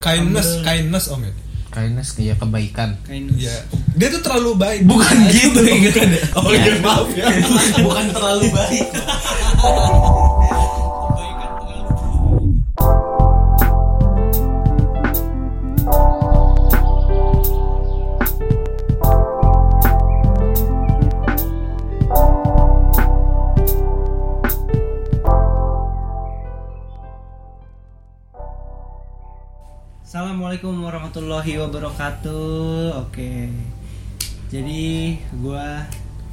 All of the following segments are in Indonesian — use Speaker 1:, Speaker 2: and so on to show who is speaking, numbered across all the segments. Speaker 1: Kindness, kindness om ya.
Speaker 2: Kindness ya kebaikan.
Speaker 3: Kindness.
Speaker 1: Iya. Dia tuh terlalu baik.
Speaker 4: Bukan gitu, gitu. Oh iya, maaf ya. Bukan terlalu baik.
Speaker 3: Assalamualaikum warahmatullahi wabarakatuh. Oke. Jadi gua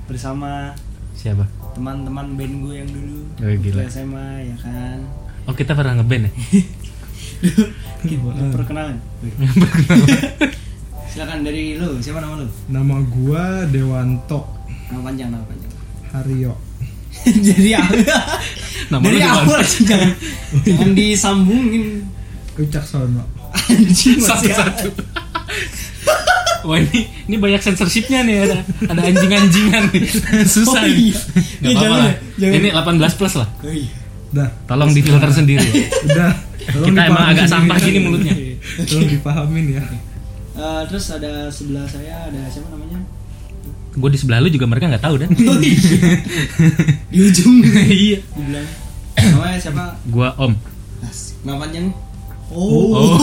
Speaker 3: bersama
Speaker 4: Siapa?
Speaker 3: teman-teman band gue yang dulu
Speaker 4: Oh, gila.
Speaker 3: waktu SMA ya kan.
Speaker 4: Oh kita pernah ngeband ya?
Speaker 3: Kita perkenalan. Silakan dari lu, siapa nama lu?
Speaker 5: Nama gua Dewanto
Speaker 3: Nama panjang, nama panjang.
Speaker 5: Haryo.
Speaker 3: Jadi awal.
Speaker 4: Nama
Speaker 3: dari
Speaker 4: lu Dewanto.
Speaker 3: awal sih jangan jangan disambungin.
Speaker 5: Wicaksono.
Speaker 3: Anjing masih
Speaker 4: Satu-satu. Wah ini ini banyak censorshipnya nih ada ada anjing-anjingan nih
Speaker 3: Oh,
Speaker 4: susah.
Speaker 3: iya.
Speaker 4: Nggak
Speaker 3: Iya,
Speaker 4: apa-apa
Speaker 3: jangan
Speaker 4: lah.
Speaker 3: ya, jangan.
Speaker 4: Ini 18 plus lah.
Speaker 3: Oh, iya.
Speaker 5: Dah,
Speaker 4: Tolong difilter sendiri.
Speaker 5: udah. Tolong
Speaker 4: Kita emang
Speaker 5: dipahamin
Speaker 4: agak sampah
Speaker 5: ya.
Speaker 4: gini mulutnya.
Speaker 5: Tolong dipahamin ya.
Speaker 3: Eh, terus ada sebelah saya ada siapa namanya?
Speaker 4: Gue di sebelah lu juga mereka nggak tahu dan.
Speaker 3: Oh, iya. Di ujung
Speaker 4: Iya.
Speaker 3: dibilang. Namanya siapa?
Speaker 4: Gua Om.
Speaker 3: Asik. Nama panjang? Oh.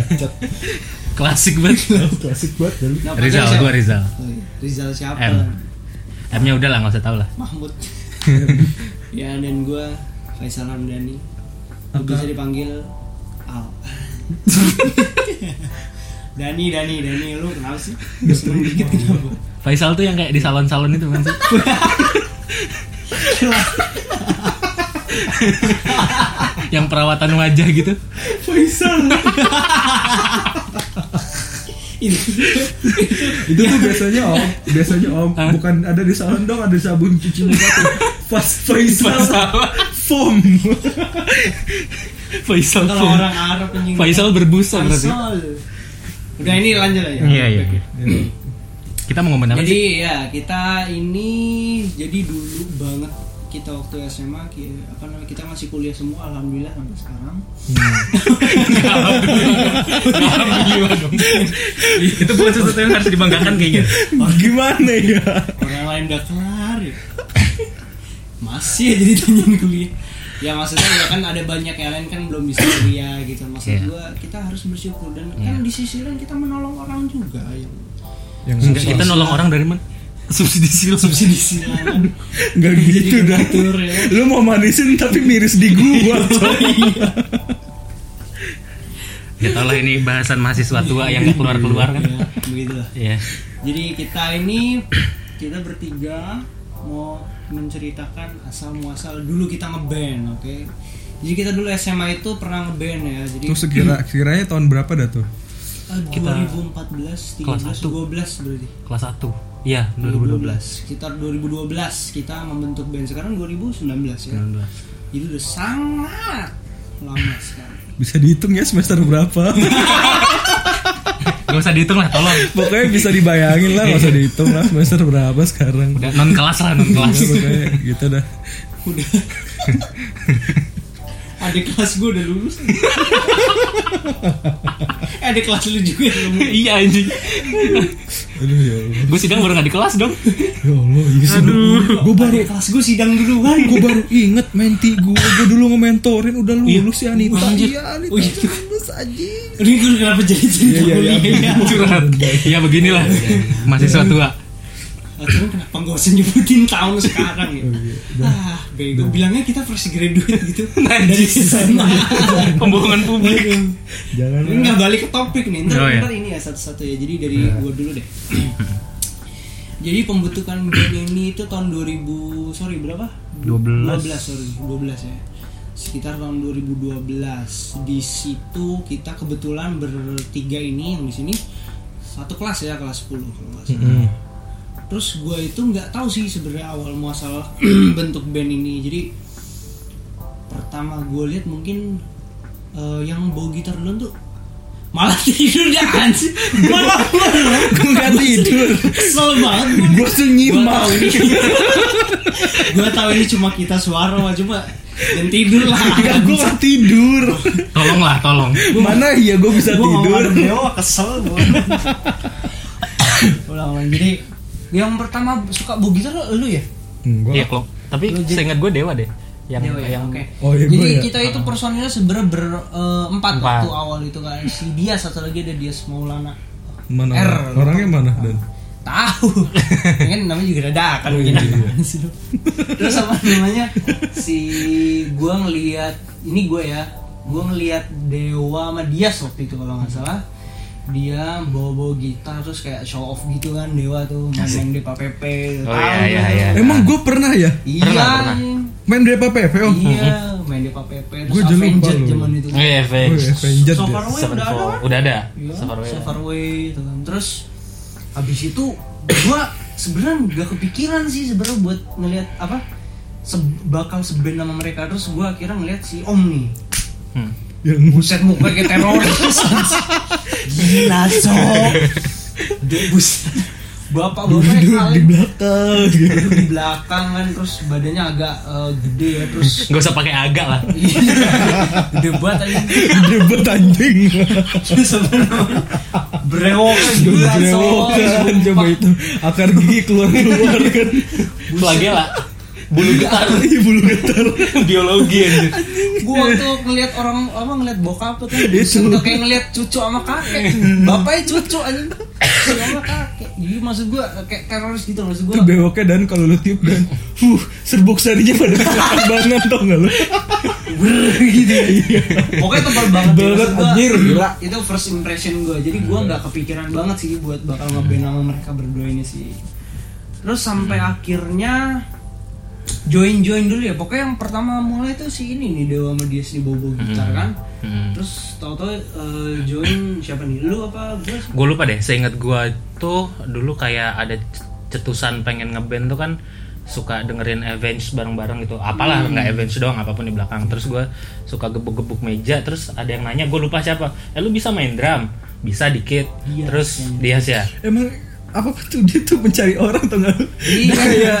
Speaker 4: Klasik banget.
Speaker 5: Klasik banget dulu.
Speaker 3: Nama panjang
Speaker 4: Rizal,
Speaker 3: siapa?
Speaker 4: gua Rizal.
Speaker 3: Oh, iya. Rizal siapa?
Speaker 4: M. M-nya udah lah nggak usah tahu lah.
Speaker 3: Mahmud. ya dan gua Faisal Hamdani. Lu
Speaker 5: Apa?
Speaker 3: bisa dipanggil Al. Dani, Dani, Dani, lu kenapa sih? Gak seneng dikit kenapa?
Speaker 4: Faisal tuh yang kayak di salon-salon itu kan sih. yang perawatan wajah gitu.
Speaker 3: Faisal. Ini
Speaker 5: Itu tuh biasanya om, biasanya om bukan ada di salon dong, ada sabun cuci muka tuh. Pas Faisal foam.
Speaker 4: Faisal
Speaker 3: kalau
Speaker 4: tuh.
Speaker 3: orang Arab anjing.
Speaker 4: Faisal berbusa berarti.
Speaker 3: Faisal. Udah ini lanjut aja.
Speaker 4: Iya iya. iya. Kita mau ngomongin apa sih?
Speaker 3: Jadi ya kita ini jadi dulu banget kita waktu SMA ki- apa namanya kita masih kuliah semua alhamdulillah sampai sekarang.
Speaker 4: Alhamdulillah dong. itu bukan sesuatu yang harus dibanggakan kayaknya.
Speaker 5: Gimana ya?
Speaker 3: Orang lain udah kelar ya. Masih aja ditanyain kuliah. Ya maksudnya ya kan ada banyak yang lain kan belum bisa kuliah gitu. Maksud
Speaker 4: Iya.
Speaker 3: gua kita harus bersyukur dan
Speaker 4: Iya.
Speaker 3: kan di sisi lain kita menolong orang juga ya.
Speaker 5: Yang
Speaker 4: Enggak, kita nolong orang dari mana? Subsidi silang subsidi.
Speaker 3: Di sisi lain
Speaker 5: Enggak gitu dah.
Speaker 3: tur ya.
Speaker 5: Lu mau manisin tapi miris di
Speaker 4: Iya.
Speaker 5: gua.
Speaker 3: Iya,
Speaker 4: Ya tau lah ini bahasan mahasiswa tua yang nggak keluar-keluar kan.
Speaker 3: Ya, begitulah.
Speaker 4: Iya.
Speaker 3: Jadi kita ini kita bertiga mau menceritakan asal muasal dulu kita ngeband, oke? Jadi kita dulu SMA itu pernah ngeband ya. Jadi
Speaker 5: Tuh sekira kiranya tahun berapa dah tuh?
Speaker 3: eh, 2014, 13,
Speaker 4: kelas satu.
Speaker 3: 12 berarti.
Speaker 4: Kelas 1. Iya,
Speaker 3: 2012.
Speaker 4: 2012.
Speaker 3: Sekitar 2012 kita membentuk band. Sekarang 2019 ya.
Speaker 4: 2012.
Speaker 3: Jadi udah sangat lama sekali.
Speaker 5: Bisa dihitung ya semester berapa?
Speaker 4: Gak usah dihitung lah, tolong.
Speaker 5: Pokoknya bisa dibayangin lah, nggak usah dihitung lah semester berapa sekarang.
Speaker 4: Udah non kelas lah, non
Speaker 5: Ya,
Speaker 4: kelas.
Speaker 5: pokoknya gitu dah.
Speaker 3: Udah. Adik kelas gue udah lulus. Adik kelas lu juga yang lulus.
Speaker 4: iya anjing.
Speaker 5: Aduh ya Allah.
Speaker 4: Gue sidang baru gak di kelas dong.
Speaker 5: Ya Allah, iya sih. Gue baru
Speaker 3: Adik ya, kelas gue sidang duluan.
Speaker 5: gue baru inget menti gue gue dulu ngementorin udah
Speaker 3: Iya.
Speaker 5: lulus ya Anita
Speaker 4: Anjir.
Speaker 5: iya Anita
Speaker 3: Oh, iya.
Speaker 5: udah lulus aja
Speaker 3: Ini gue kenapa jadi cerita
Speaker 5: Iya, iya,
Speaker 3: kuliah
Speaker 5: iya.
Speaker 3: ya?
Speaker 4: Curhat. Iya beginilah. Mahasiswa tua.
Speaker 3: Ah, Cuman kenapa gak usah nyebutin tahun sekarang
Speaker 5: Iya,
Speaker 3: ya? ah, bego. Bilangnya kita fresh graduate gitu. Dari SMA.
Speaker 4: Pembohongan publik.
Speaker 5: Iya. jangan
Speaker 3: Ini nggak balik ke topik nih. Ntar,
Speaker 4: Oh, iya.
Speaker 3: ntar ini ya satu-satu ya. Jadi dari gue dulu deh. Jadi pembentukan band ini itu tahun 2000 sorry berapa?
Speaker 4: 12.
Speaker 3: 12 sorry 12 ya. Sekitar tahun 2012. Di situ kita kebetulan bertiga ini yang di sini satu kelas ya kelas 10 kalau nggak salah. Terus gue itu nggak tahu sih sebenarnya awal muasal bentuk band ini. Jadi pertama gue lihat mungkin eh, yang bawa gitar duluan tuh malah tidur ya kan sih malah
Speaker 5: gue nggak tidur
Speaker 3: kesel banget
Speaker 5: gue tuh nyimau
Speaker 3: gue tahu ini cuma kita suara cuma dan tidur lah
Speaker 5: Enggak, gue gak tidur.
Speaker 4: Tolonglah, tolong.
Speaker 5: Mana iya gue bisa
Speaker 3: Gua ngomong
Speaker 5: tidur.
Speaker 3: sama Dewa kesel gue ulang-ulang jadi yang pertama suka bu gitar lu ya
Speaker 5: Enggak.
Speaker 4: Iya, klok. Tapi
Speaker 3: Lu jadi-
Speaker 4: seingat gue Dewa deh. Yang
Speaker 3: Dewa ya,
Speaker 4: yang
Speaker 3: oke.
Speaker 5: Oh, iya,
Speaker 3: Jadi
Speaker 5: gua ya.
Speaker 3: kita itu personilnya sebenarnya berempat
Speaker 4: Empat.
Speaker 3: waktu awal itu kan si dia satu lagi ada dia Maulana.
Speaker 5: Mana
Speaker 3: R. Iya.
Speaker 5: orangnya mana dan?
Speaker 3: Tahu. Kan namanya juga dadakan
Speaker 5: Oh,
Speaker 3: begini.
Speaker 5: iya.
Speaker 3: Gimana sih lu? Terus apa namanya? Si gua ngelihat ini gua ya. Gua ngelihat Dewa sama Dias waktu itu kalau nggak salah dia bawa-bawa gitar terus kayak show off gitu kan Dewa tuh main di PPP
Speaker 4: Oh, iya, iya, iya.
Speaker 5: Emang gue pernah ya
Speaker 3: kan? Iya,
Speaker 4: Pernah, pernah.
Speaker 5: main DPP PO.
Speaker 3: iya, main di PPP
Speaker 5: Gua
Speaker 3: terus
Speaker 5: jangan lupa
Speaker 3: Avenger
Speaker 5: lu.
Speaker 3: zaman itu.
Speaker 4: Oh, iya, Fe.
Speaker 5: Oh, Avenger
Speaker 3: So
Speaker 5: dia.
Speaker 3: far away
Speaker 4: Seven
Speaker 3: udah ada
Speaker 4: Four.
Speaker 3: kan?
Speaker 4: Udah ada.
Speaker 3: Iya,
Speaker 4: Sefarway.
Speaker 3: Sefarway itu kan. Terus habis itu gua sebenarnya nggak kepikiran sih sebenarnya buat ngelihat apa se- bakal seband sama mereka terus gua akhirnya ngelihat si Om nih.
Speaker 4: Hmm.
Speaker 5: Yang
Speaker 3: Buset muka kayak teroris. Gila sok. Dia buset.
Speaker 5: duduk
Speaker 3: Bapak-bapak
Speaker 5: di
Speaker 3: paling
Speaker 5: belakang. gitu.
Speaker 3: duduk di belakang kan terus badannya agak eh, gede ya terus
Speaker 4: Gak usah pakai agak lah.
Speaker 3: gede banget aja
Speaker 5: Debet anjing.
Speaker 3: sebenarnya brewokan juga
Speaker 5: Brewokan coba itu akar gigi keluar keluar kan.
Speaker 4: Flagela. Bulu getar
Speaker 5: Ibu lu getar.
Speaker 4: biologi anjir.
Speaker 3: gue tuh ngeliat orang apa ngeliat bokap tuh kan
Speaker 5: Itu.
Speaker 3: buset, tuh kayak ngeliat cucu sama kakek bapaknya cucu anjing cucu sama kakek jadi maksud gue kayak teroris gitu maksud gue
Speaker 5: Itu bewoknya dan kalau lu tiup dan uh serbuk sarinya pada keluar banget tau gak lu? gitu. Iya.
Speaker 3: pokoknya
Speaker 5: Tebal
Speaker 3: tebal banget Maksud
Speaker 5: banget,
Speaker 3: gua,
Speaker 5: anjir, gila. Iya.
Speaker 3: itu first impression gue jadi gue nggak kepikiran banget sih buat bakal ngeband sama mereka berdua ini sih terus sampai
Speaker 5: Hmm.
Speaker 3: akhirnya join join dulu ya pokoknya yang pertama mulai tuh si ini nih Dewa sama Dias di bobo gitar kan
Speaker 4: Hmm.
Speaker 3: terus tau-tau eh, join siapa nih lu apa gue
Speaker 4: Gue lupa deh. Seingat gue tuh dulu kayak ada cetusan pengen ngeband tuh kan suka dengerin Avenge bareng-bareng gitu apalah
Speaker 3: Hmm.
Speaker 4: nggak Avenge doang apapun di belakang terus gue suka gebuk-gebuk meja terus ada yang nanya gue lupa siapa eh lu bisa main drum bisa dikit
Speaker 3: Dias,
Speaker 4: terus dia sih ya
Speaker 5: Emang apa tuh dia tuh mencari orang tau gak lu?
Speaker 3: Iya.
Speaker 5: Dia kayak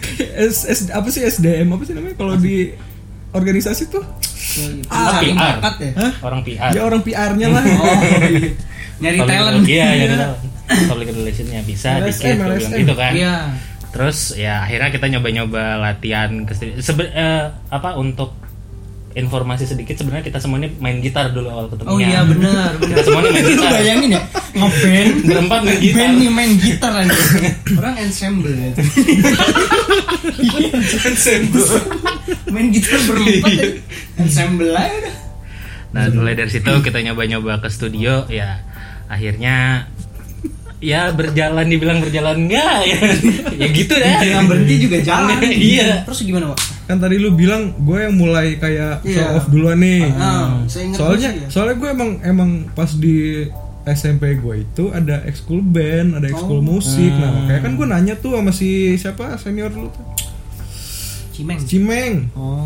Speaker 5: kayak S, S, apa sih SDM apa sih namanya kalau di organisasi tuh
Speaker 3: Ah,
Speaker 4: PR.
Speaker 3: bakat ya?
Speaker 5: Hah?
Speaker 4: orang PR
Speaker 5: ya orang PR-nya lah.
Speaker 3: Oh, iya. nyari
Speaker 4: Public
Speaker 3: talent.
Speaker 4: rela- Iya, nyari talent. Public relationnya bisa
Speaker 5: LSM,
Speaker 4: dikit gua bilang
Speaker 5: LSM.
Speaker 4: gitu kan.
Speaker 3: Iya.
Speaker 4: Terus ya akhirnya kita nyoba-nyoba latihan ke sini. Sebe- eh, apa untuk informasi sedikit sebenarnya kita semuanya main gitar dulu awal ketemunya.
Speaker 3: Oh iya benar, benar.
Speaker 4: Kita semuanya main
Speaker 3: Lu
Speaker 4: gitar.
Speaker 3: bayangin ya, ngeband
Speaker 4: Berempat main gitar.
Speaker 3: Band nih main gitar aja. Orang ensemble ya. ensemble. main gitar berempat. ya. ensemble aja udah.
Speaker 4: Nah, mulai dari situ kita nyoba-nyoba ke studio ya akhirnya ya berjalan dibilang berjalan enggak ya. ya gitu dah.
Speaker 6: Iya.
Speaker 3: Jangan berhenti juga jalan.
Speaker 4: Iya.
Speaker 3: Terus gimana, Pak?
Speaker 5: kan tadi lu bilang gue yang mulai kayak
Speaker 3: Iya.
Speaker 5: show off duluan nih
Speaker 3: Ah, seingat
Speaker 5: soalnya
Speaker 3: gue sih ya.
Speaker 5: soalnya gue emang emang pas di SMP gue itu ada ekskul band ada
Speaker 3: Oh.
Speaker 5: ekskul musik nah
Speaker 3: Hmm.
Speaker 5: makanya kan gue nanya tuh sama si siapa senior lu tuh
Speaker 3: Cimeng.
Speaker 5: Cimeng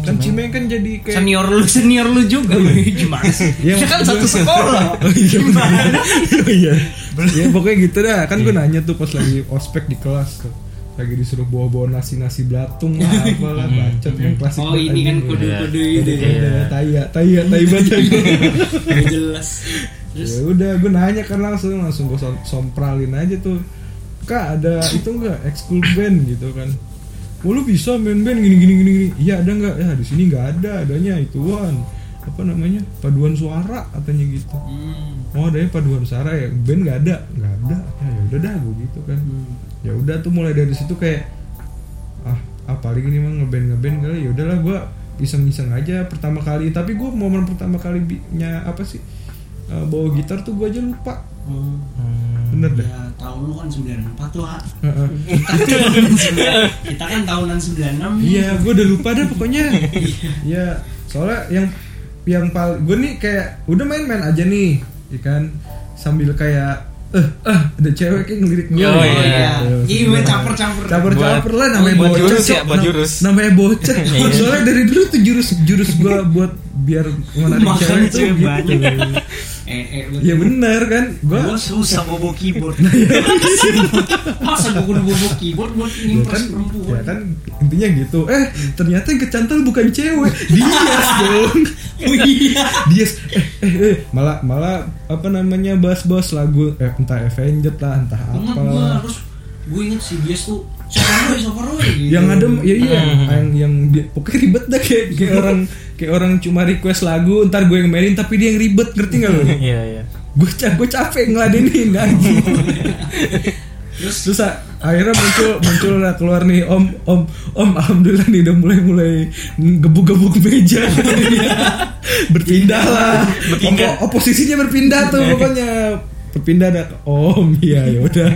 Speaker 5: kan Cimeng kan jadi kayak
Speaker 3: Oh. Senior lu, senior lu juga. Gimana sih?
Speaker 5: Iya,
Speaker 3: Kita kan satu sekolah.
Speaker 5: Oh iya, bener. Oh iya. Ya, pokoknya gitu dah. Kan
Speaker 3: Iya.
Speaker 5: gue nanya tuh pas lagi ospek di kelas tuh. Lagi disuruh bawa-bawa nasi-nasi belatung lah apalah bacot yang klasik.
Speaker 3: Oh, ini kan kode-kode
Speaker 5: Iya,
Speaker 3: ini.
Speaker 5: iya, taya, taya, tai banget.
Speaker 3: Gak jelas.
Speaker 5: Ya udah, gue nanya kan langsung langsung gue som- sompralin aja tuh. Kak ada itu enggak ekskul band gitu kan. Wah lu bisa main band gini gini gini gini. Iya ada nggak? Ya di sini nggak ada, adanya ituan apa namanya paduan suara katanya gitu.
Speaker 3: Hmm.
Speaker 5: oh adanya paduan suara ya band nggak ada nggak ada ya ya udah dah gue gitu kan ya udah tuh mulai dari situ kayak ah apa lagi nih mang ngeband ngeband kali ya udahlah gue iseng-iseng aja pertama kali tapi gue momen pertama kali bi- nya apa sih eh, bawa gitar tuh gue aja lupa
Speaker 3: Hmm.
Speaker 5: bener dah
Speaker 3: Ya, tahun lu kan 94 lu, Ha.
Speaker 5: Heeh.
Speaker 3: Kita kan tahunan 9 Kita kan tahunan 96.
Speaker 5: iya gue udah lupa dah pokoknya iya soalnya yang yang paling gue nih kayak udah main-main aja nih ikan sambil kayak eh eh ada cewek yang ngelirik gue
Speaker 4: Yo,
Speaker 3: Oh,
Speaker 4: iya.
Speaker 3: iya. Iya, gue caper-caper.
Speaker 5: caper-caper lah namanya
Speaker 4: buat
Speaker 5: bocah
Speaker 4: jurus
Speaker 5: Cok.
Speaker 4: ya, buat
Speaker 5: Nam-
Speaker 4: jurus. Iya.
Speaker 5: namanya bocah soalnya dari dulu tuh jurus jurus gua buat biar menarik
Speaker 3: Makan
Speaker 5: cewek tuh
Speaker 3: cewek
Speaker 5: gitu
Speaker 3: banyak. eh eh
Speaker 5: ya bener kan gua Iya.
Speaker 3: Gue susah bobo keyboard Masa gue kudu bobo keyboard buat
Speaker 5: ya
Speaker 3: ngimpress
Speaker 5: kan,
Speaker 3: perempuan
Speaker 5: ya kan intinya gitu eh ternyata yang kecantel bukan cewek Dias dong
Speaker 3: Oh iya
Speaker 5: Dias eh, eh, eh, malah malah apa namanya bahas-bahas lagu eh, entah Avenged lah entah
Speaker 3: Ingat
Speaker 5: apa
Speaker 3: gue harus Gue inget si Bias tuh Soparoy, Soparoy gitu.
Speaker 5: yang ada ya iya yang yang dia- pokoknya ribet dah kayak, kayak orang kayak orang cuma request lagu ntar gue yang mainin tapi dia yang ribet ngerti nggak lo
Speaker 6: Iya iya.
Speaker 5: gue ca gue capek ngeladenin anjing
Speaker 3: Terus
Speaker 5: terus a- akhirnya muncul muncul lah keluar nih om om om alhamdulillah nih udah mulai mulai gebuk-gebuk meja gitu berpindah lah
Speaker 6: Bertiga.
Speaker 5: Opo- oposisinya berpindah tuh pokoknya berpindah ada ke om iya ya udah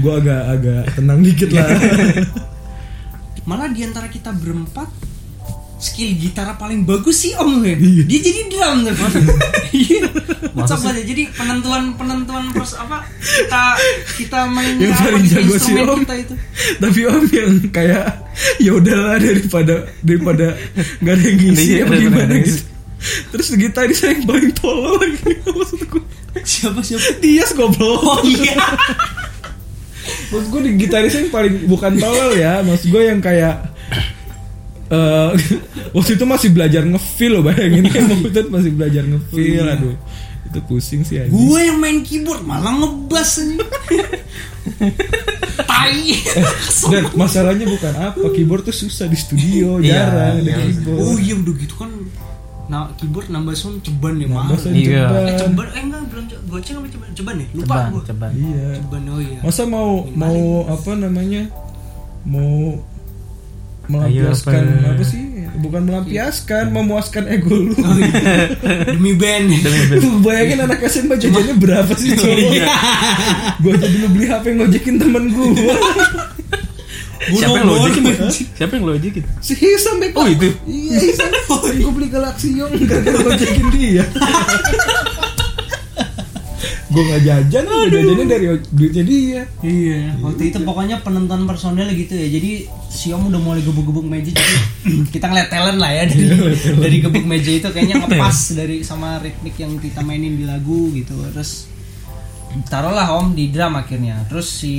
Speaker 5: gue agak agak tenang dikit lah
Speaker 3: Malah diantara kita berempat skill gitar paling bagus sih om Ren. dia jadi drum kan iya
Speaker 6: Masa
Speaker 3: coba deh jadi penentuan penentuan pers apa kita kita main
Speaker 5: Yang
Speaker 3: apa
Speaker 5: paling
Speaker 3: gitu,
Speaker 5: jago sih,
Speaker 3: instrumen
Speaker 5: Om.
Speaker 3: kita itu
Speaker 5: tapi om yang kayak ya udahlah daripada daripada nggak ada yang ngisi
Speaker 6: Iya,
Speaker 5: apa
Speaker 6: daripada
Speaker 5: gimana
Speaker 6: nggak ada
Speaker 5: gitu terus kita ini saya yang paling tolol lagi maksud gue
Speaker 3: siapa siapa
Speaker 5: dia goblok
Speaker 3: iya
Speaker 5: Maksud gue di gitaris yang paling bukan tolol ya, maksud gue yang kayak eh waktu itu masih belajar ngefeel loh bayangin Emang betul masih belajar ngefeel
Speaker 6: Iya.
Speaker 5: aduh itu pusing sih anjing.
Speaker 3: Gue yang main keyboard malah ngebas anjing. Tai.
Speaker 5: dan masalahnya bukan apa keyboard tuh susah di studio
Speaker 6: Iya,
Speaker 5: jarang ada
Speaker 6: iya.
Speaker 3: Oh
Speaker 5: keyboard
Speaker 3: iya udah gitu kan. Nah, keyboard nambah sound ceban ya mahal.
Speaker 5: masa
Speaker 3: Eh
Speaker 6: Iya.
Speaker 5: ceban
Speaker 3: ceban eh enggak belum ce- goceng apa ceban? Ceban ya? Lupa
Speaker 6: Ceban,
Speaker 3: gue.
Speaker 6: ceban.
Speaker 5: iya
Speaker 3: Ceban oh iya.
Speaker 5: masa mau mau apa namanya mau melampiaskan
Speaker 6: Ayo, apa? Iya.
Speaker 5: apa sih bukan melampiaskan memuaskan ego lu
Speaker 6: Oh,
Speaker 3: Demi band.
Speaker 5: Lu bayangin anak SMA jajannya berapa sih
Speaker 6: Iya.
Speaker 5: cowok? gue aja dulu beli HP ngojekin temen gue
Speaker 6: Siapa
Speaker 3: Bodoh,
Speaker 6: yang
Speaker 4: ya?
Speaker 6: logikin?
Speaker 3: bodoh.
Speaker 6: Siapa yang logikin?
Speaker 5: Si Hisam Beko
Speaker 6: Oh, itu? Oh,
Speaker 5: Iya Hisam Gue beli Galaxy Yong Gara-gara ngojekin dia Gue gak jajan Gue jajannya dari duitnya dia
Speaker 3: Iya, waktu itu pokoknya penonton personel gitu ya. Jadi Siom udah mulai gebuk-gebuk meja jadi kita ngeliat talent lah
Speaker 5: Iya,
Speaker 3: ya dari dari gebuk meja itu kayaknya ngepas dari sama ritmik yang kita mainin di lagu gitu. Terus taruhlah Om di drum akhirnya. Terus si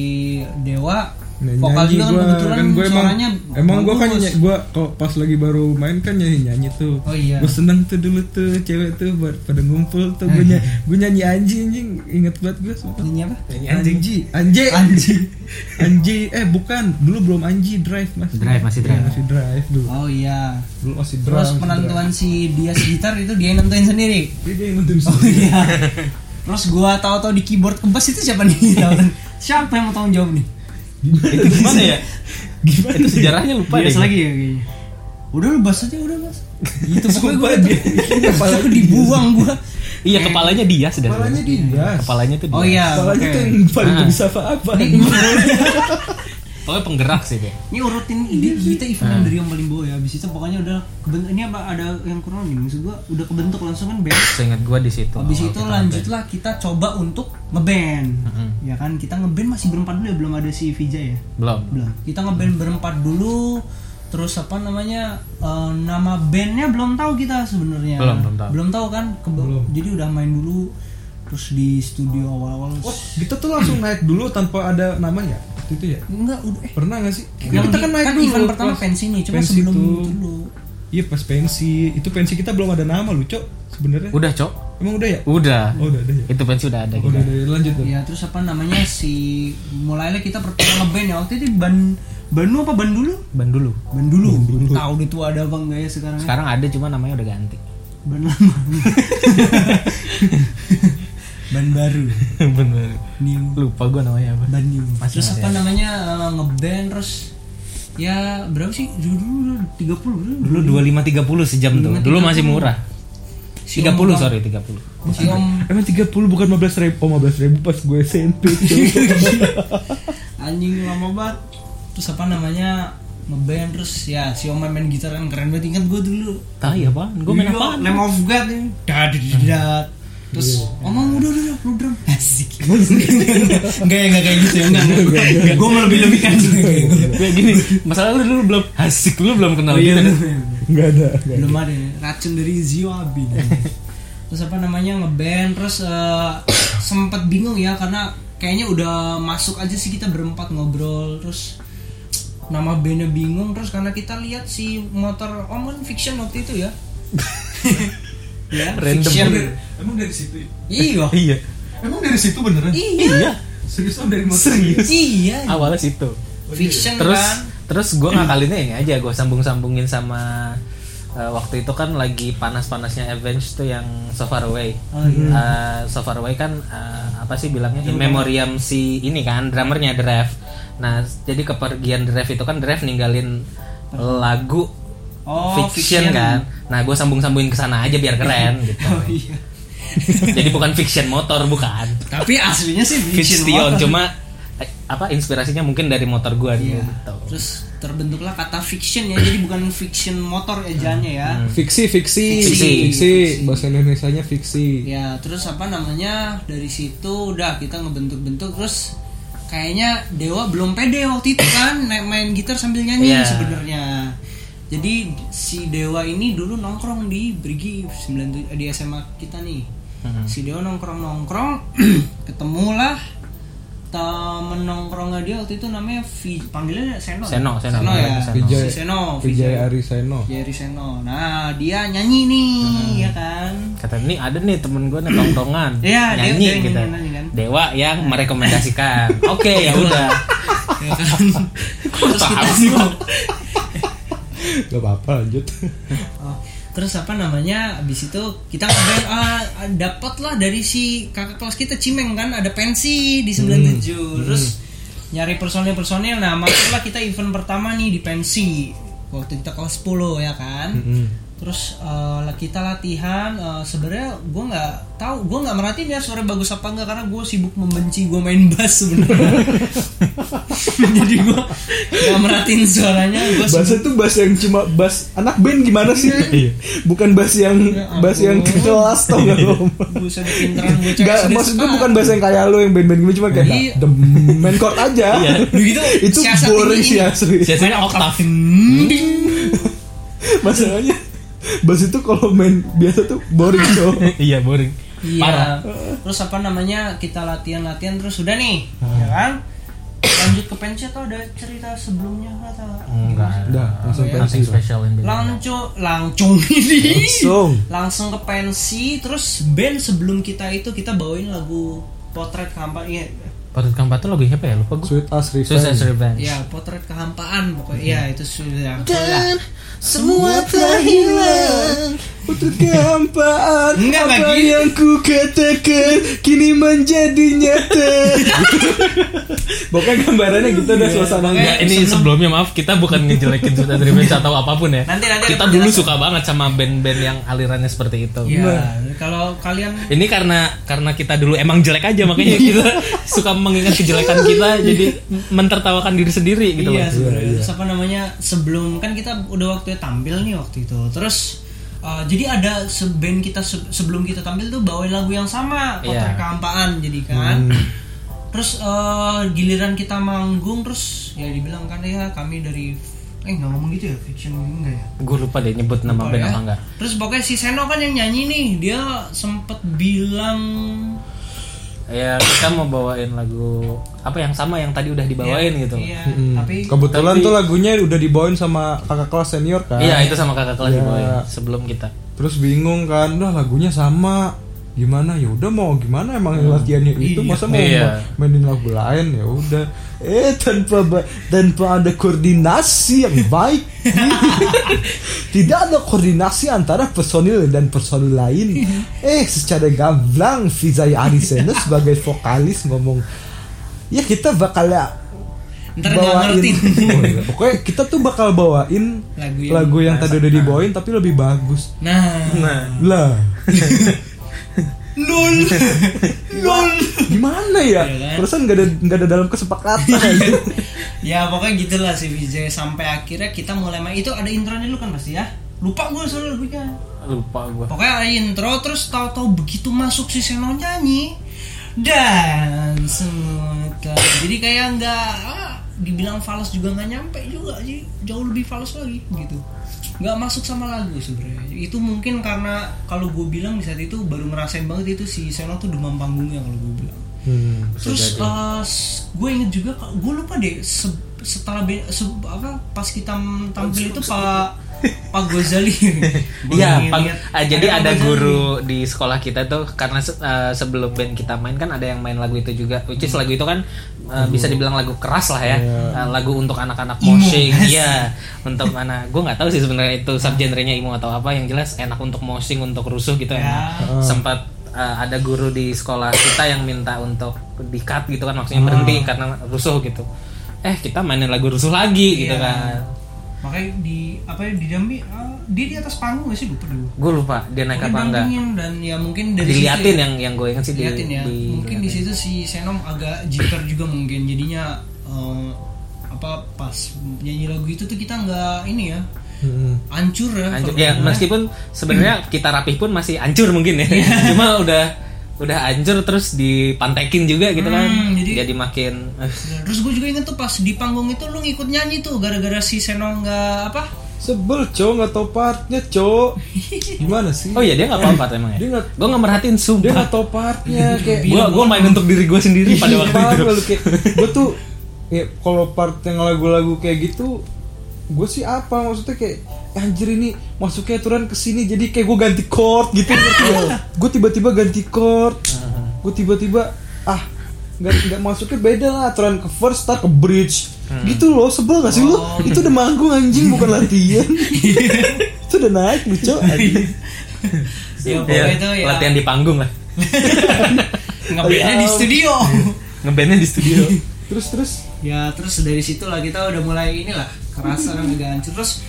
Speaker 3: Dewa
Speaker 5: Nah,
Speaker 3: vokal
Speaker 5: nyanyi
Speaker 3: juga kan
Speaker 5: gua,
Speaker 3: kebetulan
Speaker 5: gua emang,
Speaker 3: suaranya
Speaker 5: emang gue kan
Speaker 3: bagus.
Speaker 5: nyanyi, gua kalau pas lagi baru main kan nyanyi nyanyi tuh
Speaker 3: Oh, iya.
Speaker 5: gue seneng tuh dulu tuh cewek tuh buat pada ngumpul tuh gue nyanyi, gua nyanyi anjing anjing inget banget gue
Speaker 3: Nyanyi apa?
Speaker 5: anjing ji anjing
Speaker 3: Anjing.
Speaker 5: Anji, eh bukan, dulu belum Anji drive masih.
Speaker 6: Drive, masih
Speaker 5: Iya,
Speaker 6: drive.
Speaker 5: masih drive dulu.
Speaker 3: Oh iya.
Speaker 5: Dulu masih drive.
Speaker 3: Terus
Speaker 5: masih
Speaker 3: penentuan si Dias gitar itu dia yang nentuin sendiri.
Speaker 5: drive. Dia- dia yang nentuin
Speaker 3: Oh
Speaker 5: sendiri.
Speaker 3: iya. Terus gua tahu-tahu di keyboard kebas itu siapa nih? Tahu-tahu. siapa yang mau tanggung jawab nih?
Speaker 6: Itu gimana ya?
Speaker 5: Gimana?
Speaker 6: Itu sejarahnya lupa deh.
Speaker 3: Bias lagi ya kayaknya. Udah lu bahas aja udah bahas. Itu pokoknya gua
Speaker 5: Sumpah
Speaker 3: itu.
Speaker 5: dia. Kepalanya
Speaker 3: Aku dibuang gua.
Speaker 6: Iya kepalanya dia sudah.
Speaker 5: Kepalanya dia.
Speaker 6: Kepalanya tuh dia.
Speaker 3: Oh iya.
Speaker 5: Kepalanya
Speaker 3: oke.
Speaker 5: tuh yang paling
Speaker 6: Ah.
Speaker 5: bisa apa-apa.
Speaker 6: Pokoknya penggerak sih dia.
Speaker 3: Ini urutin ide kita event yang dari yang paling bawah ya. Abis itu pokoknya udah kebentuk ini apa ada yang kurang nih? Maksud gua udah kebentuk langsung kan band.
Speaker 6: Seingat gua di situ.
Speaker 3: Habis
Speaker 6: awal
Speaker 3: itu
Speaker 6: kita
Speaker 3: lanjutlah kita coba untuk ngeband. Ya kan kita ngeband masih berempat dulu ya belum ada si Vijay ya.
Speaker 6: ngeband. Belum.
Speaker 3: Belum. Kita ngeband berempat dulu. Terus apa namanya eh, nama bandnya belum tahu kita sebenarnya.
Speaker 6: Belum, belum tahu.
Speaker 3: kan. Kebe- Jadi udah main dulu. Terus di studio awal-awal.
Speaker 5: Oh, kita tuh langsung naik dulu tanpa ada nama ya? Waktu itu ya?
Speaker 3: Enggak udah. Eh,
Speaker 5: Pernah gak sih?
Speaker 3: yang
Speaker 5: kita
Speaker 3: di-
Speaker 5: kan naik
Speaker 3: kan
Speaker 5: dulu.
Speaker 3: event pertama
Speaker 5: pas
Speaker 3: pensi nih, cuma
Speaker 5: pensi
Speaker 3: sebelum
Speaker 5: tuh.
Speaker 3: dulu.
Speaker 5: Iya pas pensi. Itu pensi kita belum ada nama lu, Cok. Sebenarnya.
Speaker 6: Udah, Cok.
Speaker 5: Emang udah ya?
Speaker 6: Udah.
Speaker 5: Oh, udah ada ya.
Speaker 6: Itu pensi udah ada gitu.
Speaker 5: Oh,
Speaker 6: kita.
Speaker 5: udah ada. Lanjut. Lan.
Speaker 3: Ya terus apa namanya si mulailah kita pertama ngeband ya waktu itu di ban Banu apa Ban dulu?
Speaker 6: Ban dulu.
Speaker 3: Ban dulu. Tahu itu ada apa enggak ya sekarang? ya?
Speaker 6: Sekarang ada cuma namanya udah ganti.
Speaker 3: Ban lama. ban baru.
Speaker 6: Bener.
Speaker 3: New.
Speaker 6: Lupa gua namanya apa.
Speaker 3: Ban new.
Speaker 6: Masih
Speaker 3: terus
Speaker 6: ada.
Speaker 3: apa namanya eh, ngeband terus ya berapa sih dulu dulu tiga puluh
Speaker 6: Dulu 25.30 sejam tuh. Dulu masih murah. 30 sorry 30.
Speaker 3: si om
Speaker 5: Emang 30 bukan 15 ribu? Oh 15 ribu pas gue SMP
Speaker 3: anjing lama banget terus apa namanya ngeband terus ya si om main, main gitar kan keren banget ingat gue dulu
Speaker 6: Tahu ya, Pak. Gua main
Speaker 3: Iya,
Speaker 6: apaan?
Speaker 3: Lamb of God ini dadididat terus omong udah udah udah, lu drum asik enggak ya enggak kayak gitu ya enggak gue mau lebih lebihkan Gitu.
Speaker 6: Gue gini, masalah lu dulu belum asik, lu belum
Speaker 3: oh
Speaker 6: kenal
Speaker 3: iya bener.
Speaker 6: gitu.
Speaker 4: Iya,
Speaker 5: Enggak ada nggak ada.
Speaker 3: belum ada ya. racun dari Zio Abi terus apa namanya ngeband terus eh, sempet bingung ya karena kayaknya udah masuk aja sih kita berempat ngobrol terus nama bandnya bingung terus karena kita lihat si motor om kan fiction waktu itu ya ya
Speaker 4: Random.
Speaker 3: fiction.
Speaker 7: Emang dari situ? ya?
Speaker 3: iya
Speaker 4: Iya.
Speaker 7: Emang dari situ beneran?
Speaker 3: iya
Speaker 7: Serius om dari motor?
Speaker 4: Serius.
Speaker 3: iya
Speaker 4: Awalnya situ.
Speaker 3: fiction
Speaker 4: terus
Speaker 3: kan
Speaker 4: terus gue ngakalinnya ini aja gue sambung sambungin sama eh, waktu itu kan lagi panas panasnya Avenge tuh yang So Far Away
Speaker 3: Oh, iya.
Speaker 4: Eh, So Far Away kan eh, apa sih bilangnya in memoriam si ini kan drummernya Drev nah jadi kepergian Drev itu kan Drev ninggalin lagu
Speaker 3: Oh,
Speaker 4: fiction,
Speaker 3: fiction.
Speaker 4: kan nah gue sambung sambungin ke sana aja biar keren gitu
Speaker 3: oh iya
Speaker 4: jadi bukan fiction motor bukan
Speaker 3: tapi aslinya sih fiction
Speaker 4: fiction
Speaker 3: motor.
Speaker 4: cuma eh, apa inspirasinya mungkin dari motor gue
Speaker 3: Iya.
Speaker 4: gitu
Speaker 3: Terus terbentuklah kata fiction ya, jadi bukan fiction motor ejaannya ya.
Speaker 5: Fiksi, fiksi,
Speaker 4: Fiksi.
Speaker 5: fiksi, bahasa Indonesia-nya fiksi.
Speaker 3: Ya, terus apa namanya? Dari situ udah kita ngebentuk-bentuk terus kayaknya Dewa belum pede waktu itu kan naik main gitar sambil nyanyi
Speaker 4: Iya.
Speaker 3: sebenarnya. Jadi si Dewa ini dulu nongkrong di Brigi 97 eh, di SMA kita nih.
Speaker 4: Hmm.
Speaker 3: Si Dewa nongkrong-nongkrong ketemulah temen nongkrongnya dia waktu itu namanya Vi, panggilannya Seno. ya?
Speaker 4: Seno, Seno.
Speaker 3: Seno ya.
Speaker 4: Seno.
Speaker 3: Si Seno,
Speaker 5: Vijay Ariseno.
Speaker 3: Jerry Seno. Nah, dia nyanyi nih,
Speaker 4: Hmm.
Speaker 3: ya kan?
Speaker 4: kata ini ada nih temen gue nih tongtongan
Speaker 3: Iya, dia-
Speaker 4: nyanyi
Speaker 3: dia yang
Speaker 4: gitu
Speaker 3: nyanyi kan.
Speaker 4: dewa yang merekomendasikan oke ya udah
Speaker 3: Ya kan? terus kita
Speaker 5: Gak apa-apa lanjut.
Speaker 3: Oh, terus apa namanya? Abis itu kita ngeband ah, dapat lah dari si kakak kelas kita Cimeng kan ada pensi di
Speaker 5: Hmm.
Speaker 3: 97. Terus nyari personil-personil. Nah, masuklah kita event pertama nih di pensi. Waktu kita kelas 10 ya kan?
Speaker 5: Hmm.
Speaker 3: Terus eh, kita latihan eh, sebenarnya gue nggak tahu gue nggak merhatiin ya suara bagus apa enggak karena gue sibuk membenci gue main bass sebenarnya jadi gue nggak merhatiin suaranya gue
Speaker 5: Bahasa tuh bahasa yang cuma bahas anak band gimana sih?
Speaker 3: Iya,
Speaker 5: Bukan bahas yang
Speaker 3: Ya
Speaker 5: bahas yang kelas tau
Speaker 3: Iya,
Speaker 5: gak lo?
Speaker 3: gue bisa pinteran gue cek
Speaker 5: Gak,
Speaker 3: SD
Speaker 5: maksud gue
Speaker 3: sekarang.
Speaker 5: bukan bahasa yang kayak lo yang band-band gimana cuma kayak
Speaker 3: Iya.
Speaker 5: the main chord aja.
Speaker 3: Lu gitu
Speaker 5: Itu
Speaker 3: siasat
Speaker 5: boring
Speaker 3: tinggi
Speaker 5: sih ya.
Speaker 3: ini.
Speaker 5: asli.
Speaker 4: biasanya oktav
Speaker 5: Masalahnya bass itu kalau main biasa tuh boring tuh.
Speaker 4: iya boring
Speaker 3: Iya. Terus apa namanya kita latihan-latihan terus sudah nih,
Speaker 5: Ah.
Speaker 3: ya kan? Lanjut ke pensi atau ada cerita sebelumnya atau
Speaker 5: Hmm.
Speaker 4: enggak
Speaker 5: Udah, langsung pensi.
Speaker 4: nothing special in between.
Speaker 3: langsung langsung ini
Speaker 5: Langsung.
Speaker 3: langsung ke pensi terus band sebelum kita itu kita bawain lagu potret kehampaan iya
Speaker 4: Patut Kampat tuh lagunya apa ya lupa gue
Speaker 5: Sweet as
Speaker 4: Suicide
Speaker 5: Revenge.
Speaker 4: Revenge
Speaker 3: ya potret kehampaan pokoknya
Speaker 5: Hmm.
Speaker 3: ya itu sudah
Speaker 5: Iya.
Speaker 4: semua terhilang
Speaker 5: Putri kehampaan
Speaker 3: Enggak,
Speaker 5: Apa
Speaker 3: nggak gitu.
Speaker 5: yang ku katakan Kini menjadi nyata Pokoknya gambarannya gitu dah suasananya
Speaker 4: Nggak, ini sebelumnya maaf kita bukan ngejelekin Suicide Revenge atau apapun ya
Speaker 3: Nanti- nanti ada
Speaker 4: kita dulu
Speaker 3: penjelasan.
Speaker 4: suka banget sama band-band yang alirannya seperti itu
Speaker 3: ya kalau kalian
Speaker 4: Ini karena karena kita dulu emang jelek aja makanya kita suka mengingat kejelekan kita jadi mentertawakan diri sendiri gitu
Speaker 3: iya,
Speaker 4: loh.
Speaker 3: sebenarnya. Terus apa namanya sebelum kan kita udah waktunya tampil nih waktu itu. Terus uh, jadi ada se- band kita se- sebelum kita tampil tuh bawain lagu yang sama, kotor
Speaker 4: Iya.
Speaker 3: kehampaan jadi kan. Terus uh, giliran kita manggung terus ya dibilang kan ya kami dari eh nggak ngomong gitu ya fiction enggak ya
Speaker 4: Gue lupa deh nyebut nama
Speaker 3: Lupa
Speaker 4: band
Speaker 3: ya.
Speaker 4: apa enggak.
Speaker 3: terus pokoknya si Seno kan yang nyanyi nih dia sempet bilang
Speaker 4: Ya kita mau bawain lagu apa yang sama yang tadi udah dibawain gitu. Iya,
Speaker 3: iya tapi
Speaker 5: Kebetulan tuh lagunya udah dibawain sama kakak kelas senior kan
Speaker 4: Iya, itu sama
Speaker 3: Iya.
Speaker 4: kakak kelas dibawain sebelum kita.
Speaker 5: Terus bingung kan Udah lagunya sama gimana ya udah mau gimana emang
Speaker 3: Hmm.
Speaker 5: latihannya itu masa mau
Speaker 4: Iya.
Speaker 5: ma- mainin lagu lain ya udah eh tanpa ba- tanpa ada koordinasi yang baik tidak ada koordinasi antara personil dan personil lain eh secara gamblang Vijay Arisena sebagai vokalis ngomong ya kita bakal
Speaker 3: ntar nggak ngerti
Speaker 5: Oh, iya. pokoknya kita tuh bakal bawain
Speaker 3: Lagu
Speaker 5: lagu yang,
Speaker 3: yang
Speaker 5: tadi udah dibawain tapi lebih bagus
Speaker 3: nah
Speaker 5: lah
Speaker 3: lol lol
Speaker 5: gimana ya
Speaker 3: Iya kan?
Speaker 5: perasaan nggak ada nggak ada dalam kesepakatan aja.
Speaker 3: ya pokoknya gitulah si Vijay sampai akhirnya kita mulai main itu ada intronya dulu kan pasti ya lupa gue soalnya lebihnya
Speaker 4: Lupa gue.
Speaker 3: pokoknya ada intro terus tahu-tahu begitu masuk si Seno nyanyi dan semua jadi kayak nggak ah, dibilang falas juga nggak nyampe juga sih jauh lebih falas lagi gitu nggak masuk sama lagu sebenarnya itu mungkin karena kalau gue bilang di saat itu baru ngerasain banget itu si Seno tuh demam panggungnya kalau gue bilang terus eh, s- gue inget juga gue lupa deh se- setelah be- se- apa pas kita m- tampil itu pak Pak Gozali Gua
Speaker 4: Iya, Pak.
Speaker 3: ngeliat-
Speaker 4: Ah, jadi
Speaker 3: Pak
Speaker 4: ada
Speaker 3: Ghazali.
Speaker 4: guru di sekolah kita tuh karena se- eh, sebelum band kita main kan ada yang main lagu itu juga. Which is lagu itu kan eh, bisa dibilang lagu keras lah ya. Eh, lagu untuk anak-anak moshing. Iya, untuk mana? Gue nggak tahu sih sebenarnya itu subgenrenya emo atau apa. Yang jelas enak untuk moshing, untuk rusuh gitu enak. Sempat eh, ada guru di sekolah kita yang minta untuk di cut gitu kan maksudnya berhenti karena rusuh gitu. Eh, kita mainin lagu rusuh lagi gitu
Speaker 3: Iya.
Speaker 4: kan.
Speaker 3: makanya di apa ya di Jambi eh, dia di atas panggung gak sih lupa dulu
Speaker 4: Gue lupa dia naik apa enggak.
Speaker 3: dan ya mungkin dari
Speaker 4: diliatin
Speaker 3: situ,
Speaker 4: yang yang gue inget sih di,
Speaker 3: diliatin ya
Speaker 4: di-
Speaker 3: mungkin di situ si Senom agak jiper juga mungkin jadinya eh, apa pas nyanyi lagu itu tuh kita nggak ini ya
Speaker 5: Hmm.
Speaker 3: hancur ya kalau
Speaker 4: hancur ya
Speaker 3: ngomongnya.
Speaker 4: meskipun sebenarnya kita rapih pun masih hancur mungkin ya
Speaker 3: Iya.
Speaker 4: cuma udah udah hancur terus dipantekin juga gitu kan
Speaker 3: Hmm, jadi-
Speaker 4: jadi makin
Speaker 3: Iya. terus gue juga inget tuh pas di panggung itu lu ngikut nyanyi tuh gara-gara si Senom nggak apa
Speaker 5: Sebel cow nggak tau partnya cow. Gimana sih?
Speaker 4: oh iya dia nggak apa apa emang ya
Speaker 5: Dia nggak
Speaker 4: gue nggak merhatiin
Speaker 5: dia
Speaker 4: sumpah
Speaker 5: nggak tau partnya kayak
Speaker 4: gue gue main untuk diri gue sendiri
Speaker 3: Iya,
Speaker 4: pada waktu
Speaker 5: Parah
Speaker 4: itu
Speaker 5: lu, Iya,
Speaker 3: Ya,
Speaker 5: kayak gue tuh kayak kalau part yang lagu-lagu kayak gitu gue sih apa maksudnya kayak "Eh, anjir ini masuknya aturan ke sini jadi kayak gue ganti chord gitu gue tiba-tiba ganti chord gue tiba-tiba ah nggak nggak masuknya beda lah aturan ke first start ke bridge
Speaker 4: Hmm.
Speaker 5: gitu loh sebel gak sih lu
Speaker 4: Oh.
Speaker 5: itu udah manggung anjing bukan latihan itu udah naik lucu anjing
Speaker 3: ya,
Speaker 4: Iya,
Speaker 3: pokoknya itu ya
Speaker 4: latihan di panggung lah Oh, ya
Speaker 3: ngebandnya di studio
Speaker 4: ngebandnya di studio
Speaker 5: terus terus
Speaker 3: Ya terus dari situlah kita udah mulai inilah kerasa dan agak hancur terus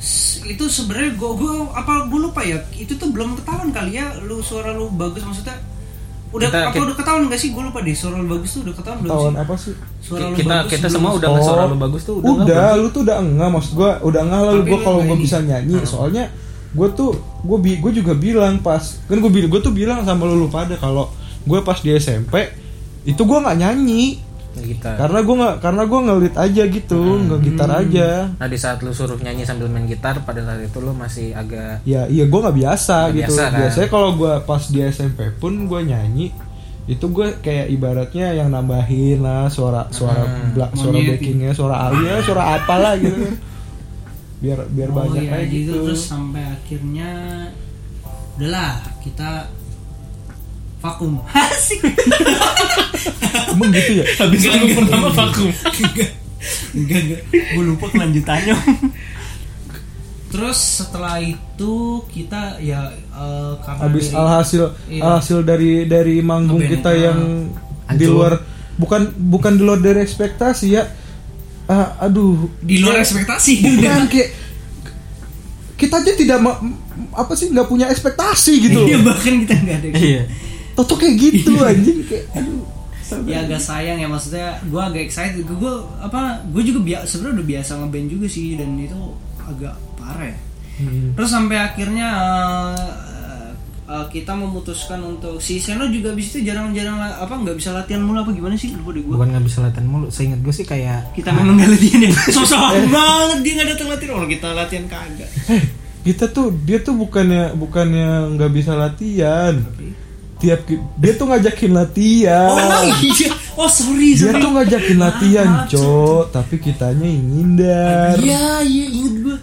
Speaker 3: s- itu sebenarnya gue gue apa gue lupa ya itu tuh belum ketahuan kali ya lu suara lu bagus maksudnya udah
Speaker 4: Kita-
Speaker 3: apa
Speaker 4: kita-
Speaker 3: udah ketahuan gak sih gue lupa deh suara lu bagus tuh udah ketahuan belum
Speaker 5: tahun
Speaker 3: sih
Speaker 5: apa sih
Speaker 3: suara lu
Speaker 4: kita
Speaker 3: bagus
Speaker 4: kita
Speaker 3: belum?
Speaker 4: semua udah nggak suara lu bagus tuh
Speaker 5: Oh. udah,
Speaker 4: udah, nggak
Speaker 5: lu tuh udah enggak maksud gua udah enggak lah lu
Speaker 3: Tapi
Speaker 5: gua
Speaker 3: lu
Speaker 5: kalau gua
Speaker 3: nyanyi.
Speaker 5: bisa nyanyi soalnya gua tuh gua bi gua juga bilang pas kan gua bilang gua tuh bilang sama lu lu pada kalau gua pas di SMP itu gua nggak nyanyi
Speaker 4: kita
Speaker 5: karena gua nggak karena gua ngelit aja gitu nggak gitar aja
Speaker 4: nah di saat lu suruh nyanyi sambil main gitar pada saat itu lu masih agak
Speaker 5: ya iya gua nggak biasa
Speaker 4: Nggak
Speaker 5: gitu
Speaker 4: biasa, kan?
Speaker 5: biasanya kalau gua pas di SMP pun gua nyanyi itu gua kayak ibaratnya yang nambahin lah suara suara black suara
Speaker 3: Hmm. Monyet.
Speaker 5: backingnya suara alia suara apalah gitu kan. biar biar
Speaker 3: Oh,
Speaker 5: banyak
Speaker 3: iya,
Speaker 5: aja
Speaker 3: gitu.
Speaker 5: gitu
Speaker 3: terus sampai akhirnya udahlah kita vakum asik
Speaker 5: Emang gitu ya?
Speaker 6: Habis lagu pertama vakum.
Speaker 3: enggak enggak gue lupa kelanjutannya terus setelah itu kita ya eh, karena
Speaker 5: Habis
Speaker 3: dari-
Speaker 5: alhasil
Speaker 3: Iya.
Speaker 5: alhasil dari dari manggung
Speaker 3: Ngeband ah.
Speaker 5: kita
Speaker 3: yang-
Speaker 5: yang di luar bukan bukan di luar dari ekspektasi ya. Ah, aduh,
Speaker 3: di luar ekspektasi
Speaker 5: bukan kayak kita aja tidak ma- m- apa sih nggak punya ekspektasi gitu.
Speaker 3: iya bahkan kita nggak ada
Speaker 5: Toto kayak gitu anjing kayak aduh.
Speaker 3: ya agak sayang ya maksudnya gue agak excited gue apa gue juga biasa sebenarnya udah biasa ngeband juga sih dan itu agak parah ya. terus sampai akhirnya eh, eh, kita memutuskan untuk si Seno juga abis itu jarang-jarang la- apa nggak bisa latihan mulu apa gimana sih lupa deh gue
Speaker 4: bukan nggak bisa latihan mulu seingat gue sih kayak
Speaker 3: kita memang nggak latihan ya sosok banget dia nggak datang latihan orang kita latihan kagak
Speaker 5: Kita tuh dia tuh bukannya bukannya nggak bisa latihan. Tiap ki- dia tuh ngajakin latihan.
Speaker 3: oh iya oh
Speaker 5: eh,
Speaker 3: sorry
Speaker 5: dia
Speaker 3: sorry
Speaker 5: tuh ngajakin latihan, Cok, tapi kitanya yang ngindar.
Speaker 3: iya iya inget gue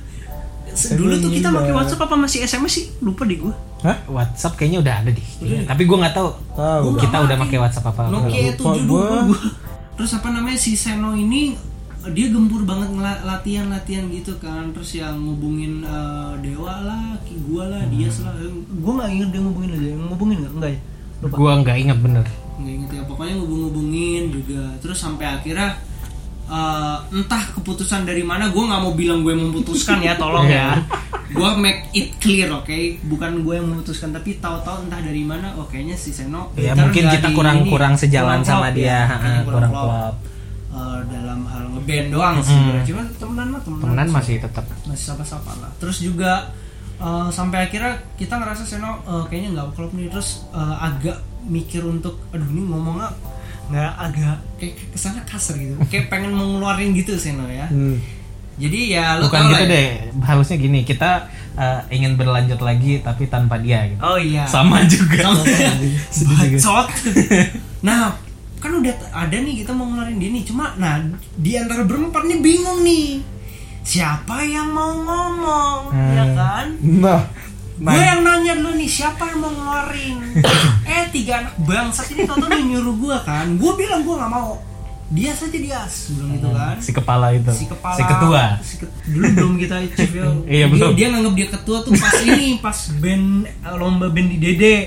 Speaker 3: dulu tuh kita
Speaker 5: Emang
Speaker 3: pakai
Speaker 5: iya.
Speaker 3: WhatsApp apa masih SMS sih lupa deh gue
Speaker 5: Hah?
Speaker 4: WhatsApp kayaknya udah ada deh. Tapi gue nggak tahu
Speaker 5: Tahu.
Speaker 4: kita udah pakai WhatsApp apa.
Speaker 3: Nokia
Speaker 5: Lupa gua.
Speaker 3: 7 dulu gua. Terus apa namanya si Seno ini eh, dia gempur banget ngela- latihan-latihan gitu kan terus yang ngubungin eh, Dewa lah, ki gua lah, dia lah.
Speaker 5: Hmm.
Speaker 3: Gua nggak inget dia ngubungin aja, ngubungin nggak enggak ya? Lupa.
Speaker 4: Gue nggak ingat bener.
Speaker 3: Nggak inget ya, pokoknya ngubung-ngubungin juga. Terus sampai akhirnya eh, entah keputusan dari mana, gua nggak mau bilang gue memutuskan ya, tolong ya.
Speaker 4: Iya.
Speaker 3: Gua make it clear, oke? Bukan gue yang memutuskan, tapi tahu-tahu entah dari mana, oh kayaknya si Seno.
Speaker 4: Ya
Speaker 3: Peter
Speaker 4: mungkin
Speaker 3: nggak
Speaker 4: kita
Speaker 3: di-
Speaker 4: kurang-kurang
Speaker 3: ini,
Speaker 4: sejalan
Speaker 3: kurang
Speaker 4: sama
Speaker 3: klop
Speaker 4: dia.
Speaker 3: ya,
Speaker 4: Ha,
Speaker 3: kayaknya
Speaker 4: kurang
Speaker 3: klop.
Speaker 4: klop. Mm-hmm.
Speaker 3: Eh, dalam hal ngeband doang sih, sebenarnya. cuman temenan lah temenan.
Speaker 4: Temenan masih tetap.
Speaker 3: masih sapa-sapa lah. Terus juga eh, sampai akhirnya kita ngerasa Seno eh, kayaknya nggak klop nih, terus eh, agak mikir untuk aduh ini ngomongnya nggak agak kayak kesana kasar gitu kayak pengen mau ngeluarin gitu sih no ya
Speaker 5: Hmm.
Speaker 3: jadi ya lo
Speaker 4: bukan
Speaker 3: tau lah
Speaker 4: gitu
Speaker 3: ya.
Speaker 4: deh harusnya gini kita eh, ingin berlanjut lagi tapi tanpa dia gitu
Speaker 3: oh iya
Speaker 4: sama juga
Speaker 3: Sama.
Speaker 4: Sedih juga.
Speaker 3: bacot nah kan udah t- ada nih kita mau ngeluarin dia nih cuma nah di antara berempat nih bingung nih siapa yang mau ngomong
Speaker 4: Hmm.
Speaker 3: ya kan
Speaker 5: Nah,
Speaker 3: gue yang nanya dulu nih siapa yang mau ngeluarin eh tiga anak bangsat ini tau udah nyuruh gue kan gue bilang gue nggak mau dia saja dia sebelum itu kan
Speaker 4: Hmm. si kepala itu
Speaker 3: si kepala
Speaker 4: ketua
Speaker 3: si ke- dulu belum kita chief ya
Speaker 4: Iya,
Speaker 3: dia,
Speaker 4: belum.
Speaker 3: dia nganggap dia ketua tuh pas ini pas band eh, lomba band di dede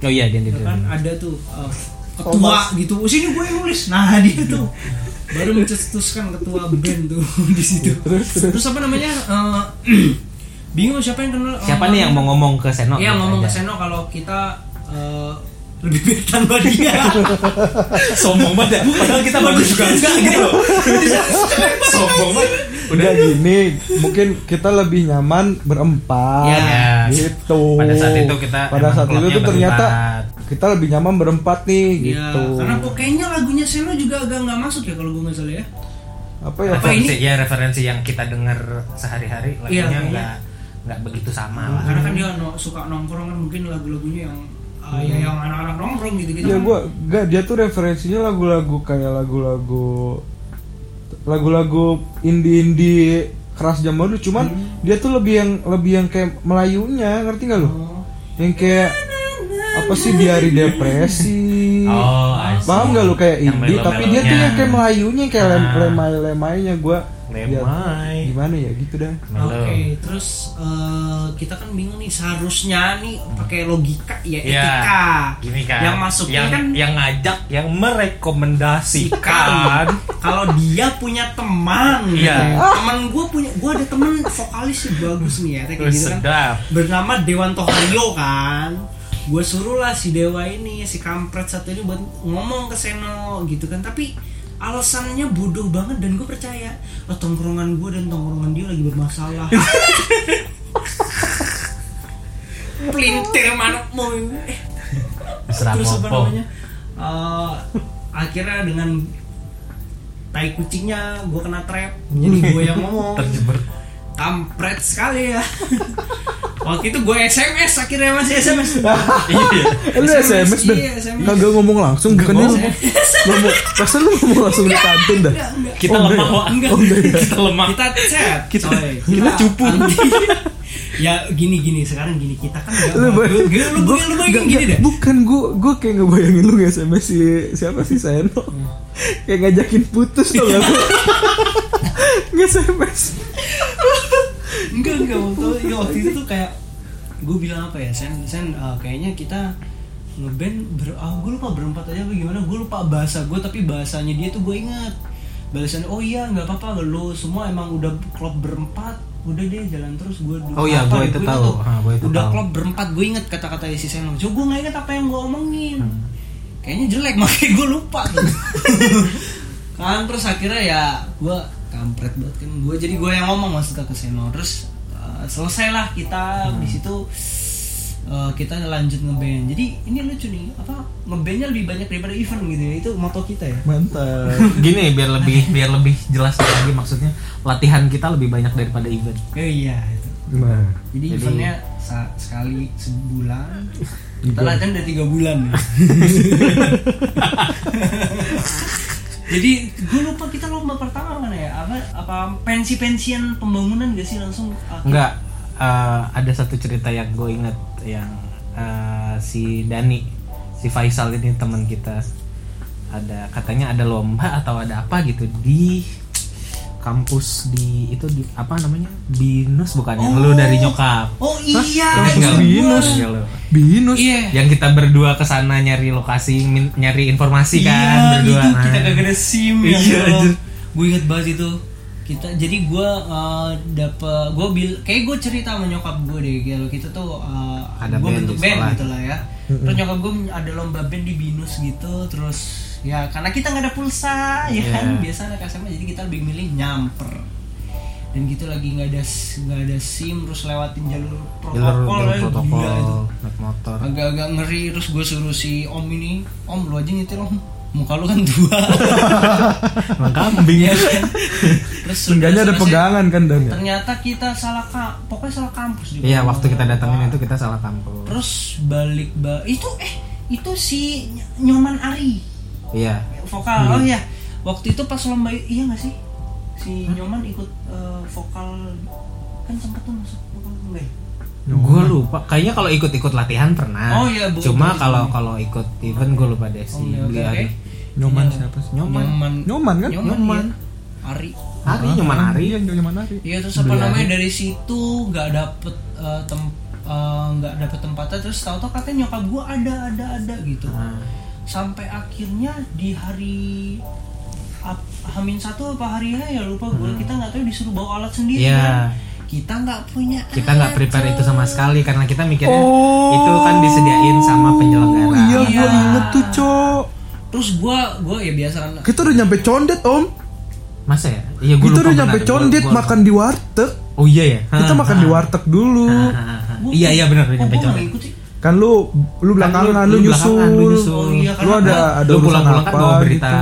Speaker 4: oh iya dia dia,
Speaker 3: ya
Speaker 4: dia.
Speaker 3: kan ada tuh eh, ketua gitu "Oh, sini gue yang nulis nah dia tuh
Speaker 4: Iya.
Speaker 3: baru mencetuskan ketua band tuh di situ terus apa namanya eh, bingung siapa yang kenal eh,
Speaker 4: siapa nih yang mau ngomong ke Seno
Speaker 3: Iya
Speaker 4: Gitu
Speaker 3: ngomong
Speaker 4: aja.
Speaker 3: ke Seno kalau kita eh, lebih baik tanpa dia.
Speaker 4: sombong banget ya. padahal kita bagus juga enggak gitu sombong banget
Speaker 5: udah gini, mungkin kita lebih nyaman berempat.
Speaker 4: Ya.
Speaker 5: Gitu.
Speaker 4: Pada saat itu kita
Speaker 5: Pada
Speaker 4: emang
Speaker 5: saat itu
Speaker 4: klubnya
Speaker 5: tuh ternyata
Speaker 4: berempat.
Speaker 5: kita lebih nyaman berempat nih
Speaker 3: Iya.
Speaker 5: gitu.
Speaker 3: Karena kok kayaknya lagunya Seno juga agak nggak masuk ya kalau gue nggak salah ya.
Speaker 5: Apa ya?
Speaker 3: Apa ini?
Speaker 4: Referensi- ya referensi yang kita dengar sehari-hari
Speaker 3: Iya,
Speaker 4: lagunya
Speaker 3: iya.
Speaker 4: nggak nggak begitu sama lah
Speaker 3: Karena kan dia no- suka nongkrong kan mungkin lagu-lagunya yang eh, ya
Speaker 4: Hmm.
Speaker 3: yang anak-anak nongkrong gitu gitu.
Speaker 5: Ya gua enggak dia tuh referensinya lagu-lagu kayak lagu-lagu lagu-lagu indie-indie keras zaman dulu cuman dia tuh lebih yang lebih yang kayak Melayunya, ngerti nggak lu? Yang kayak apa sih diari depresi.
Speaker 4: Oh, I see.
Speaker 5: Paham gak lu kayak
Speaker 4: Yang
Speaker 5: indie tapi dia tuh
Speaker 4: melo-melonya.
Speaker 5: yang kayak Melayunya kayak lem-
Speaker 4: Ah.
Speaker 5: lemai-lemaynya gua. ya,
Speaker 4: Lemai.
Speaker 5: gimana ya gitu dah.
Speaker 3: Oke,
Speaker 4: Melo.
Speaker 3: terus eh, kita kan bingung nih seharusnya nih pakai logika ya
Speaker 4: Ya,
Speaker 3: etika.
Speaker 4: gini kan.
Speaker 3: Yang masuknya
Speaker 4: yang,
Speaker 3: kan
Speaker 4: yang ngajak, yang merekomendasikan.
Speaker 3: kalau dia punya teman
Speaker 4: Iya.
Speaker 3: teman gue punya gue ada temen vokalis sih bagus nih ya kayak
Speaker 4: Wih,
Speaker 3: gitu kan
Speaker 4: sedap.
Speaker 3: bernama Dewan Tohario kan gue suruh lah si Dewa ini si kampret satu ini buat ngomong ke Seno gitu kan tapi alasannya bodoh banget dan gue percaya oh, tongkrongan gue dan tongkrongan dia lagi bermasalah pelintir manukmu eh terus apa
Speaker 4: Seramopo.
Speaker 3: namanya eh, akhirnya dengan tai kucingnya gue kena trap jadi gue yang ngomong
Speaker 4: Terjebak.
Speaker 3: kampret sekali ya waktu itu gue sms akhirnya masih sms
Speaker 4: Iya.
Speaker 5: Eh, lu SMS dah.
Speaker 3: Iya, SMS.
Speaker 5: Kagak ngomong langsung bukan lu. Ngomong, perasaan lu ngomong langsung di kantin dah.
Speaker 4: Kita
Speaker 5: Oh,
Speaker 4: lemah,
Speaker 5: enggak ya?
Speaker 4: Wak.
Speaker 3: Enggak.
Speaker 4: Kita lemah.
Speaker 3: iya. kita set
Speaker 5: Kita-
Speaker 3: coy.
Speaker 5: kita cupu.
Speaker 3: anti- ya gini gini sekarang gini kita kan nggak
Speaker 5: lu
Speaker 3: lu
Speaker 5: bayangin
Speaker 3: lu lu lu bayangin gini deh
Speaker 5: bukan gue gue kayak ngebayangin lu nge sms si siapa sih Seno kayak ngajakin putus tuh gak nge sms
Speaker 3: enggak enggak waktu, ya, waktu itu tuh kayak gue bilang apa ya sen sen eh, kayaknya kita ngeband ber ah gue lupa berempat aja apa gimana gue lupa bahasa gue tapi bahasanya dia tuh gue ingat balasannya oh iya nggak apa-apa lo semua emang udah klub berempat udah deh jalan terus gue dulu
Speaker 4: Oh iya,
Speaker 3: apa
Speaker 4: gua
Speaker 3: deh,
Speaker 4: itu
Speaker 3: gua
Speaker 4: tahu. Ah, gua itu
Speaker 3: udah
Speaker 4: tahu.
Speaker 3: klub berempat gue inget kata-kata si Seno cuma gue nggak inget apa yang gue omongin kayaknya jelek makanya gue lupa tuh kan terus akhirnya ya gue kampret banget kan gue jadi gue yang ngomong maksudnya ke Seno terus uh, selesailah kita di situ uh, kita lanjut ngeband jadi ini lucu nih apa ngebandnya lebih banyak daripada event gitu ya itu moto kita ya
Speaker 5: mantap
Speaker 4: Eh, Gini biar lebih biar lebih jelas lagi maksudnya latihan kita lebih banyak daripada event.
Speaker 3: oh iya itu
Speaker 5: nah
Speaker 3: jadi,
Speaker 4: Jadi-
Speaker 3: eventnya sa- sekali sebulan kita latihan udah tiga bulan ya. jadi gue lupa kita lomba pertama mana ya apa apa pensi pensian pembangunan gak sih langsung uh,
Speaker 4: Enggak, eh, ada satu cerita yang gue inget yang eh, si Dani, si Faisal ini teman kita ada katanya ada lomba atau ada apa gitu di kampus di itu di apa namanya binus bukan yang lu dari nyokap
Speaker 3: oh iya
Speaker 4: Ingat
Speaker 3: itu
Speaker 4: nggak Iya. lu?
Speaker 3: gua.
Speaker 4: Ingat nggak lu?
Speaker 5: binus
Speaker 3: iya
Speaker 4: yang kita berdua ke sana nyari lokasi min- nyari informasi kan
Speaker 3: Iya,
Speaker 4: berdua
Speaker 3: itu kita
Speaker 4: Nah.
Speaker 3: kagak ada sim ya
Speaker 4: Iya, anjir.
Speaker 3: gue inget banget itu kita jadi gue uh, dapet gue bil kayak gue cerita sama nyokap gue deh kalau kita tuh uh,
Speaker 4: Ada
Speaker 3: gue
Speaker 4: band
Speaker 3: bentuk
Speaker 4: di
Speaker 3: band
Speaker 4: sekolah.
Speaker 3: gitu lah ya terus nyokap gue ada lomba band di binus gitu terus ya karena kita nggak ada pulsa ya kan
Speaker 4: Iya.
Speaker 3: biasa anak SMA jadi kita lebih milih nyamper dan gitu lagi nggak ada nggak ada sim terus lewatin jalur protokol,
Speaker 4: jalur, jalur
Speaker 3: ya, gila
Speaker 4: protokol
Speaker 3: itu
Speaker 4: naik motor
Speaker 3: agak-agak ngeri terus gue suruh si om ini om lu aja nyetir om muka lu kan tua
Speaker 4: kambing
Speaker 3: terus
Speaker 5: Seenggaknya ada
Speaker 3: selesai.
Speaker 5: pegangan kan dan ya.
Speaker 3: ternyata kita salah ka- pokoknya salah kampus juga.
Speaker 4: Iya, waktu kita datangin itu kita salah kampus.
Speaker 3: terus balik ba itu eh itu si Ny- Nyoman Ari
Speaker 4: Iya.
Speaker 3: vokal oh ya waktu itu pas lomba iya nggak sih si Nyoman ikut eh, vokal kan sempet tuh masuk vokal enggak ya?
Speaker 4: Gue lupa. Kayaknya kalau ikut-ikut latihan pernah.
Speaker 3: Oh, iya, bu-
Speaker 4: Cuma
Speaker 3: bu-
Speaker 4: kalau kalau ikut event gue lupa deh
Speaker 3: Oh,
Speaker 4: si
Speaker 3: iya, oke,
Speaker 4: beli
Speaker 3: oke.
Speaker 4: Ari.
Speaker 5: Nyoman
Speaker 3: Iya.
Speaker 5: siapa sih?
Speaker 4: Nyoman.
Speaker 5: Nyoman kan?
Speaker 3: Nyoman,
Speaker 4: Nyoman.
Speaker 3: iya. Ari
Speaker 4: Ari Nyoman Ari.
Speaker 5: Iya, Nyoman Ari.
Speaker 3: iya terus apa namanya dari situ nggak dapet eh, tem eh, nggak dapet tempatnya terus tahu-tahu katanya nyokap gua ada ada ada gitu
Speaker 4: Ah.
Speaker 3: sampai akhirnya di hari ap- Hamin satu apa hari H ya lupa gue kita nggak tahu disuruh bawa alat sendiri
Speaker 4: Hmm. Iya.
Speaker 3: kan kita nggak punya
Speaker 4: Kita nggak prepare itu sama sekali karena kita mikirnya itu kan disediain sama penyelenggara.
Speaker 5: Oh. Iya, gua inget tuh, Cok.
Speaker 3: terus gue gue ya biasa kan
Speaker 5: Kita udah nyampe condet, Om.
Speaker 4: Masa ya? Iya, gue
Speaker 5: Kita udah nyampe condet makan di warteg.
Speaker 4: Oh iya ya.
Speaker 5: Kita makan di warteg dulu.
Speaker 4: Ah, ah, ah. Iya iya benar
Speaker 3: kok
Speaker 4: nyampe Kan
Speaker 3: gua nggak
Speaker 4: condet.
Speaker 3: ikut sih
Speaker 5: Kan lu lu belakangan lu, nyusul.
Speaker 4: belakangan, lu nyusul.
Speaker 3: Oh, iya,
Speaker 5: Lu kan ada
Speaker 3: karena gua-
Speaker 5: ada
Speaker 4: Lu
Speaker 5: urusan
Speaker 4: pulang-pulang kan
Speaker 5: apa
Speaker 4: bawa berita
Speaker 5: gitu.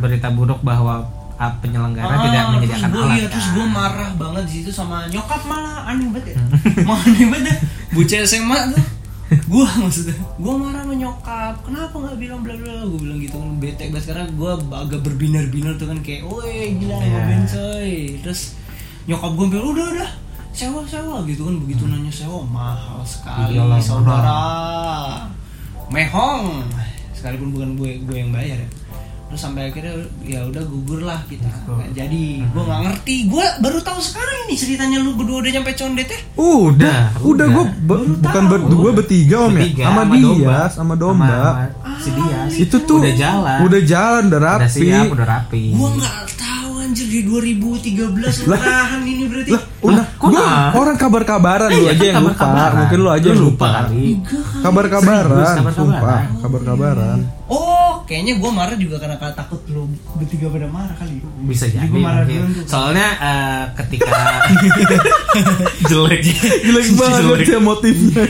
Speaker 4: berita buruk bahwa ah, penyelenggara
Speaker 3: Ah,
Speaker 4: tidak menyediakan
Speaker 3: terus gua,
Speaker 4: alat. kan.
Speaker 3: iya, terus gue marah banget di situ sama nyokap malah aneh banget ya
Speaker 4: Hmm.
Speaker 3: mau aneh banget ya. dah. bocah SMA tuh gue maksudnya gue marah sama nyokap kenapa nggak bilang bla bla gue bilang gitu kan bete banget karena gue agak berbinar-binar tuh kan kayak woi gila
Speaker 4: Iya.
Speaker 3: yeah. coy terus nyokap gue bilang udah udah sewa sewa gitu kan begitu
Speaker 4: Hmm.
Speaker 3: nanya sewa mahal sekali
Speaker 4: Iyalah,
Speaker 3: saudara mehong sekalipun bukan gue gue yang bayar ya terus sampai akhirnya ya udah gugur lah kita nggak jadi gue nggak ngerti gue baru tahu sekarang ini ceritanya lu berdua udah nyampe condet ya
Speaker 5: Iya. Udah, udah
Speaker 4: udah.
Speaker 5: gue bukan berdua bertiga om ya,
Speaker 4: Bertiga,
Speaker 5: sama dia, sama domba.
Speaker 4: sama si Dias.
Speaker 5: Itu tuh
Speaker 4: udah jalan.
Speaker 5: udah jalan, udah
Speaker 4: Udah
Speaker 5: rapi.
Speaker 4: siap, udah rapi.
Speaker 3: gue nggak tahu anjir di 2013 lu nahan ini berarti
Speaker 5: Lah, udah.
Speaker 4: kok
Speaker 5: Gua
Speaker 4: nggak?
Speaker 5: orang kabar-kabaran lu
Speaker 4: Iya,
Speaker 5: aja yang lupa.
Speaker 4: kabar-kabaran.
Speaker 5: Mungkin lu aja yang lupa.
Speaker 4: kali.
Speaker 5: Kabar-kabaran,
Speaker 4: Serius, kabar-kabaran.
Speaker 5: sumpah, kabar-kabaran.
Speaker 3: oh kayaknya gue marah juga karena takut lu bertiga pada marah kali
Speaker 4: Bisa jadi.
Speaker 3: Gua marah
Speaker 4: mungkin.
Speaker 3: duluan tuh.
Speaker 4: Soalnya eh, ketika jelek jelek
Speaker 5: Banget ya motifnya.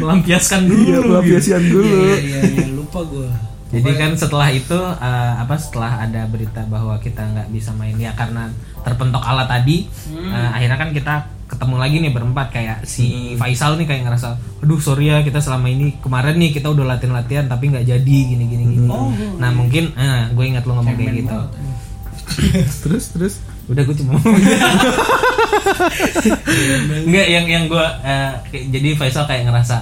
Speaker 4: melampiaskan dulu.
Speaker 5: Iya, pelampiasan dulu.
Speaker 3: iya iya iya, lupa gue
Speaker 4: Jadi kan setelah itu eh, apa setelah ada berita bahwa kita nggak bisa main ya karena terpentok alat tadi, eh, akhirnya kan kita ketemu lagi nih berempat kayak si Faisal nih kayak ngerasa, aduh sorry ya kita selama ini kemarin nih kita udah latihan-latihan tapi nggak jadi gini-gini. gini." nah mungkin, eh, gue ingat lo ngomong kayak gitu.
Speaker 5: Terus, terus.
Speaker 4: Udah gue cuma ngomong gitu. Nggak yang yang gue eh, kayak- jadi Faisal kayak ngerasa,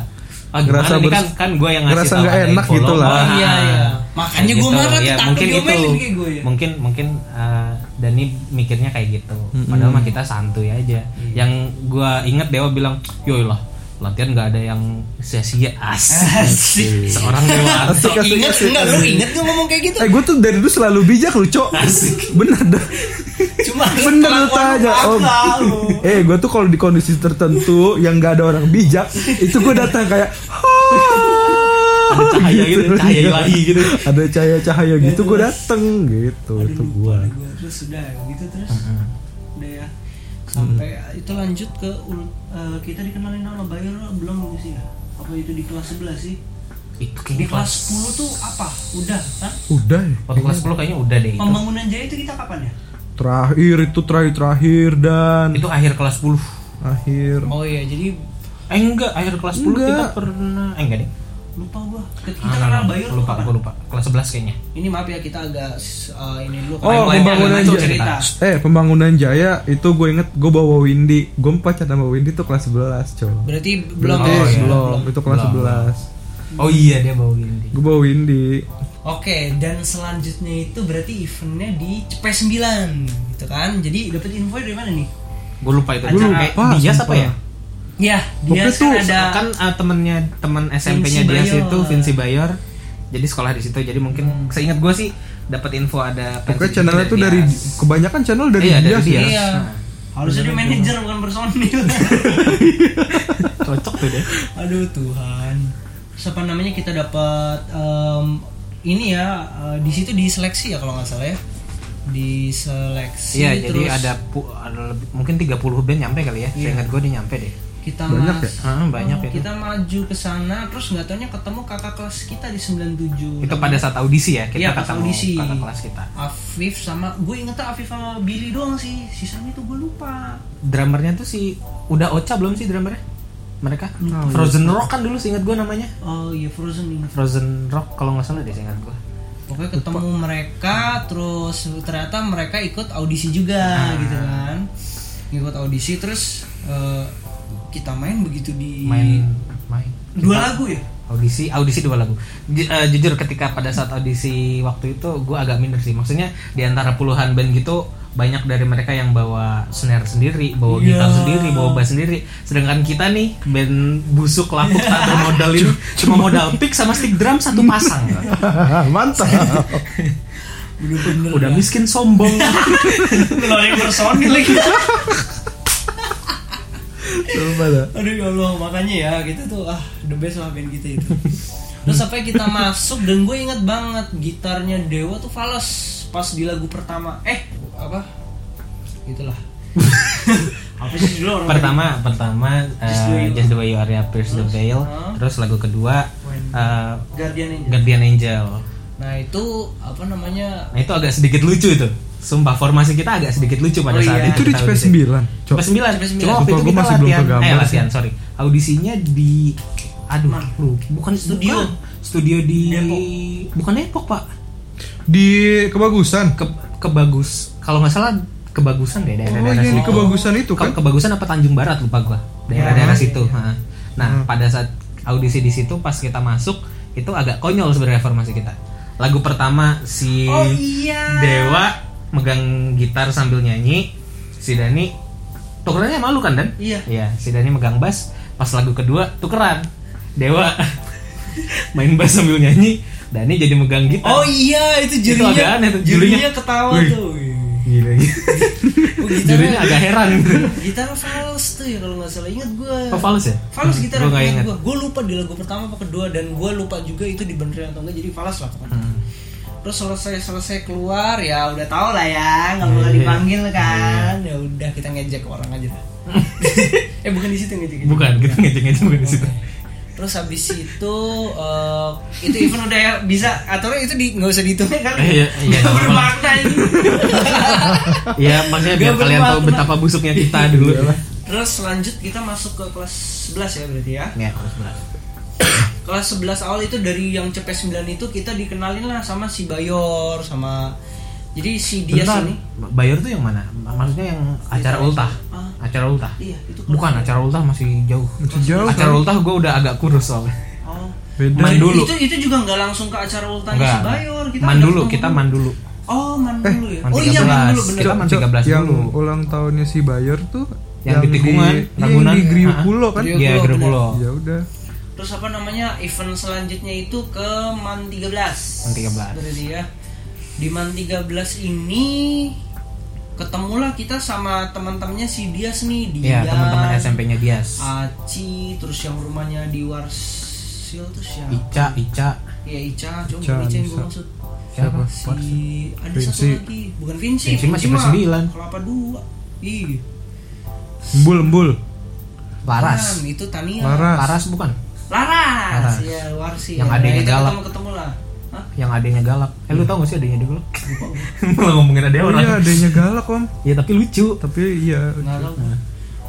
Speaker 4: ah gimana
Speaker 5: Ngerasa
Speaker 4: nih
Speaker 5: bers-
Speaker 4: kan kan gue yang ngasih
Speaker 5: ngerasa
Speaker 4: tahu
Speaker 5: nggak
Speaker 4: ada
Speaker 5: enak
Speaker 4: info
Speaker 5: gitu
Speaker 4: lo.
Speaker 5: lah.
Speaker 4: Ah,
Speaker 3: Iya, iya. Makanya
Speaker 4: kayak
Speaker 3: gua marah tuh,
Speaker 4: Ya,
Speaker 3: takut
Speaker 4: mungkin itu
Speaker 3: diomelin kayak gua ya.
Speaker 4: mungkin mungkin eh, Dani mikirnya kayak gitu padahal mah kita santuy
Speaker 3: Iya.
Speaker 4: aja yang gua inget Dewa bilang yoilah latihan nggak ada yang sia-sia asik seorang dewa
Speaker 3: Lo inget nggak lu inget nggak ngomong kayak gitu
Speaker 5: Eh, gue tuh dari dulu selalu bijak lu, Cok. Bener dah.
Speaker 3: cuma
Speaker 5: Bener lu tanya om Eh gue tuh kalau di kondisi tertentu Yang gak ada orang bijak Itu gue datang kayak Ada
Speaker 4: cahaya gitu, cahaya ilahi gitu.
Speaker 5: Iya.
Speaker 4: Iya,
Speaker 5: Ada cahaya-cahaya gitu gue dateng gitu Itu gue
Speaker 3: Gua terus sudah gitu terus udah ya sampai itu lanjut ke ul- eh, kita dikenalin sama Bayer belum nggak sih ya apa itu di kelas 11 sih
Speaker 4: itu
Speaker 3: di
Speaker 4: kayaknya
Speaker 3: kelas 10 tuh apa udah Hah?
Speaker 5: Udah ya
Speaker 4: waktu kelas 10 kayaknya udah deh itu
Speaker 3: pembangunan jaya itu kita kapan ya
Speaker 5: Terakhir itu terakhir-terakhir Dan
Speaker 4: itu akhir kelas 10
Speaker 5: Akhir
Speaker 3: oh iya jadi
Speaker 4: gitu. eh enggak akhir kelas 10 kita
Speaker 5: Enggak.
Speaker 4: pernah eh enggak deh
Speaker 3: lupa gua kita
Speaker 4: Ah,
Speaker 3: kenal Bayer
Speaker 4: lupa gua lupa kelas 11 kayaknya
Speaker 3: ini maaf ya kita agak eh, ini dulu
Speaker 5: Oh,
Speaker 3: Timeline-nya
Speaker 5: pembangunan
Speaker 3: agak ngaco
Speaker 5: Jaya.
Speaker 3: cerita
Speaker 5: Eh pembangunan jaya itu gue inget Gue bawa Windy Gue pacar sama Windy tuh kelas 11 coba
Speaker 3: berarti belum
Speaker 5: Eh,
Speaker 3: ya
Speaker 4: iya.
Speaker 5: belum Itu kelas
Speaker 4: Belum. 11 oh iya dia bawa ini
Speaker 5: Gue bawa Windy
Speaker 3: Oke, dan selanjutnya itu berarti eventnya di Cepe 9 gitu kan. Jadi dapat info dari mana nih?
Speaker 4: gue lupa itu
Speaker 5: Gua
Speaker 4: acara.
Speaker 5: lupa,
Speaker 4: dia siapa
Speaker 5: sumpah.
Speaker 4: ya
Speaker 3: Ya, dia
Speaker 5: Oke,
Speaker 3: kan
Speaker 5: tuh,
Speaker 3: ada
Speaker 4: kan uh, temennya teman SMP-nya dia
Speaker 3: Bayor. Hmm.
Speaker 4: situ Vinci Bayor jadi sekolah di situ jadi mungkin seingat gue sih dapat info ada
Speaker 5: Pokoknya
Speaker 4: pensi
Speaker 5: channelnya
Speaker 4: juga
Speaker 5: tuh dari
Speaker 4: Dias.
Speaker 5: Kebanyakan channel dari
Speaker 4: Iya, dari
Speaker 5: dia sih
Speaker 4: dia.
Speaker 3: Iya.
Speaker 4: Nah.
Speaker 3: Harusnya dia manajer bukan personil.
Speaker 4: cocok tuh deh
Speaker 3: Aduh Tuhan. Siapa namanya kita dapat em, ini ya eh, di situ diseleksi ya kalau nggak salah ya. Diseleksi
Speaker 4: iya jadi
Speaker 3: terus Iya.
Speaker 4: ada pu- ada lebih, mungkin 30 band nyampe kali ya seingat gue dia nyampe deh
Speaker 3: kita
Speaker 5: Banyak
Speaker 3: mas-
Speaker 5: ya?
Speaker 4: Ah, banyak
Speaker 3: Oh,
Speaker 4: itu.
Speaker 3: kita maju ke sana terus nggak taunya ketemu kakak kelas kita di 97
Speaker 4: Itu pada saat audisi ya,
Speaker 3: Iya,
Speaker 4: kita
Speaker 3: pas
Speaker 4: ketemu
Speaker 3: audisi.
Speaker 4: kakak kelas kita.
Speaker 3: Afif sama gue ingetnya Afif sama Billy doang sih sisanya tuh gue lupa
Speaker 4: Drummernya tuh si udah Ocha belum sih drummernya? Mereka
Speaker 3: Lupa.
Speaker 4: Frozen Rock kan dulu seingat gue namanya.
Speaker 3: oh iya Frozen ini
Speaker 4: Frozen Rock kalau nggak salah deh seingat gue.
Speaker 3: pokoknya ketemu mereka terus ternyata mereka ikut audisi juga
Speaker 4: Ah.
Speaker 3: gitu kan ikut audisi terus eh, kita main begitu di
Speaker 4: Main main
Speaker 3: dua lagu ya
Speaker 4: audisi audisi dua lagu Ju- eh, jujur ketika pada saat audisi waktu itu gue agak minder sih maksudnya di antara puluhan band gitu banyak dari mereka yang bawa snare
Speaker 3: Iya.
Speaker 4: sendiri, bawa gitar sendiri, bawa bass sendiri. Sedangkan kita nih band busuk lapuk tak bermodal ini cuma modal pick sama stick drum satu pasang.
Speaker 5: Mantap.
Speaker 3: bener-bener
Speaker 4: Udah miskin sombong.
Speaker 3: ngeluarin personil lagi
Speaker 5: Coba dah.
Speaker 3: aduh ya Allah makanya ya kita tuh ah the best lah band kita itu terus sampai kita masuk dan gue inget banget gitarnya Dewa tuh falas pas di lagu pertama eh apa gitulah apa sih dulu orang
Speaker 4: pertama pertama eh,
Speaker 3: Just the Way You
Speaker 4: Just the Way You Are ya, Pierce the
Speaker 3: Terus,
Speaker 4: Veil.
Speaker 3: ah.
Speaker 4: Terus lagu kedua
Speaker 3: When-
Speaker 4: eh,
Speaker 3: Guardian Angel.
Speaker 4: Guardian Angel.
Speaker 3: nah itu apa namanya
Speaker 4: Nah itu agak sedikit lucu itu. Sumpah formasi kita agak sedikit lucu pada
Speaker 3: Oh,
Speaker 4: saat
Speaker 3: iya.
Speaker 5: Itu di
Speaker 4: kita
Speaker 5: CP
Speaker 4: audisi.
Speaker 5: 9. Cok.
Speaker 4: CP
Speaker 3: CP9.
Speaker 4: 9. Cuma waktu
Speaker 5: Sumpah,
Speaker 4: itu
Speaker 5: gua
Speaker 4: kita
Speaker 5: masih belum
Speaker 4: latihan,
Speaker 5: kegambar
Speaker 4: eh
Speaker 5: sih.
Speaker 4: latihan, sorry. Audisinya di aduh, lu bukan
Speaker 3: Studio.
Speaker 4: bukan. Studio di
Speaker 3: Depok.
Speaker 4: bukan Depok, Pak.
Speaker 5: Di kebagusan.
Speaker 4: Ke, kebagus. Kalau nggak salah kebagusan deh
Speaker 5: Oh
Speaker 4: daerah-daerah
Speaker 5: iya di
Speaker 4: situ.
Speaker 5: kebagusan itu
Speaker 4: Ke-
Speaker 5: kan. Ah, iya.
Speaker 4: kebagusan apa Tanjung Barat lupa gua. Daerah-daerah situ. ha.
Speaker 5: Hmm.
Speaker 4: Nah, pada saat audisi di situ pas kita masuk itu agak konyol sebenarnya formasi kita. Lagu pertama si
Speaker 3: oh iya
Speaker 4: Dewa megang gitar sambil nyanyi. Si Dani tukerannya malu kan Dan?
Speaker 3: Iya.
Speaker 4: si Dani megang bass. Pas lagu kedua tukeran. Dewa main bass sambil nyanyi. Dani jadi megang gitar.
Speaker 3: oh iya itu
Speaker 4: Itu
Speaker 3: jurinya
Speaker 4: agak aneh tuh, jurinya.
Speaker 3: jurinya ketawa
Speaker 4: Wih.
Speaker 3: tuh
Speaker 4: Gila, gila.
Speaker 3: Oh,
Speaker 4: Jurinya agak heran.
Speaker 3: gitar fals tuh ya kalau nggak salah inget gue
Speaker 4: Apa fals ya?
Speaker 3: Falas gitar
Speaker 4: Gua
Speaker 3: gue
Speaker 4: nggak ingat.
Speaker 3: gue gue lupa di lagu pertama apa kedua dan gue lupa juga itu dibenerin atau enggak jadi falas lah pokoknya.
Speaker 4: Hmm.
Speaker 3: terus selesai selesai keluar ya udah tau lah ya
Speaker 4: Iya,
Speaker 3: nggak boleh dipanggil kan ya udah kita ngejek orang aja lah eh bukan di situ ngejek
Speaker 4: Bukan, kita ngecek-ngecek bukan di situ.
Speaker 3: terus habis itu eh, itu event udah ya bisa aturnya itu di nggak usah dihitungnya kan
Speaker 4: Iya, iya,
Speaker 3: Nggak
Speaker 4: nggak apa-apa.
Speaker 3: bermakna ini.
Speaker 4: Ya, maksudnya biar
Speaker 3: Gak
Speaker 4: kalian tahu
Speaker 3: bermakna.
Speaker 4: betapa busuknya kita dulu.
Speaker 5: Iya,
Speaker 3: terus lanjut kita masuk ke kelas 11 ya berarti ya
Speaker 4: Ya, harus berat.
Speaker 3: kelas 11 awal itu dari yang CP 9 itu kita dikenalin lah sama si Bayor sama jadi si dia
Speaker 4: Bentar,
Speaker 3: sini
Speaker 4: Bayor tuh yang mana? Maksudnya yang acara ultah.
Speaker 3: Ah.
Speaker 4: Acara ultah.
Speaker 3: iya itu kelas
Speaker 4: Bukan acara ultah masih jauh.
Speaker 5: Masih jauh,
Speaker 4: Acara
Speaker 5: kan?
Speaker 4: ultah gue udah agak kurus soalnya.
Speaker 3: oh.
Speaker 5: Beda.
Speaker 4: Main dulu.
Speaker 3: itu itu juga nggak langsung ke acara ultahnya si
Speaker 4: Enggak.
Speaker 3: Bayor kita
Speaker 4: man
Speaker 3: ada
Speaker 4: dulu,
Speaker 3: ketemu-
Speaker 4: kita man dulu.
Speaker 3: oh man dulu ya
Speaker 4: man
Speaker 3: oh iya
Speaker 4: 13.
Speaker 3: man dulu bener
Speaker 4: Kita
Speaker 5: Cok,
Speaker 4: kan
Speaker 5: Cok,
Speaker 4: 13
Speaker 5: yang
Speaker 4: dulu.
Speaker 5: ulang tahunnya si Bayer tuh
Speaker 4: Yang di Tikungan,
Speaker 5: iya,
Speaker 4: Ragunan.
Speaker 5: yang di Griuk
Speaker 4: Ah,
Speaker 5: Pulo kan.
Speaker 3: Griuk.
Speaker 4: Iya,
Speaker 3: Pulo,
Speaker 4: Gede
Speaker 3: benar.
Speaker 4: Pulo.
Speaker 5: Ya udah.
Speaker 3: terus apa namanya event selanjutnya itu ke man 13
Speaker 4: Man 13.
Speaker 3: berarti ya di man 13 ini ketemulah kita sama teman-temannya si Dias nih
Speaker 4: Iya,
Speaker 3: dia
Speaker 4: teman-teman SMP-nya Dias.
Speaker 3: Ah. Aci terus yang rumahnya di Warsil tuh siapa?
Speaker 4: Ica, Ica.
Speaker 3: Ya Ica, coba
Speaker 5: Ica,
Speaker 3: Ica yang gue
Speaker 5: Anissa.
Speaker 3: maksud.
Speaker 4: Siapa?
Speaker 3: Si ada
Speaker 5: Vinci.
Speaker 3: satu lagi, bukan Vinci.
Speaker 4: Vinci masih
Speaker 3: mah
Speaker 4: bersembilan.
Speaker 3: Kelapa dua. Ih.
Speaker 5: Embul embul.
Speaker 4: Laras.
Speaker 3: bukan, itu Tania.
Speaker 5: Laras.
Speaker 4: Laras bukan?
Speaker 3: Laras.
Speaker 4: Laras.
Speaker 3: Ya, Warsil.
Speaker 4: Yang adanya
Speaker 3: kita
Speaker 4: galak.
Speaker 3: Ketemu lah. Hah?
Speaker 4: Yang adanya galak. Eh, lu tau gak sih adanya dulu? Malah ngomongin ada
Speaker 5: Iya. Oh
Speaker 4: orang.
Speaker 5: iya adanya galak om.
Speaker 4: Ya, tapi lucu.
Speaker 5: Tapi iya.
Speaker 3: Nggak tahu.
Speaker 4: Nah.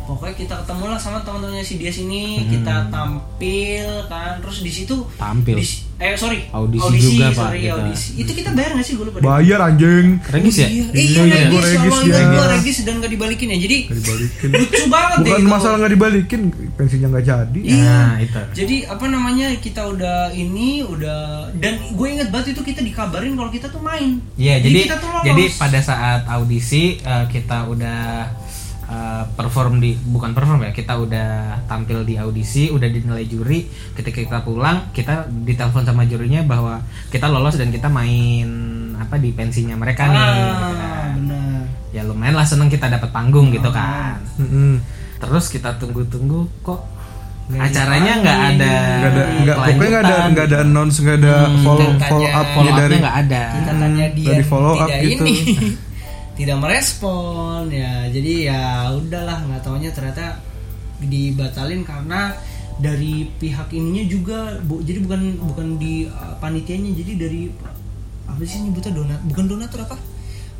Speaker 3: Pokoknya kita ketemu lah sama teman-temannya si Dias ini,
Speaker 4: Hmm.
Speaker 3: kita tampil kan, terus di situ
Speaker 4: Tampil.
Speaker 3: dis- eh sorry
Speaker 4: Audisi juga, Pak,
Speaker 3: sorry,
Speaker 4: kita.
Speaker 3: audisi. itu kita bayar nggak sih gue lupa deh.
Speaker 5: Bayar anjing.
Speaker 4: Regis ya?
Speaker 3: Iya, iya,
Speaker 5: Iya,
Speaker 3: regis,
Speaker 5: iya.
Speaker 3: ya Allah,
Speaker 5: Regis,
Speaker 3: ingat
Speaker 5: ya.
Speaker 3: gua regis dan gak dibalikin ya. Jadi
Speaker 5: Nggak dibalikin.
Speaker 3: lucu banget ya.
Speaker 5: Bukan
Speaker 3: itu.
Speaker 5: masalah nggak dibalikin, pensinya nggak jadi.
Speaker 3: Iya.
Speaker 4: Nah, itu.
Speaker 3: Jadi apa namanya kita udah ini udah dan gue inget banget itu kita dikabarin kalau kita tuh main.
Speaker 4: Iya, jadi
Speaker 3: kita tuh lolos.
Speaker 4: jadi pada saat audisi eh, kita udah eh, perform di bukan perform ya, kita udah tampil di audisi, udah dinilai juri. Ketika kita pulang, kita ditelepon sama jurinya bahwa kita lolos dan kita main apa di pensinya mereka nih. gitu
Speaker 3: ah,
Speaker 4: kan.
Speaker 3: benar.
Speaker 4: Ya lumayan lah seneng kita dapat panggung
Speaker 3: Ah.
Speaker 4: gitu kan.
Speaker 5: Mm-mm.
Speaker 4: Terus kita tunggu-tunggu kok acaranya nggak ada
Speaker 5: Nggak ada, nggak
Speaker 4: Nah,
Speaker 5: pokoknya nggak ada,
Speaker 4: kelanjutan.
Speaker 5: nggak ada announce, nggak ada follow
Speaker 3: katanya-
Speaker 5: follow
Speaker 4: Hmm, follow
Speaker 5: upnya
Speaker 4: up-nya
Speaker 5: dari. Iya.
Speaker 4: nggak ada.
Speaker 3: Kita tanya dia
Speaker 5: dari follow up
Speaker 3: tidak
Speaker 5: gitu.
Speaker 3: ini. tidak merespon ya. Jadi ya udahlah nggak taunya ternyata dibatalin karena dari pihak ininya juga bu- jadi bukan bukan di uh, panitianya jadi dari apa sih nyebutnya donat bukan donatur apa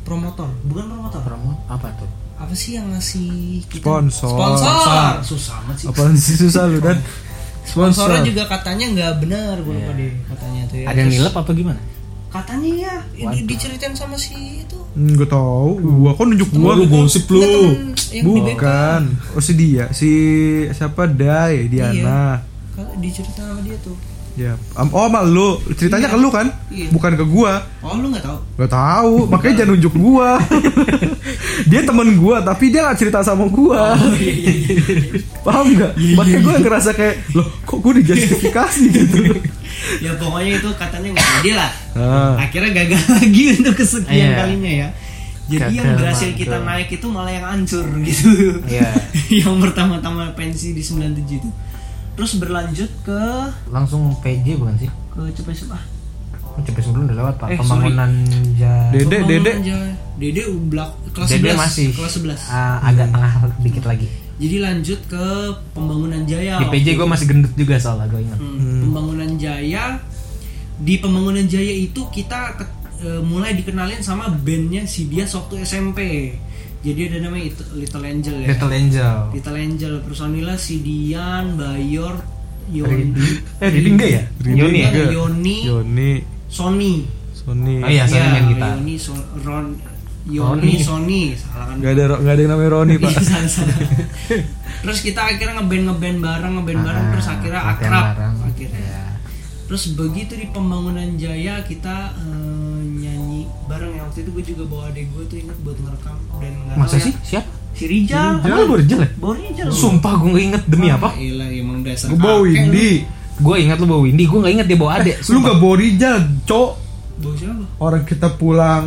Speaker 3: promotor bukan promotor
Speaker 4: promo apa tuh
Speaker 3: apa sih yang ngasih kita?
Speaker 5: Sponsor.
Speaker 3: sponsor susah amat sih
Speaker 5: Apaan sih susah lu dan sponsor.
Speaker 3: sponsornya juga katanya nggak benar gue lupa deh katanya tuh ya
Speaker 5: Iya,
Speaker 4: ada
Speaker 3: Terus
Speaker 4: nilep apa gimana
Speaker 3: katanya ya di- diceritain sama si itu
Speaker 5: Hmm, gue tau, gua kok nunjuk gua
Speaker 7: Lu gosip lu.
Speaker 3: Nggak, temen yang di BK.
Speaker 5: Bukan, oh si dia, si siapa Dai, Diana
Speaker 3: Kalau diceritain sama dia tuh
Speaker 5: Ya, am- oh sama lu, ceritanya ke lu kan?
Speaker 3: Iya.
Speaker 5: Bukan ke gua
Speaker 3: oh lu nggak tahu
Speaker 5: Gak tahu, makanya jangan nunjuk gua. dia temen gua, tapi dia gak cerita sama gua.
Speaker 3: Oh, iya,
Speaker 5: Paham gak? Makanya gua ngerasa kayak, loh kok gua dijustifikasi gitu.
Speaker 3: ya pokoknya itu katanya nggak jadi lah
Speaker 5: Ah.
Speaker 3: akhirnya gagal lagi untuk kesekian
Speaker 4: Iya.
Speaker 3: kalinya ya jadi
Speaker 4: Gagal
Speaker 3: yang berhasil kita
Speaker 4: mantul.
Speaker 3: naik itu malah yang hancur gitu
Speaker 4: Iya.
Speaker 3: yang pertama-tama pensi di 97 itu terus berlanjut ke
Speaker 4: langsung PJ bukan sih
Speaker 3: ke coba Ah, coba
Speaker 4: Oh, cepet sebelum udah lewat pak
Speaker 3: Eh,
Speaker 4: pembangunan ja-
Speaker 5: Dede, Dede.
Speaker 3: Dede belak kelas 11
Speaker 4: Dede masih
Speaker 3: kelas 11
Speaker 4: ah, agak tengah dikit lagi
Speaker 3: jadi lanjut ke pembangunan jaya
Speaker 4: di
Speaker 3: waktu
Speaker 4: PJ gue masih gendut juga soalnya gue ingat
Speaker 3: Oh, Hmm, Pembangunan Jaya di Pembangunan Jaya itu kita ke- eh, mulai dikenalin sama bandnya si dia waktu SMP. Jadi ada namanya itu Little Angel ya.
Speaker 4: Little Angel
Speaker 3: Little Angel personilnya si Dian, Bayor, Yoni,
Speaker 4: eh Ridi enggak ya Yoni ya
Speaker 3: Yoni, Yoni,
Speaker 5: Joni,
Speaker 3: Sony.
Speaker 5: Sony.
Speaker 4: oh iya
Speaker 3: Ya,
Speaker 4: saya main gitar
Speaker 3: Yoni, So- Ron, Yoni, Sony, salah kan?
Speaker 5: Gak ada, gak ada yang namanya Roni pak.
Speaker 3: Iya, salah, salah. terus kita akhirnya ngeband ngeband bareng ngeband bareng
Speaker 4: Ah,
Speaker 3: terus akhirnya
Speaker 4: ngeband
Speaker 3: akrab
Speaker 4: bareng.
Speaker 3: akhirnya
Speaker 4: Iya.
Speaker 3: terus begitu di pembangunan jaya kita eh, nyanyi bareng ya waktu itu gue juga bawa adek gue tuh ingat buat ngerekam dan nggak
Speaker 4: masa
Speaker 3: tahu
Speaker 4: sih
Speaker 3: ya.
Speaker 4: siapa
Speaker 3: si Rijal
Speaker 4: Jangan baru jelek
Speaker 3: bawa Rijal
Speaker 4: sumpah gue nggak inget demi apa
Speaker 3: Iya emang dasar
Speaker 5: Gue bawa
Speaker 3: kakek lu.
Speaker 5: Windy.
Speaker 4: gue ingat lu bawa Windy gue nggak inget dia bawa adek
Speaker 5: Lu gak bawa Rijal, cok.
Speaker 3: bawa siapa
Speaker 5: Orang kita pulang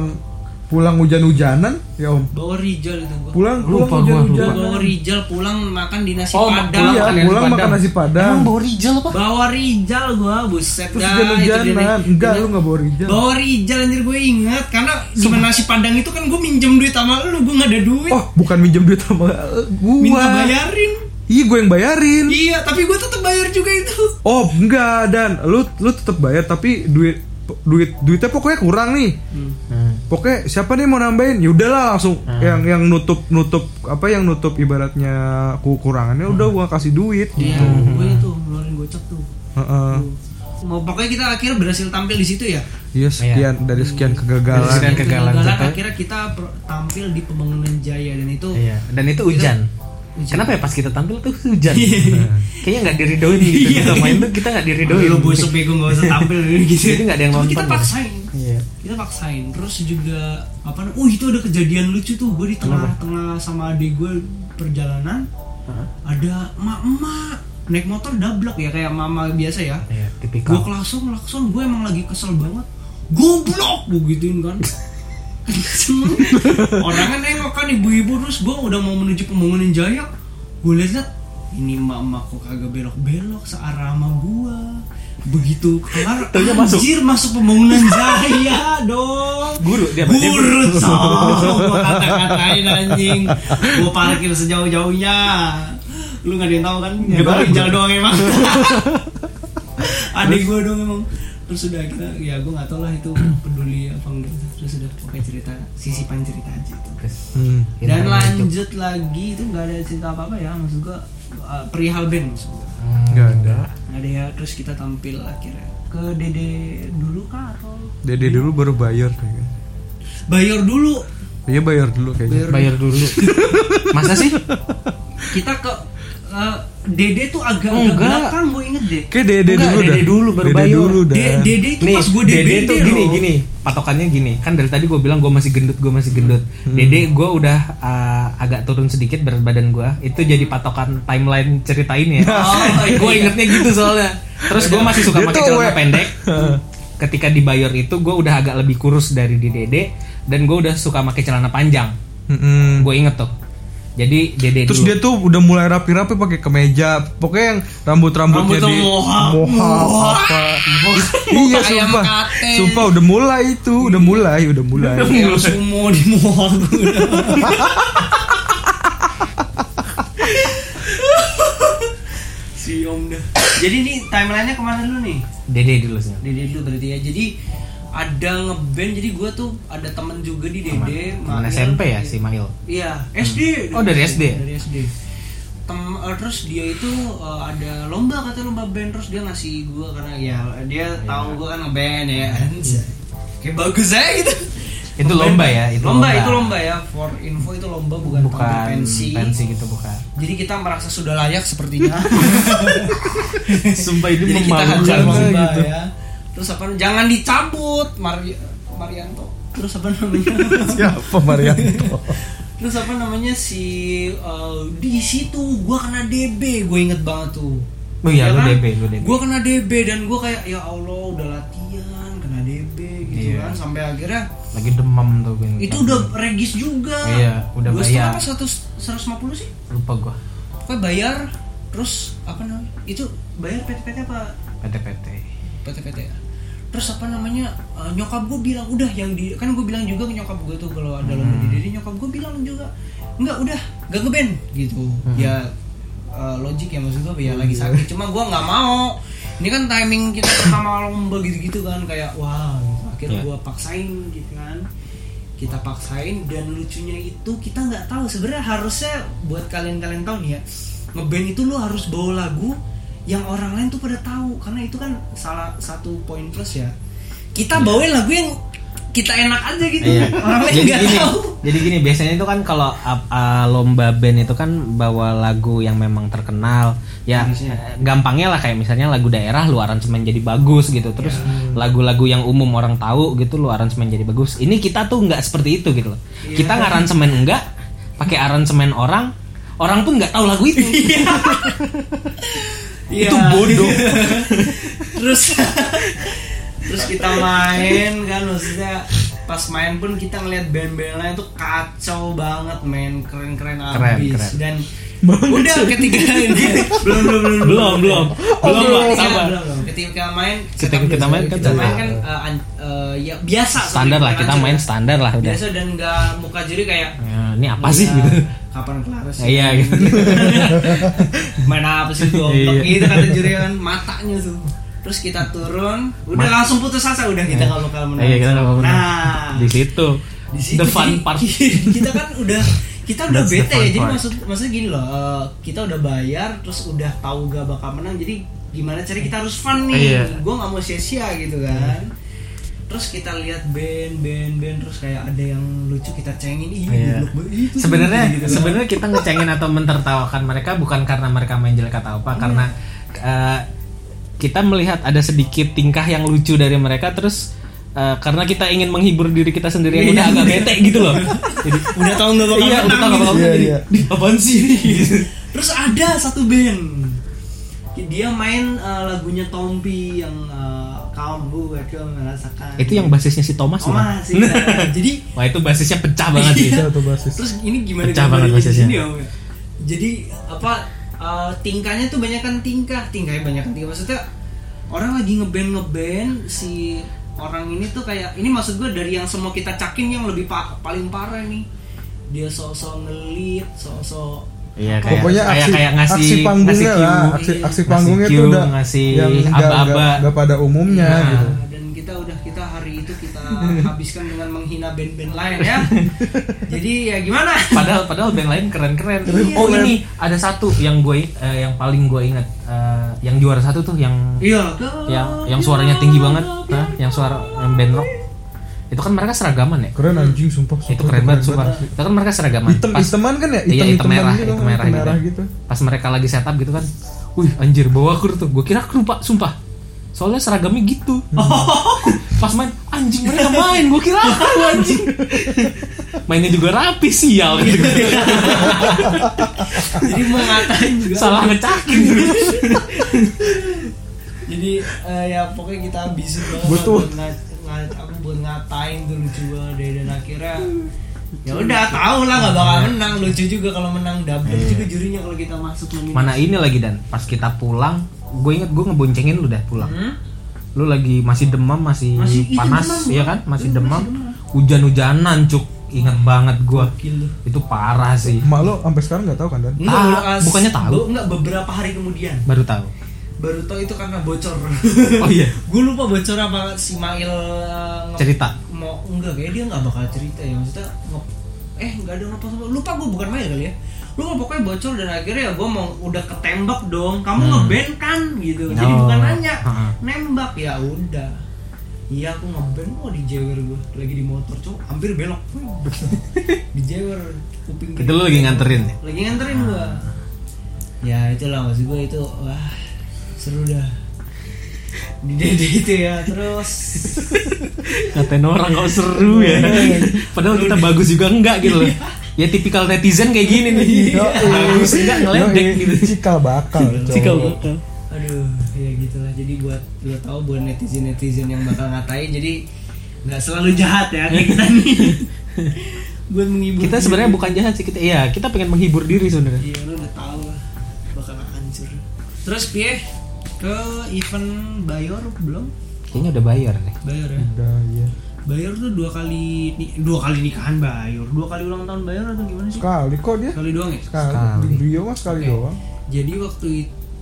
Speaker 5: pulang hujan-hujanan, ya om.
Speaker 3: bawa Rijal itu gue
Speaker 5: Pulang, pulang
Speaker 4: Lupa gua,
Speaker 5: hujan-hujanan.
Speaker 3: bawa Rijal pulang makan di nasi
Speaker 4: Oh,
Speaker 3: padang
Speaker 5: Iya,
Speaker 4: Makan nasi
Speaker 5: pulang makan
Speaker 4: padang.
Speaker 5: nasi padang.
Speaker 4: Emang bawa Rijal apa
Speaker 3: bawa Rijal gue buset
Speaker 5: Terus
Speaker 3: dah, itu dia nih.
Speaker 5: hujan-hujanan. Enggak,
Speaker 3: Ingat-
Speaker 5: lu gak bawa Rijal.
Speaker 3: Bawa Rijal anjir gue ingat karena gimana nasi padang itu kan gue minjem duit sama lu gue nggak ada duit
Speaker 5: Oh, bukan minjem duit sama eh, gua.
Speaker 3: minta bayarin
Speaker 5: Iya, gue yang bayarin.
Speaker 3: iya tapi gue tetap bayar juga itu
Speaker 5: Oh, enggak dan lu lu tetap bayar tapi duit duit duitnya pokoknya kurang nih.
Speaker 4: Hmm.
Speaker 5: Hmm. Pokoknya siapa nih mau nambahin? Ya udahlah langsung yang yang nutup nutup apa yang nutup ibaratnya kekurangannya udah gua kasih duit.
Speaker 3: iya
Speaker 4: Hmm.
Speaker 3: gue itu ngeluarin gocap tuh
Speaker 5: Heeh.
Speaker 4: Oh.
Speaker 3: mau pokoknya kita akhirnya berhasil tampil di situ ya Iya,
Speaker 5: Iya, sekian dari sekian
Speaker 4: Dari
Speaker 5: kegagalan.
Speaker 4: sekian kegagalan
Speaker 3: Kegagalan,
Speaker 4: kita.
Speaker 3: akhirnya kita pro- tampil di pembangunan Jaya dan itu
Speaker 4: Iya, dan itu hujan.
Speaker 3: Hujan. Iya.
Speaker 4: Kenapa ya pas kita tampil tuh hujan? Nah, Kayaknya nggak diridoin gitu. Kita main tuh kita nggak diridoin.
Speaker 3: lo bosok bego nggak usah tampil gitu
Speaker 4: Jadi nggak ada yang
Speaker 3: Cuma
Speaker 4: nonton
Speaker 3: kita
Speaker 4: ya?
Speaker 3: paksain
Speaker 4: Iya.
Speaker 3: kita paksain terus juga apa namanya oh itu ada kejadian lucu tuh gue di tengah-tengah sama adik gue perjalanan ada emak-emak naik motor dablek ya kayak mama biasa ya
Speaker 4: Iya,
Speaker 3: gue
Speaker 4: tipikal.
Speaker 3: klakson klakson gue emang lagi kesel banget goblok gue gituin kan Kenceng. orangnya nengok kan ibu-ibu terus gue udah mau menuju pembangunan jaya gue lihat ini emak-emak kok kagak belok-belok searah sama gue begitu kelar anjir masuk pembangunan jaya dong
Speaker 4: Guru, dia apa? Dia
Speaker 3: guru sob gue kata-katain anjing gue parkir sejauh-jauhnya lu gak ada yang tahu kan yang tahu Rijal doang emang adik gue dong emang terus udah kita ya gue nggak tahu lah itu peduli apa enggak terus udah pakai cerita sisipan cerita aja itu
Speaker 4: Terus,
Speaker 5: Hmm.
Speaker 3: dan
Speaker 4: internet tuh.
Speaker 3: lanjut lagi itu nggak ada cerita apa apa ya maksud gue uh, perihal band maksud gue
Speaker 5: Enggak
Speaker 4: Hmm.
Speaker 5: ada.
Speaker 3: nggak ada ya terus kita tampil akhirnya ke dede dulu Karol
Speaker 5: Dede dulu baru bayar kayaknya.
Speaker 3: Bayor dulu
Speaker 5: Iya bayar dulu kayaknya.
Speaker 4: Bayar dulu. Masa sih?
Speaker 3: kita ke uh, Dede tuh agak agak
Speaker 4: Enggak.
Speaker 3: belakang gue inget deh.
Speaker 5: Oh, Kayak Dede
Speaker 4: Enggak,
Speaker 5: dulu
Speaker 4: Dede
Speaker 5: dah.
Speaker 4: dulu baru
Speaker 5: Dede
Speaker 4: bayar.
Speaker 5: dulu dah.
Speaker 3: De- Dede itu pas gue DBD
Speaker 4: Dede tuh gini
Speaker 3: loh.
Speaker 4: gini patokannya gini kan dari tadi gue bilang gue masih gendut gue masih gendut
Speaker 3: Hmm.
Speaker 4: Dede gue udah uh, agak turun sedikit berat badan gue itu jadi patokan timeline ceritainnya
Speaker 3: Hmm. Oh, iya. Gitu,
Speaker 4: gue ingetnya gitu soalnya terus gue masih suka
Speaker 5: Dia
Speaker 4: pakai
Speaker 5: tuh
Speaker 4: celana
Speaker 5: we-
Speaker 4: pendek ketika di Bayor itu gue udah agak lebih kurus dari di Dede dan gue udah suka pakai celana panjang
Speaker 5: Mm-mm.
Speaker 3: Hmm.
Speaker 4: gue inget tuh jadi Dede
Speaker 5: Hmm. Terus
Speaker 4: dulu.
Speaker 5: dia tuh udah mulai rapi-rapi pakai kemeja, pokoknya yang rambut-rambutnya
Speaker 3: Rambut tuh
Speaker 5: di
Speaker 3: mohawk.
Speaker 5: mohawk apa. iya
Speaker 3: Muka ayam
Speaker 5: sumpah.
Speaker 3: kate.
Speaker 5: Sumpah udah mulai itu, udah mulai, udah mulai.
Speaker 3: Kayak sumo di mall gue. Jadi ini timelinenya kemana dulu nih?
Speaker 4: Dede dulu sih.
Speaker 3: Dede dulu berarti ya. Jadi ada ngeband jadi gua tuh ada temen juga di Dede.
Speaker 4: Teman
Speaker 3: Mail.
Speaker 4: SMP ya si Mail.
Speaker 3: Iya, SD.
Speaker 4: Oh, dari SD?
Speaker 3: Dari SD. Tem- eh, terus dia itu eh, ada lomba katanya lomba band terus dia ngasih gua karena ya dia
Speaker 4: Iya.
Speaker 3: tahu gua kan ngeband ya. Kayak bagus aja gitu.
Speaker 4: Itu lomba ya, itu
Speaker 3: lomba,
Speaker 4: lomba.
Speaker 3: itu lomba ya. For info itu lomba bukan,
Speaker 4: Bukan
Speaker 3: pensi.
Speaker 4: pensi gitu bukan.
Speaker 3: Jadi kita merasa sudah layak sepertinya.
Speaker 4: Sumpah itu
Speaker 3: Jadi kita hajar
Speaker 4: memalukan
Speaker 3: lomba
Speaker 4: gitu.
Speaker 3: ya. Terus apa? Jangan dicabut, Mari Marianto. Terus apa namanya?
Speaker 5: Siapa Marianto?
Speaker 3: Terus apa namanya si eh, di situ gua kena DB, gue inget banget tuh.
Speaker 4: Oh iya, lu DB, lu DB.
Speaker 3: Gue kena DB dan gua kayak ya Allah udah latihan kena DB gitu
Speaker 4: Iya.
Speaker 3: kan sampai akhirnya
Speaker 4: Lagi demam tuh gue.
Speaker 3: itu udah regis juga.
Speaker 4: Iya, udah
Speaker 3: Dua setengah
Speaker 4: bayar.
Speaker 3: apa satu seratus lima puluh sih?
Speaker 4: lupa gua.
Speaker 3: Pokoknya bayar terus apa namanya? Itu bayar PT-PT apa
Speaker 4: PT-PT.
Speaker 3: PT-PT ya. terus apa namanya eh, nyokap gue bilang udah yang di kan gue bilang juga ke nyokap gue tuh kalau ada lomba di diri nyokap gue bilang juga enggak udah gak ngeband gitu ya eh, logik ya maksud gue ya lagi sakit cuma gue nggak mau ini kan timing kita sama lomba gitu-gitu kan kayak wah gitu. akhirnya
Speaker 4: Iya.
Speaker 3: gue paksain gitu kan kita paksain dan lucunya itu kita nggak tahu sebenarnya harusnya buat kalian-kalian tahu nih ya ngeband itu lu harus bawa lagu yang orang lain tuh pada tahu karena itu kan salah satu poin plus ya kita bawain lagu yang kita enak aja gitu
Speaker 4: Iya.
Speaker 3: orang lain
Speaker 4: Jadi
Speaker 3: nggak
Speaker 4: gini,
Speaker 3: tahu
Speaker 4: jadi gini biasanya itu kan kalau uh, uh, lomba band itu kan bawa lagu yang memang terkenal. Ya
Speaker 3: Harusnya.
Speaker 4: eh, gampangnya lah kayak misalnya lagu daerah lu aransemen jadi bagus gitu. Terus
Speaker 3: Iya. Hmm.
Speaker 4: lagu-lagu yang umum orang tahu gitu lu aransemen jadi bagus. Ini kita tuh nggak seperti itu gitu loh.
Speaker 3: Iya.
Speaker 4: Kita ngaransemen enggak pakai aransemen orang, orang pun nggak tahu lagu itu.
Speaker 3: itu bodoh Iya. terus terus kita main kan maksudnya pas main pun kita ngeliat band-band lain tuh kacau banget main keren-keren
Speaker 4: Keren,
Speaker 3: abis
Speaker 4: keren.
Speaker 3: dan udah ketika ini belum belum belum
Speaker 4: belum, belum. Belum, Pak.
Speaker 3: Iya,
Speaker 4: Sabar.
Speaker 3: belum, belum. ketika main
Speaker 4: Ketika
Speaker 3: setup
Speaker 4: kita
Speaker 3: biasa.
Speaker 4: main,
Speaker 3: kita
Speaker 4: kacau.
Speaker 3: main kan eh, an- eh, ya biasa
Speaker 4: Standar lah
Speaker 3: seperti
Speaker 4: kita
Speaker 3: aja.
Speaker 4: main standar lah udah.
Speaker 3: biasa dan nggak muka jadi kayak
Speaker 4: Ya, ini apa sih
Speaker 3: "Iya,
Speaker 4: gitu.
Speaker 3: kapan kelar sih
Speaker 4: Iya gitu. Iya.
Speaker 3: main apa sih goblok gitu kata juri kan matanya tuh terus kita turun udah langsung putus asa udah kita kalau bakal menang
Speaker 4: Iya, kita nggak bakal menang.
Speaker 3: nah
Speaker 4: Di situ.
Speaker 3: di situ
Speaker 4: The fun
Speaker 3: jadi-
Speaker 4: part. Iya.
Speaker 3: kita kan udah kita udah
Speaker 4: That's the
Speaker 3: bete ya
Speaker 4: fun
Speaker 3: jadi
Speaker 4: part.
Speaker 3: maksud maksudnya gini loh eh, kita udah bayar terus udah tahu gak bakal menang jadi gimana caranya kita harus fun nih
Speaker 4: Iya.
Speaker 3: gue nggak mau sia-sia gitu kan terus kita lihat band band band terus kayak ada yang lucu kita cengin ini
Speaker 4: Iya.
Speaker 3: itu gitu kan.
Speaker 4: sebenarnya sebenarnya kita ngecengin atau mentertawakan mereka bukan karena mereka main jelek atau apa karena eh, kita melihat ada sedikit tingkah yang lucu dari mereka terus eh, karena kita ingin menghibur diri kita sendiri yang udah agak bete gitu loh jadi
Speaker 3: udah tahu nggak bakal
Speaker 4: iya
Speaker 3: menang
Speaker 4: udah tau
Speaker 3: gitu.
Speaker 4: apa
Speaker 5: Iya,
Speaker 4: jadi
Speaker 5: iya.
Speaker 4: "Di, apaan sih ini?" Gitu.
Speaker 3: Terus ada satu band dia main eh, lagunya Tompi yang eh, kamu gak merasakan
Speaker 4: itu yang basisnya si Thomas Iya,
Speaker 3: Oh,
Speaker 4: bukan?
Speaker 3: masih, ya. jadi iya.
Speaker 4: wah itu basisnya pecah banget sih
Speaker 5: Bisa tuh basis.
Speaker 3: terus ini gimana
Speaker 4: Pecah
Speaker 3: gambarnya
Speaker 4: banget
Speaker 3: di
Speaker 4: basisnya.
Speaker 3: sini, Om, ya? jadi apa eh, tingkahnya tuh banyakkan tingkah tingkahnya banyakkan tingkah maksudnya orang lagi ngeband ngeband si orang ini tuh kayak ini maksud gue dari yang semua kita cakin yang lebih pa- paling parah nih dia sosok ngelit sosok
Speaker 4: Iya, kayak,
Speaker 5: Pokoknya
Speaker 4: kayak,
Speaker 5: aksi,
Speaker 4: kayak ngasih
Speaker 5: aksi panggungnya lah,
Speaker 4: ngasih cue.
Speaker 5: aksi,
Speaker 3: Iya.
Speaker 5: aksi
Speaker 4: Ngasih
Speaker 5: panggungnya
Speaker 4: cue,
Speaker 5: tuh udah
Speaker 4: ngasih
Speaker 5: yang nggak- nggak
Speaker 4: aba-aba.
Speaker 5: nggak pada umumnya
Speaker 4: Nah.
Speaker 5: gitu.
Speaker 3: Nah, dan kita udah kita hari itu kita habiskan dengan menghina band-band lain ya jadi ya gimana
Speaker 4: padahal padahal band lain keren-keren.
Speaker 3: Keren-keren.
Speaker 4: oh ini ada satu yang gue eh, yang paling gue ingat eh, yang juara satu tuh yang
Speaker 3: iya
Speaker 4: yang Ya, yang suaranya tinggi banget, Ya. Hah? yang suara yang band rock. Itu kan mereka seragaman ya.
Speaker 5: Keren anjing sumpah.
Speaker 4: itu keren banget sumpah. Itu kan mereka seragaman.
Speaker 5: Hitam hitaman kan ya?
Speaker 4: iya, hitam
Speaker 5: Hitam-hitaman
Speaker 4: merah,
Speaker 5: gitu,
Speaker 4: hitam merah, gitu.
Speaker 5: gitu.
Speaker 4: Pas mereka lagi setup gitu kan. Wih, anjir bawa kur tuh. Gue kira kru pak, sumpah. Soalnya seragamnya gitu. Pas main anjing mereka main, gue kira kru anjing. Mainnya juga rapi sial gitu.
Speaker 3: jadi mau ngatain juga
Speaker 4: Salah ngecakin gitu.
Speaker 3: jadi eh, ya pokoknya kita habisin banget
Speaker 5: Butuh.
Speaker 3: buat nga- nga- apa, buat ngatain tuh lucu banget deh. dan akhirnya ya udah tau lah nggak bakal
Speaker 4: Iya.
Speaker 3: menang lucu juga kalau menang double juga jurinya kalau kita masuk menit
Speaker 4: Mana ini lagi dan pas kita pulang, gue inget gue ngeboncengin lu dah pulang.
Speaker 3: Hmm?
Speaker 4: Lu lagi masih demam, masih,
Speaker 3: Masih- iya,
Speaker 4: panas,
Speaker 3: demam,
Speaker 4: ya
Speaker 3: Bang.
Speaker 4: kan? Masih
Speaker 3: Iya,
Speaker 4: demam.
Speaker 3: masih
Speaker 4: Hujan-hujanan, cuk. Ingat banget gue.
Speaker 3: Gokil lu.
Speaker 4: Itu parah sih.
Speaker 5: Emak lo sampai sekarang nggak tahu kan dan?
Speaker 3: Enggak,
Speaker 4: Ah,
Speaker 3: baru as-
Speaker 4: bukannya tahu.
Speaker 3: Enggak, beberapa hari kemudian
Speaker 4: Baru tahu.
Speaker 3: baru tau itu karena bocor
Speaker 4: Oh iya.
Speaker 3: gue lupa bocor apa si Mail eh, nge-
Speaker 4: Cerita.
Speaker 3: mau enggak kayak dia nggak bakal cerita ya maksudnya nge- eh nggak ada ngapa apa lupa gue bukan Mail kali ya lupa pokoknya bocor dan akhirnya ya gue mau udah ketembak dong kamu ngeband kan gitu jadi
Speaker 4: Hmm. Oh.
Speaker 3: bukan nanya
Speaker 4: Ha.
Speaker 3: nembak ya udah iya aku ngeband mau dijewer gue lagi di motor cowok hampir belok dijewer kuping
Speaker 4: Itu lu lagi nganterin ya?
Speaker 3: lagi nganterin gua ya itulah maksud gua itu wah seru dah di dede itu ya terus
Speaker 4: Katain orang kok seru ya. Padahal kita bagus juga enggak gitu loh. Ya tipikal netizen kayak gini nih.
Speaker 5: Iya.
Speaker 4: Iya. bagus enggak ngeledek
Speaker 5: Yoi,
Speaker 4: gitu.
Speaker 5: Cikal bakal.
Speaker 4: Cikal
Speaker 5: cowok.
Speaker 4: bakal.
Speaker 3: aduh ya gitulah jadi buat lo tau buat netizen netizen yang bakal ngatain jadi nggak selalu jahat ya kayak kita nih buat menghibur
Speaker 4: Kita
Speaker 3: diri.
Speaker 4: sebenarnya bukan jahat sih kita. Iya, kita pengen menghibur diri sebenarnya.
Speaker 3: iya lo udah tau lah bakal hancur terus pie ke event Bayor belum
Speaker 4: Kayaknya udah bayar nih.
Speaker 3: Bayor ya
Speaker 4: Hmm.
Speaker 5: Udah ya.
Speaker 3: Bayor tuh dua kali ni- dua kali nikahan Bayor, dua kali ulang tahun Bayor atau gimana sih?
Speaker 5: Sekali kok dia.
Speaker 3: Sekali doang ya.
Speaker 5: Sekali.
Speaker 4: Sekali.
Speaker 5: Di Brio mah sekali doang.
Speaker 3: Jadi waktu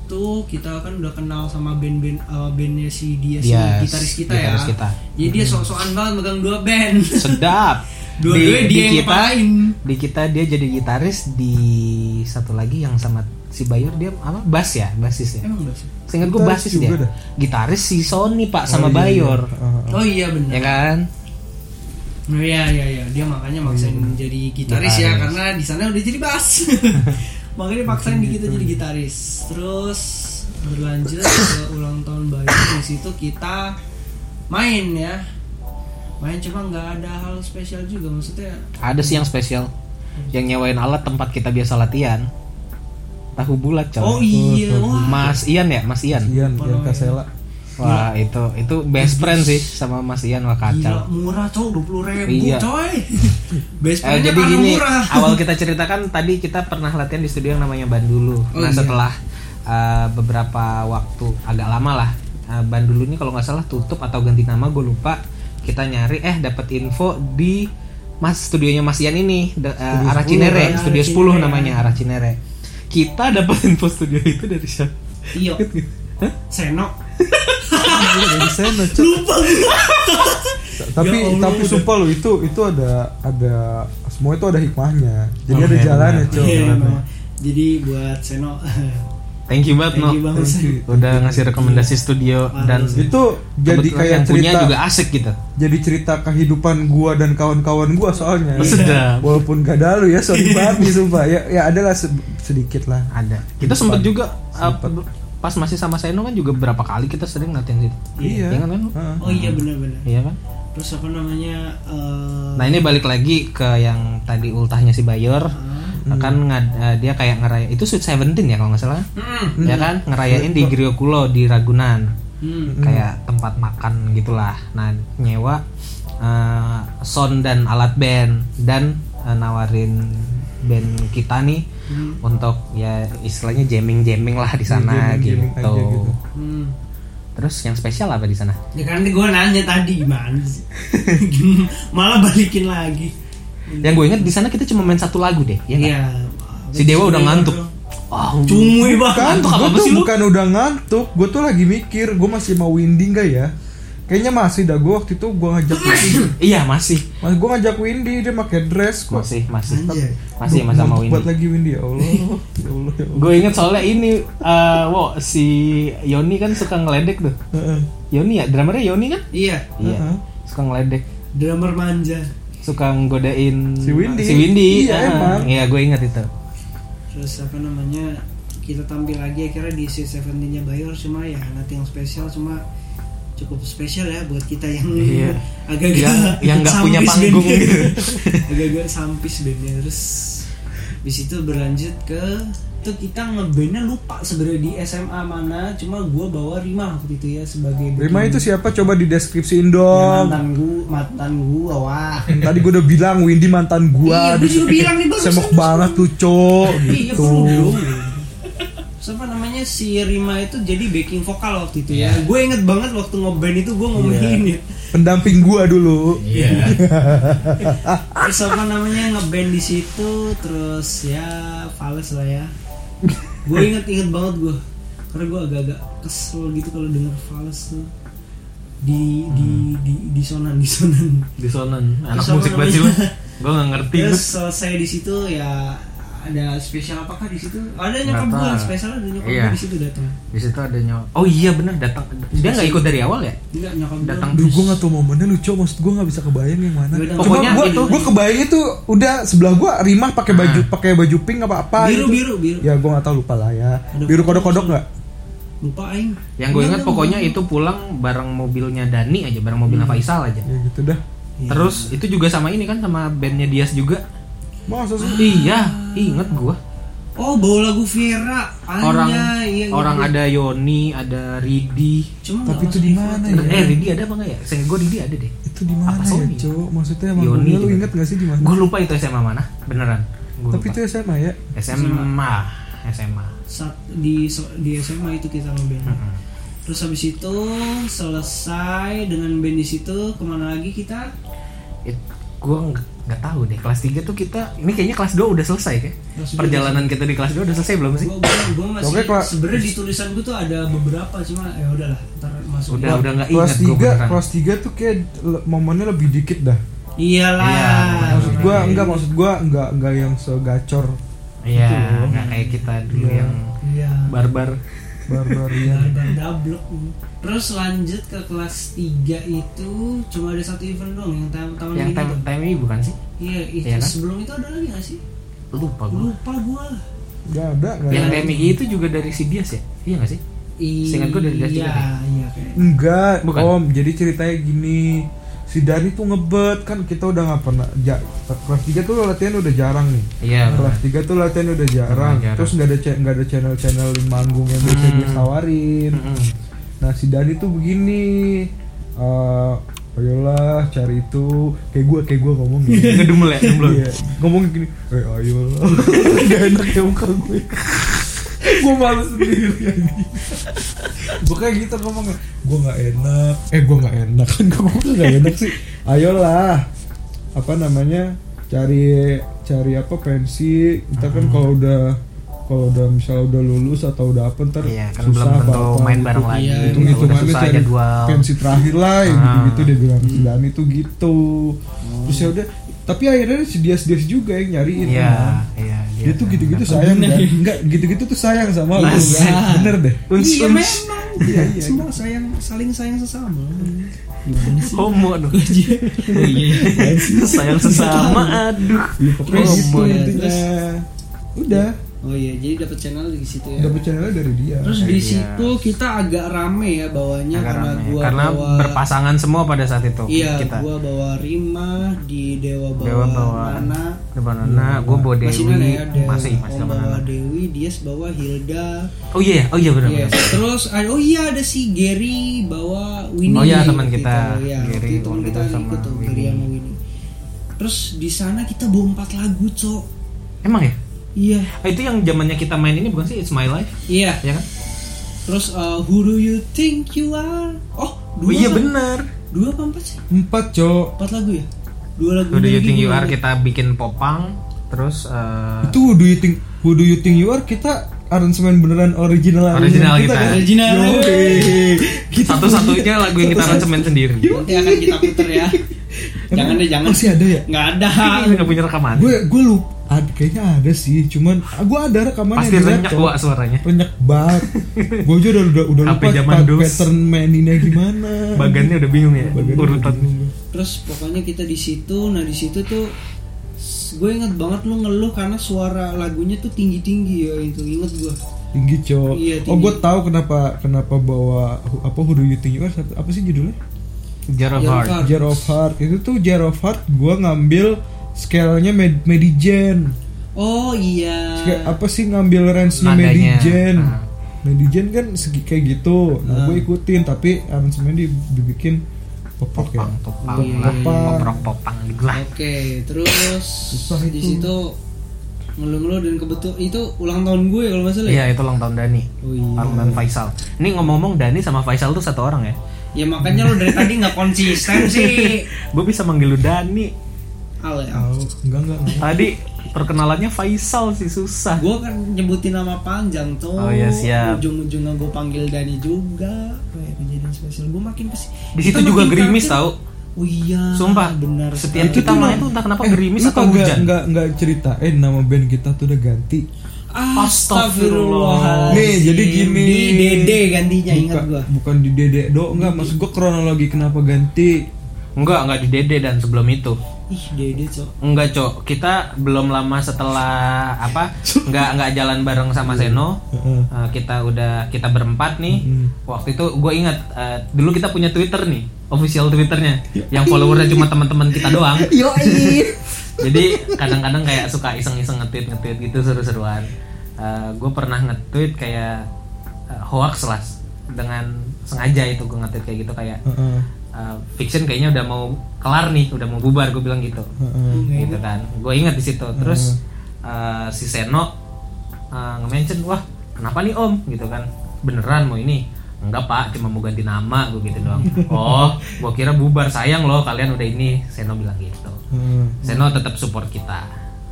Speaker 3: itu kita kan udah kenal sama band-band eh, bandnya si dia si
Speaker 4: Yes,
Speaker 3: gitaris kita
Speaker 4: gitaris
Speaker 3: ya.
Speaker 4: kita.
Speaker 3: Jadi dia sok-sokan banget megang dua band.
Speaker 4: Sedap.
Speaker 3: Dua-duanya dia yang ngepalain.
Speaker 4: di kita dia jadi gitaris di satu lagi yang sama si Bayur dia apa bass ya basis ya
Speaker 3: Emang enggak sih?
Speaker 4: seingat gue
Speaker 5: Gitaris
Speaker 4: basis
Speaker 5: juga
Speaker 4: dia
Speaker 5: dah.
Speaker 4: gitaris si Sony pak
Speaker 5: Oh,
Speaker 4: sama
Speaker 5: iya,
Speaker 4: Bayor
Speaker 5: iya. Ah, ah.
Speaker 3: Oh iya benar.
Speaker 4: ya kan
Speaker 3: Nah, iya iya iya dia makanya maksain jadi gitaris ya
Speaker 4: Gitaris.
Speaker 3: karena di sana udah jadi bass. makanya paksain di kita jadi gitaris. Terus berlanjut ke ulang tahun bayu di situ kita main ya. Main cuma nggak ada hal spesial juga maksudnya.
Speaker 4: ada sih yang spesial yang nyewain alat tempat kita biasa latihan tahu bulat coy
Speaker 3: Oh iya, wah.
Speaker 4: Mas Ian ya Mas Ian
Speaker 5: Ian, Ian Kasela.
Speaker 4: wah itu itu best friend sih sama Mas Ian wah
Speaker 3: Gila,
Speaker 4: kacau
Speaker 3: murah coy, 20 ribu
Speaker 4: Iya.
Speaker 3: coy Best
Speaker 4: Eh,
Speaker 3: friend
Speaker 4: jadi gini,
Speaker 3: murah
Speaker 4: awal kita ceritakan tadi kita pernah latihan di studio yang namanya Bandulu.
Speaker 3: Oh, iya.
Speaker 4: nah, setelah eh, beberapa waktu agak lama lah, eh, Bandulu ini kalau nggak salah tutup atau ganti nama, gue lupa. Kita nyari, eh dapat info di Mas studionya Mas Ian ini, de- eh, arah
Speaker 3: ya,
Speaker 4: Cinere, studio
Speaker 3: arah
Speaker 4: 10
Speaker 3: Cinere.
Speaker 4: namanya, arah Cinere. Kita dapat info studio itu dari siapa?
Speaker 3: Iya Senok
Speaker 5: Jadi saya nge-
Speaker 3: Lupa Iya, gue
Speaker 5: tapi
Speaker 3: Ya Allah,
Speaker 5: tapi
Speaker 3: udah.
Speaker 5: sumpah lo itu itu ada ada semua itu ada hikmahnya. Jadi
Speaker 4: Oh,
Speaker 5: ada
Speaker 4: iya,
Speaker 5: jalannya,
Speaker 4: benar.
Speaker 5: Cok.
Speaker 3: Iya, memang. Jadi buat Senok
Speaker 4: Thank you banget,
Speaker 3: Thank you
Speaker 4: No.
Speaker 3: banget Iya.
Speaker 5: Thank you.
Speaker 3: Senok
Speaker 4: Udah ngasih rekomendasi studio
Speaker 3: Parah
Speaker 4: dan
Speaker 3: sih.
Speaker 5: Itu jadi
Speaker 4: kebetulan
Speaker 5: kayak
Speaker 4: yang punya
Speaker 5: cerita
Speaker 4: juga asik gitu.
Speaker 5: jadi cerita kehidupan gua dan kawan-kawan gua soalnya. Iya.
Speaker 4: Sedap. Iya.
Speaker 5: Walaupun gak ada lu ya, sorry banget nih sumpah. Ya ya adalah se- sedikit lah.
Speaker 4: ada kita
Speaker 5: Di
Speaker 4: sempet
Speaker 5: depan.
Speaker 4: juga uh, pas masih sama Seno kan juga berapa kali kita sering latihan situ
Speaker 5: Iya.
Speaker 4: Iya kan, kan?
Speaker 5: Heeh.
Speaker 3: Oh iya benar-benar
Speaker 4: iya kan
Speaker 3: Terus apa namanya eh,
Speaker 4: nah ini balik lagi ke yang tadi ultahnya si Bayor
Speaker 3: Hmm.
Speaker 4: kan ngad- eh, dia kayak ngeraya itu Sweet Seventeen ya kalau nggak salah
Speaker 3: Mm-mm.
Speaker 4: ya kan ngerayain di Griokulo di Ragunan
Speaker 3: Hmm.
Speaker 4: kayak tempat makan gitulah nah nyewa eh, sound dan alat band dan eh, nawarin band kita nih
Speaker 5: Hmm.
Speaker 4: untuk ya istilahnya jamming jamming lah di sana
Speaker 5: Ya, jamming-jamming
Speaker 4: gitu.
Speaker 5: aja gitu.
Speaker 3: Hmm.
Speaker 4: Terus yang spesial apa di sana?
Speaker 3: Ya kan gue nanya tadi gimana sih Malah balikin lagi
Speaker 5: Hmm.
Speaker 4: Yang gue inget di sana kita cuma main satu lagu deh, ya nggak?
Speaker 3: Iya
Speaker 4: Si Dewa udah ngantuk. Ah,
Speaker 3: Cumuy
Speaker 5: kan
Speaker 3: banget
Speaker 4: Ngantuk
Speaker 5: gue
Speaker 4: apa
Speaker 5: tuh
Speaker 4: sih lu?
Speaker 5: bukan udah ngantuk gue tuh lagi mikir gue masih mau winding gak ya kayaknya masih dah gue waktu itu gue ngajak winding
Speaker 4: Iya masih,
Speaker 5: mas gue ngajak windy dia pakai dress kok
Speaker 4: masih, masih,
Speaker 3: Anjay.
Speaker 4: masih sama sama
Speaker 5: Ngantuk
Speaker 4: Windy.
Speaker 5: banget lagi windy ya allah ya allah ya allah
Speaker 4: Gue inget soalnya ini, eh, wo, si Yoni kan suka ngeledek tuh.
Speaker 5: Heeh.
Speaker 4: Yoni ya, drummernya Yoni kan?
Speaker 3: Iya
Speaker 4: Iya,
Speaker 5: Heeh.
Speaker 4: suka ngeledek,
Speaker 3: Drummer manja
Speaker 4: suka nggodain
Speaker 5: Si Windy.
Speaker 4: Si Windy,
Speaker 5: Iya,
Speaker 4: ah,
Speaker 5: emang.
Speaker 4: Iya, gue inget itu.
Speaker 3: terus apa namanya kita tampil lagi akhirnya di Sweet Seventeen nya Bayor cuma ya nanti yang spesial cuma cukup spesial ya buat kita yang
Speaker 4: Iya.
Speaker 3: agak-agak
Speaker 4: Yang- yang nggak punya
Speaker 3: sampis
Speaker 4: panggung
Speaker 3: bandnya.
Speaker 4: gitu.
Speaker 3: agak-agak sampis bandnya terus di situ berlanjut ke tuh kita ngebandnya lupa sebenarnya di SMA mana cuma gua bawa Rima waktu itu ya sebagai
Speaker 5: Rima itu
Speaker 3: backing.
Speaker 5: siapa coba di deskripsiin
Speaker 3: Ya,
Speaker 5: dong
Speaker 3: mantan gua mantan gua wah
Speaker 5: tadi gue udah bilang Windy mantan gue
Speaker 3: Iya, gua juga bilang nih, barusan,
Speaker 5: semok
Speaker 3: barusan.
Speaker 5: banget tuh cok
Speaker 3: Iya
Speaker 5: gitu
Speaker 3: perlu dong. Siapa namanya si Rima itu jadi backing vokal waktu itu
Speaker 4: Iya.
Speaker 3: ya. Gue inget banget waktu ngeband itu gue ngomongin ya.
Speaker 5: pendamping gue dulu
Speaker 7: Iya.
Speaker 3: Terus apa namanya ngeband di situ terus ya fals lah ya. Gue inget inget banget gue. karena gue agak-agak kesel gitu kalau denger Fales tuh di di di disonan disonan
Speaker 4: disonan anak
Speaker 3: Disonan
Speaker 4: musik banget sih
Speaker 3: namanya.
Speaker 4: gue nggak ngerti
Speaker 3: terus selesai di situ ya ada spesial apakah di situ ada nyokap
Speaker 4: Nggak
Speaker 3: gue
Speaker 4: tahu.
Speaker 3: spesial ada nyokap
Speaker 4: Iya.
Speaker 3: gue di situ datang
Speaker 4: di situ ada nyawa oh iya benar datang dia nggak ikut dari awal ya
Speaker 3: enggak nyokap gue
Speaker 4: Datang
Speaker 5: Duh, gue gak tau momennya lucu, maksud gue gak bisa kebayang yang mana.
Speaker 3: Gua udah-
Speaker 4: Iya, Pokoknya
Speaker 5: Cuma
Speaker 4: itu. Ah.
Speaker 5: gue gue kebayangnya tuh udah sebelah gue Rimah pakai baju pakai baju pink apa apa.
Speaker 3: biru biru biru
Speaker 5: Ya gue gak tau lupa lah ya.
Speaker 3: Ada
Speaker 5: Biru kodok-kodok nggak?
Speaker 3: lupa aing
Speaker 4: yang
Speaker 5: Iya,
Speaker 3: Enggak,
Speaker 4: gue ingat
Speaker 3: enggak,
Speaker 4: pokoknya
Speaker 3: enggak.
Speaker 4: itu pulang bareng mobilnya Dani aja bareng mobilnya Faisal aja
Speaker 5: Ya gitu dah.
Speaker 3: Iya.
Speaker 4: terus itu juga sama ini kan sama bandnya Dias juga
Speaker 5: Masa sih?
Speaker 4: iya inget gue
Speaker 3: oh bawa lagu Vera
Speaker 5: Ah,
Speaker 4: orang
Speaker 3: Anjay, iya, iya,
Speaker 4: orang
Speaker 3: iya.
Speaker 4: ada Yoni ada Ridi
Speaker 3: Cuma
Speaker 5: Tapi
Speaker 3: nggak
Speaker 5: itu di
Speaker 3: masuk
Speaker 5: mana
Speaker 3: ikut.
Speaker 5: ya?
Speaker 4: eh Ridi ada apa nggak ya saya gue Ridi ada deh
Speaker 5: Itu di mana
Speaker 4: Apa
Speaker 5: ya,
Speaker 4: Sony?
Speaker 5: Cok? Maksudnya emang
Speaker 4: Yoni
Speaker 5: Yoni, lu
Speaker 4: juga.
Speaker 5: inget gak sih di mana?
Speaker 4: gue lupa itu SMA mana beneran Gua
Speaker 5: Tapi
Speaker 4: lupa.
Speaker 5: itu SMA ya.
Speaker 4: SMA SMA
Speaker 3: Saat di di SMA itu kita ngeband
Speaker 4: Mm-mm.
Speaker 3: terus habis itu selesai dengan band di situ kemana lagi kita
Speaker 4: It- gua nggak nggak tahu deh kelas 3 tuh kita ini kayaknya kelas 2 udah selesai kayak
Speaker 3: Kelas dua
Speaker 4: perjalanan kita di kelas 2 udah selesai belum sih
Speaker 3: gua gua, gua masih
Speaker 5: Oke, kelas-
Speaker 3: sebenarnya di tulisan gua tuh ada beberapa cuma ya udahlah ntar masuk
Speaker 4: udah udah nggak ingat
Speaker 5: Kelas
Speaker 4: gua
Speaker 5: 3,
Speaker 4: beneran
Speaker 5: kelas 3 tuh kayak le- momennya lebih dikit dah.
Speaker 3: iyalah
Speaker 4: Iya,
Speaker 5: Maksud gue enggak, maksud gue enggak enggak yang segacor
Speaker 4: iya nggak kayak kita dulu yang
Speaker 3: iya
Speaker 4: barbar
Speaker 5: barbarian.
Speaker 4: Iya.
Speaker 3: Ada dablek hmm. terus lanjut ke kelas 3 itu cuma ada satu event doang yang tahun tahun
Speaker 4: yang
Speaker 3: ini
Speaker 4: time
Speaker 3: tuh.
Speaker 4: time ini bukan sih
Speaker 3: iya itu
Speaker 4: Iya kan?
Speaker 3: sebelum itu ada lagi nggak sih
Speaker 4: lupa gua
Speaker 3: lupa gua
Speaker 5: Enggak ada, enggak
Speaker 4: yang
Speaker 5: ada.
Speaker 4: TMI itu juga dari si Dias ya iya nggak sih Seingat gua dari kelas tiga
Speaker 3: iya
Speaker 4: deh. Hmm.
Speaker 3: iya kayak
Speaker 5: Enggak,
Speaker 4: Bukan.
Speaker 5: Om. Jadi ceritanya gini, si Dani tuh ngebet kan kita udah nggak pernah ja- kelas 3 tuh latihan udah jarang nih.
Speaker 4: iya
Speaker 5: Kelas 3 tuh latihan udah jarang.
Speaker 4: Jarang. Hmm.
Speaker 5: Terus nggak ada cha- nggak ada channel-channel yang manggung yang bisa dia tawarin.
Speaker 4: Mm-mm.
Speaker 5: Nah, si Dani tuh begini. eh ayolah cari itu kayak gua kayak gua ngomong gitu.
Speaker 4: ngedumel ya ngedumel
Speaker 5: Iya, ngomong gini, eh ayo Gak enak ya muka gue Gue malu sendiri Gue kayak gitu ngomongnya Gue gak enak Eh gue gak enak Kan gue gak enak sih Ayolah Apa namanya Cari Cari apa pensi Kita kan kalau udah kalau udah misalnya udah lulus atau udah apa ntar
Speaker 4: Iya, kan belum tentu
Speaker 5: apa-apa
Speaker 4: main
Speaker 5: gitu.
Speaker 4: bareng lagi.
Speaker 5: Iya,
Speaker 4: Udah
Speaker 5: hitung-hitungannya
Speaker 4: susah
Speaker 5: cari
Speaker 4: jadwal.
Speaker 5: pensi terakhir lah ya
Speaker 4: Ah.
Speaker 5: gitu-gitu dia bilang si Dani tuh gitu terus ya udah tapi akhirnya si Dias Dias juga yang nyariin
Speaker 4: Oh. iya
Speaker 5: Nah,
Speaker 4: iya
Speaker 5: dia tuh gitu-gitu sayang kan enggak gitu-gitu tuh sayang sama lu
Speaker 4: Masa?
Speaker 5: kan? bener deh
Speaker 3: iya memang iya, semua sayang saling sayang sesama
Speaker 4: homo aduh sayang sesama aduh
Speaker 5: Iya, pokoknya
Speaker 3: Terus,
Speaker 5: gitu
Speaker 3: iya,
Speaker 5: intinya udah
Speaker 3: oh iya jadi dapat channel di situ ya
Speaker 5: dapet channelnya dari dia
Speaker 3: Terus di
Speaker 4: Iya.
Speaker 3: situ kita agak rame ya bawanya
Speaker 4: Agak
Speaker 3: karena
Speaker 4: ramai.
Speaker 3: gua
Speaker 4: karena
Speaker 3: bawa
Speaker 4: berpasangan semua pada saat itu
Speaker 3: Iya,
Speaker 4: kita
Speaker 3: gua bawa Rima di Dewa bawa,
Speaker 4: Dewa bawa
Speaker 3: Nana. Iya,
Speaker 4: depan Nana gue bawa Dewi
Speaker 3: Masih Nana ya, Dewa.
Speaker 4: masih masih
Speaker 3: Om
Speaker 4: sama
Speaker 3: bawa
Speaker 4: Nana
Speaker 3: Dewi, Dias bawa Hilda.
Speaker 4: oh iya oh iya benar
Speaker 3: Iya. Terus ada- oh iya ada si Gary bawa Winnie.
Speaker 4: Oh iya, teman
Speaker 3: waktu
Speaker 4: kita.
Speaker 3: itu. Iya,
Speaker 4: Gary
Speaker 3: waktu itu teman
Speaker 4: waktu
Speaker 3: kita
Speaker 4: itu sama
Speaker 3: ikut tuh
Speaker 4: Winnie.
Speaker 3: Gary sama Winnie. Terus di sana kita bawa empat lagu, Cok.
Speaker 4: emang ya
Speaker 3: Iya.
Speaker 4: Ah, itu yang zamannya kita main ini bukan sih It's My Life
Speaker 3: Iya.
Speaker 4: ya kan
Speaker 3: Terus uh, Who do you think you are? Oh,
Speaker 4: oh
Speaker 3: dua.
Speaker 4: iya
Speaker 3: apa-
Speaker 4: benar
Speaker 3: Dua apa empat sih?
Speaker 5: empat cok
Speaker 3: Empat lagu ya? Dua lagu.
Speaker 4: Who Do
Speaker 3: lagi,
Speaker 4: You Think You
Speaker 3: dua
Speaker 4: Are gitu.
Speaker 3: lagu.
Speaker 4: kita bikin popang terus eh,
Speaker 5: itu who do you think who do you think you are kita aransemen beneran original kan?
Speaker 4: Original kita.
Speaker 3: Original. gitu.
Speaker 4: satu-satunya lagu yang kita rancemen sendiri
Speaker 3: Nanti akan kita puter ya. jangan deh, jangan.
Speaker 5: masih ada ya
Speaker 3: Nggak ada.
Speaker 4: Ini nggak punya rekaman
Speaker 5: gue gue lupa ad- ah, kayaknya ada sih cuman ah, gue ada rekamannya
Speaker 4: pasti
Speaker 5: di
Speaker 4: renyak
Speaker 5: laptop.
Speaker 4: gua suaranya
Speaker 5: renyak banget gue aja udah udah, udah
Speaker 4: HP
Speaker 5: lupa
Speaker 4: zaman
Speaker 5: pa-
Speaker 4: dos.
Speaker 5: pattern maininnya gimana
Speaker 4: bagannya udah bingung ya
Speaker 5: Bagannya udah
Speaker 4: urutan
Speaker 5: bingung.
Speaker 3: Terus pokoknya kita di situ, nah di situ tuh s- gue inget banget lu ngeluh karena suara lagunya tuh tinggi-tinggi ya itu inget gue
Speaker 5: tinggi cowok
Speaker 3: Iya,
Speaker 5: oh
Speaker 3: tinggi.
Speaker 5: gue tahu kenapa kenapa bawa hu- apa who do you think you are satu- apa sih judulnya
Speaker 4: Jar of
Speaker 3: Jar of
Speaker 4: Heart.
Speaker 3: Heart.
Speaker 5: Jar of Heart itu tuh Jar of Heart gue ngambil scale-nya Med- Medigen
Speaker 3: Oh iya.
Speaker 5: Kayak apa sih ngambil range-nya
Speaker 4: Nadanya.
Speaker 5: Medigen
Speaker 4: Ah.
Speaker 5: Medigen kan segi kayak gitu nah
Speaker 3: Ah.
Speaker 5: gue ikutin tapi aransemen dia dibikin popok ya
Speaker 4: popang popang
Speaker 5: Popang.
Speaker 4: lah poprok popang gitu lah
Speaker 3: Oke, terus
Speaker 5: Susah
Speaker 3: di
Speaker 5: itu.
Speaker 3: situ ngeluh-ngeluh dan kebetul itu ulang tahun gue kalau nggak salah. ya?
Speaker 4: iya itu ulang tahun Dani
Speaker 3: Oh iya.
Speaker 4: ulang tahun Faisal ini ngomong-ngomong Dani sama Faisal tuh satu orang ya
Speaker 3: Ya makanya lu dari tadi nggak konsisten sih. ya.
Speaker 4: gue bisa manggil lu Dani
Speaker 3: Ale,
Speaker 5: Tahu. enggak enggak enggak.
Speaker 4: tadi Perkenalannya Faisal sih susah.
Speaker 3: Gue kan nyebutin nama panjang tuh.
Speaker 4: Oh, iya, siap.
Speaker 3: Ujung-ujungnya gue panggil Dani juga. Kayak kejadian spesial gue makin kesini.
Speaker 4: Di situ juga gerimis tau.
Speaker 3: Oh iya.
Speaker 4: Sumpah,
Speaker 3: Benar.
Speaker 4: setiap
Speaker 3: sekali.
Speaker 4: kita main tuh entah kenapa gerimis
Speaker 5: eh, lu
Speaker 4: atau
Speaker 5: kagak-
Speaker 4: hujan.
Speaker 5: nggak nggak ceritain nama band kita tuh udah ganti
Speaker 4: Oh,
Speaker 3: Astagfirullah.
Speaker 5: Nih, jadi gini.
Speaker 3: Di Dede gantinya ingat
Speaker 5: Buka-
Speaker 3: gue.
Speaker 5: bukan di dedek do nggak maksud gue kronologi kenapa ganti
Speaker 4: Enggak, enggak di Dede dan sebelum itu.
Speaker 3: Ih Dede cok.
Speaker 4: Enggak, Cok. Kita belum lama setelah apa? Enggak enggak jalan bareng sama Seno.
Speaker 5: Heeh. Hmm.
Speaker 4: Eh, kita udah kita berempat nih. Waktu itu gue ingat eh, dulu kita punya Twitter nih, official Twitternya yang followernya cuma teman-teman kita doang. Jadi kadang-kadang kayak suka iseng-iseng nge-tweet nge-tweet gitu seru-seruan. gue pernah nge-tweet kayak eh, hoax lah dengan sengaja itu gue nge-tweet kayak gitu kayak
Speaker 5: Heeh,
Speaker 4: eh, fiction kayaknya udah mau kelar nih, udah mau bubar gue bilang gitu
Speaker 5: heeh.
Speaker 4: gitu kan gue ingat di situ terus eh, si Seno eh, nge-mention wah kenapa nih om gitu kan beneran mau ini enggak pak cuma mau ganti nama gue gitu doang oh gue kira bubar sayang loh kalian udah ini Seno bilang gitu
Speaker 5: Heeh.
Speaker 4: Seno tetap support kita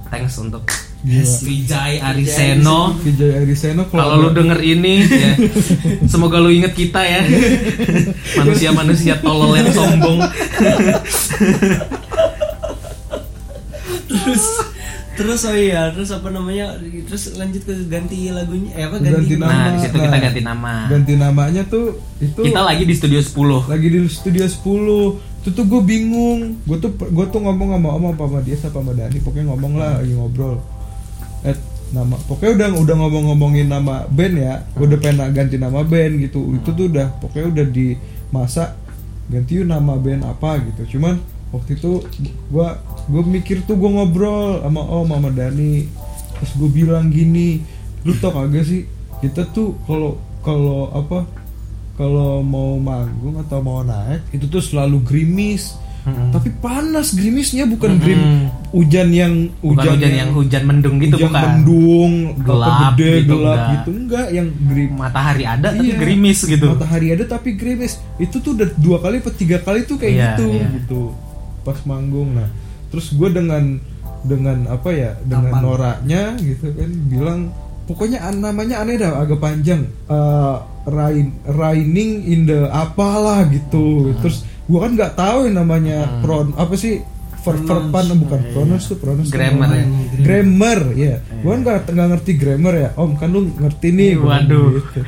Speaker 4: thanks untuk
Speaker 5: Gila.
Speaker 4: Vijay Ariseno
Speaker 5: Vijay Ariseno
Speaker 4: kalau lu denger ini ya, semoga lu inget kita ya. Manusia-manusia tolol yang sombong.
Speaker 3: terus terus oh iya terus apa namanya terus lanjut ke ganti lagunya eh apa ganti,
Speaker 5: Ganti nama.
Speaker 4: Nah, di situ kita
Speaker 5: Nah.
Speaker 4: ganti nama.
Speaker 5: ganti namanya tuh itu
Speaker 4: Kita lagi di studio 10.
Speaker 5: lagi di studio 10 itu tuh gue bingung gue tuh gue tuh ngomong sama sama sama dia sama sama Dani pokoknya ngomong lah lagi ngobrol eh nama pokoknya udah udah ngomong-ngomongin nama band ya udah pengen ganti nama band gitu itu tuh udah pokoknya udah di masa ganti yuk nama band apa gitu cuman waktu itu gue gue mikir tuh gue ngobrol sama om sama Dani terus gue bilang gini lu tau kagak sih kita tuh kalau kalau apa kalau mau manggung atau mau naik itu tuh selalu gerimis
Speaker 4: Hmm.
Speaker 5: tapi panas gerimisnya bukan grim hujan yang
Speaker 4: bukan
Speaker 5: hujan,
Speaker 4: hujan yang hujan mendung gitu
Speaker 5: hujan
Speaker 4: bukan
Speaker 5: mendung gelap gede
Speaker 4: Gelap gitu,
Speaker 5: gelap
Speaker 4: enggak.
Speaker 5: gitu enggak yang gerimis
Speaker 4: matahari ada tapi
Speaker 5: Iya.
Speaker 4: gerimis gitu
Speaker 5: matahari ada tapi gerimis itu tuh udah dua kali atau tiga kali tuh kayak
Speaker 4: Iya,
Speaker 5: gitu
Speaker 4: iya.
Speaker 5: gitu pas manggung nah terus gue dengan dengan apa ya dengan noraknya gitu kan bilang pokoknya an- namanya aneh dah agak panjang Eh, rain raining in the apalah gitu
Speaker 4: Hmm.
Speaker 5: terus gue kan nggak tahu yang namanya pron apa sih ver- verpan bukan pronouns tuh pronouns tuh
Speaker 4: Iya. Grammar ya. Iya.
Speaker 5: namanya. grammar ya gue kan nggak nggak ngerti grammar ya om kan lu ngerti nih gua bilang
Speaker 4: Waduh,
Speaker 5: Terus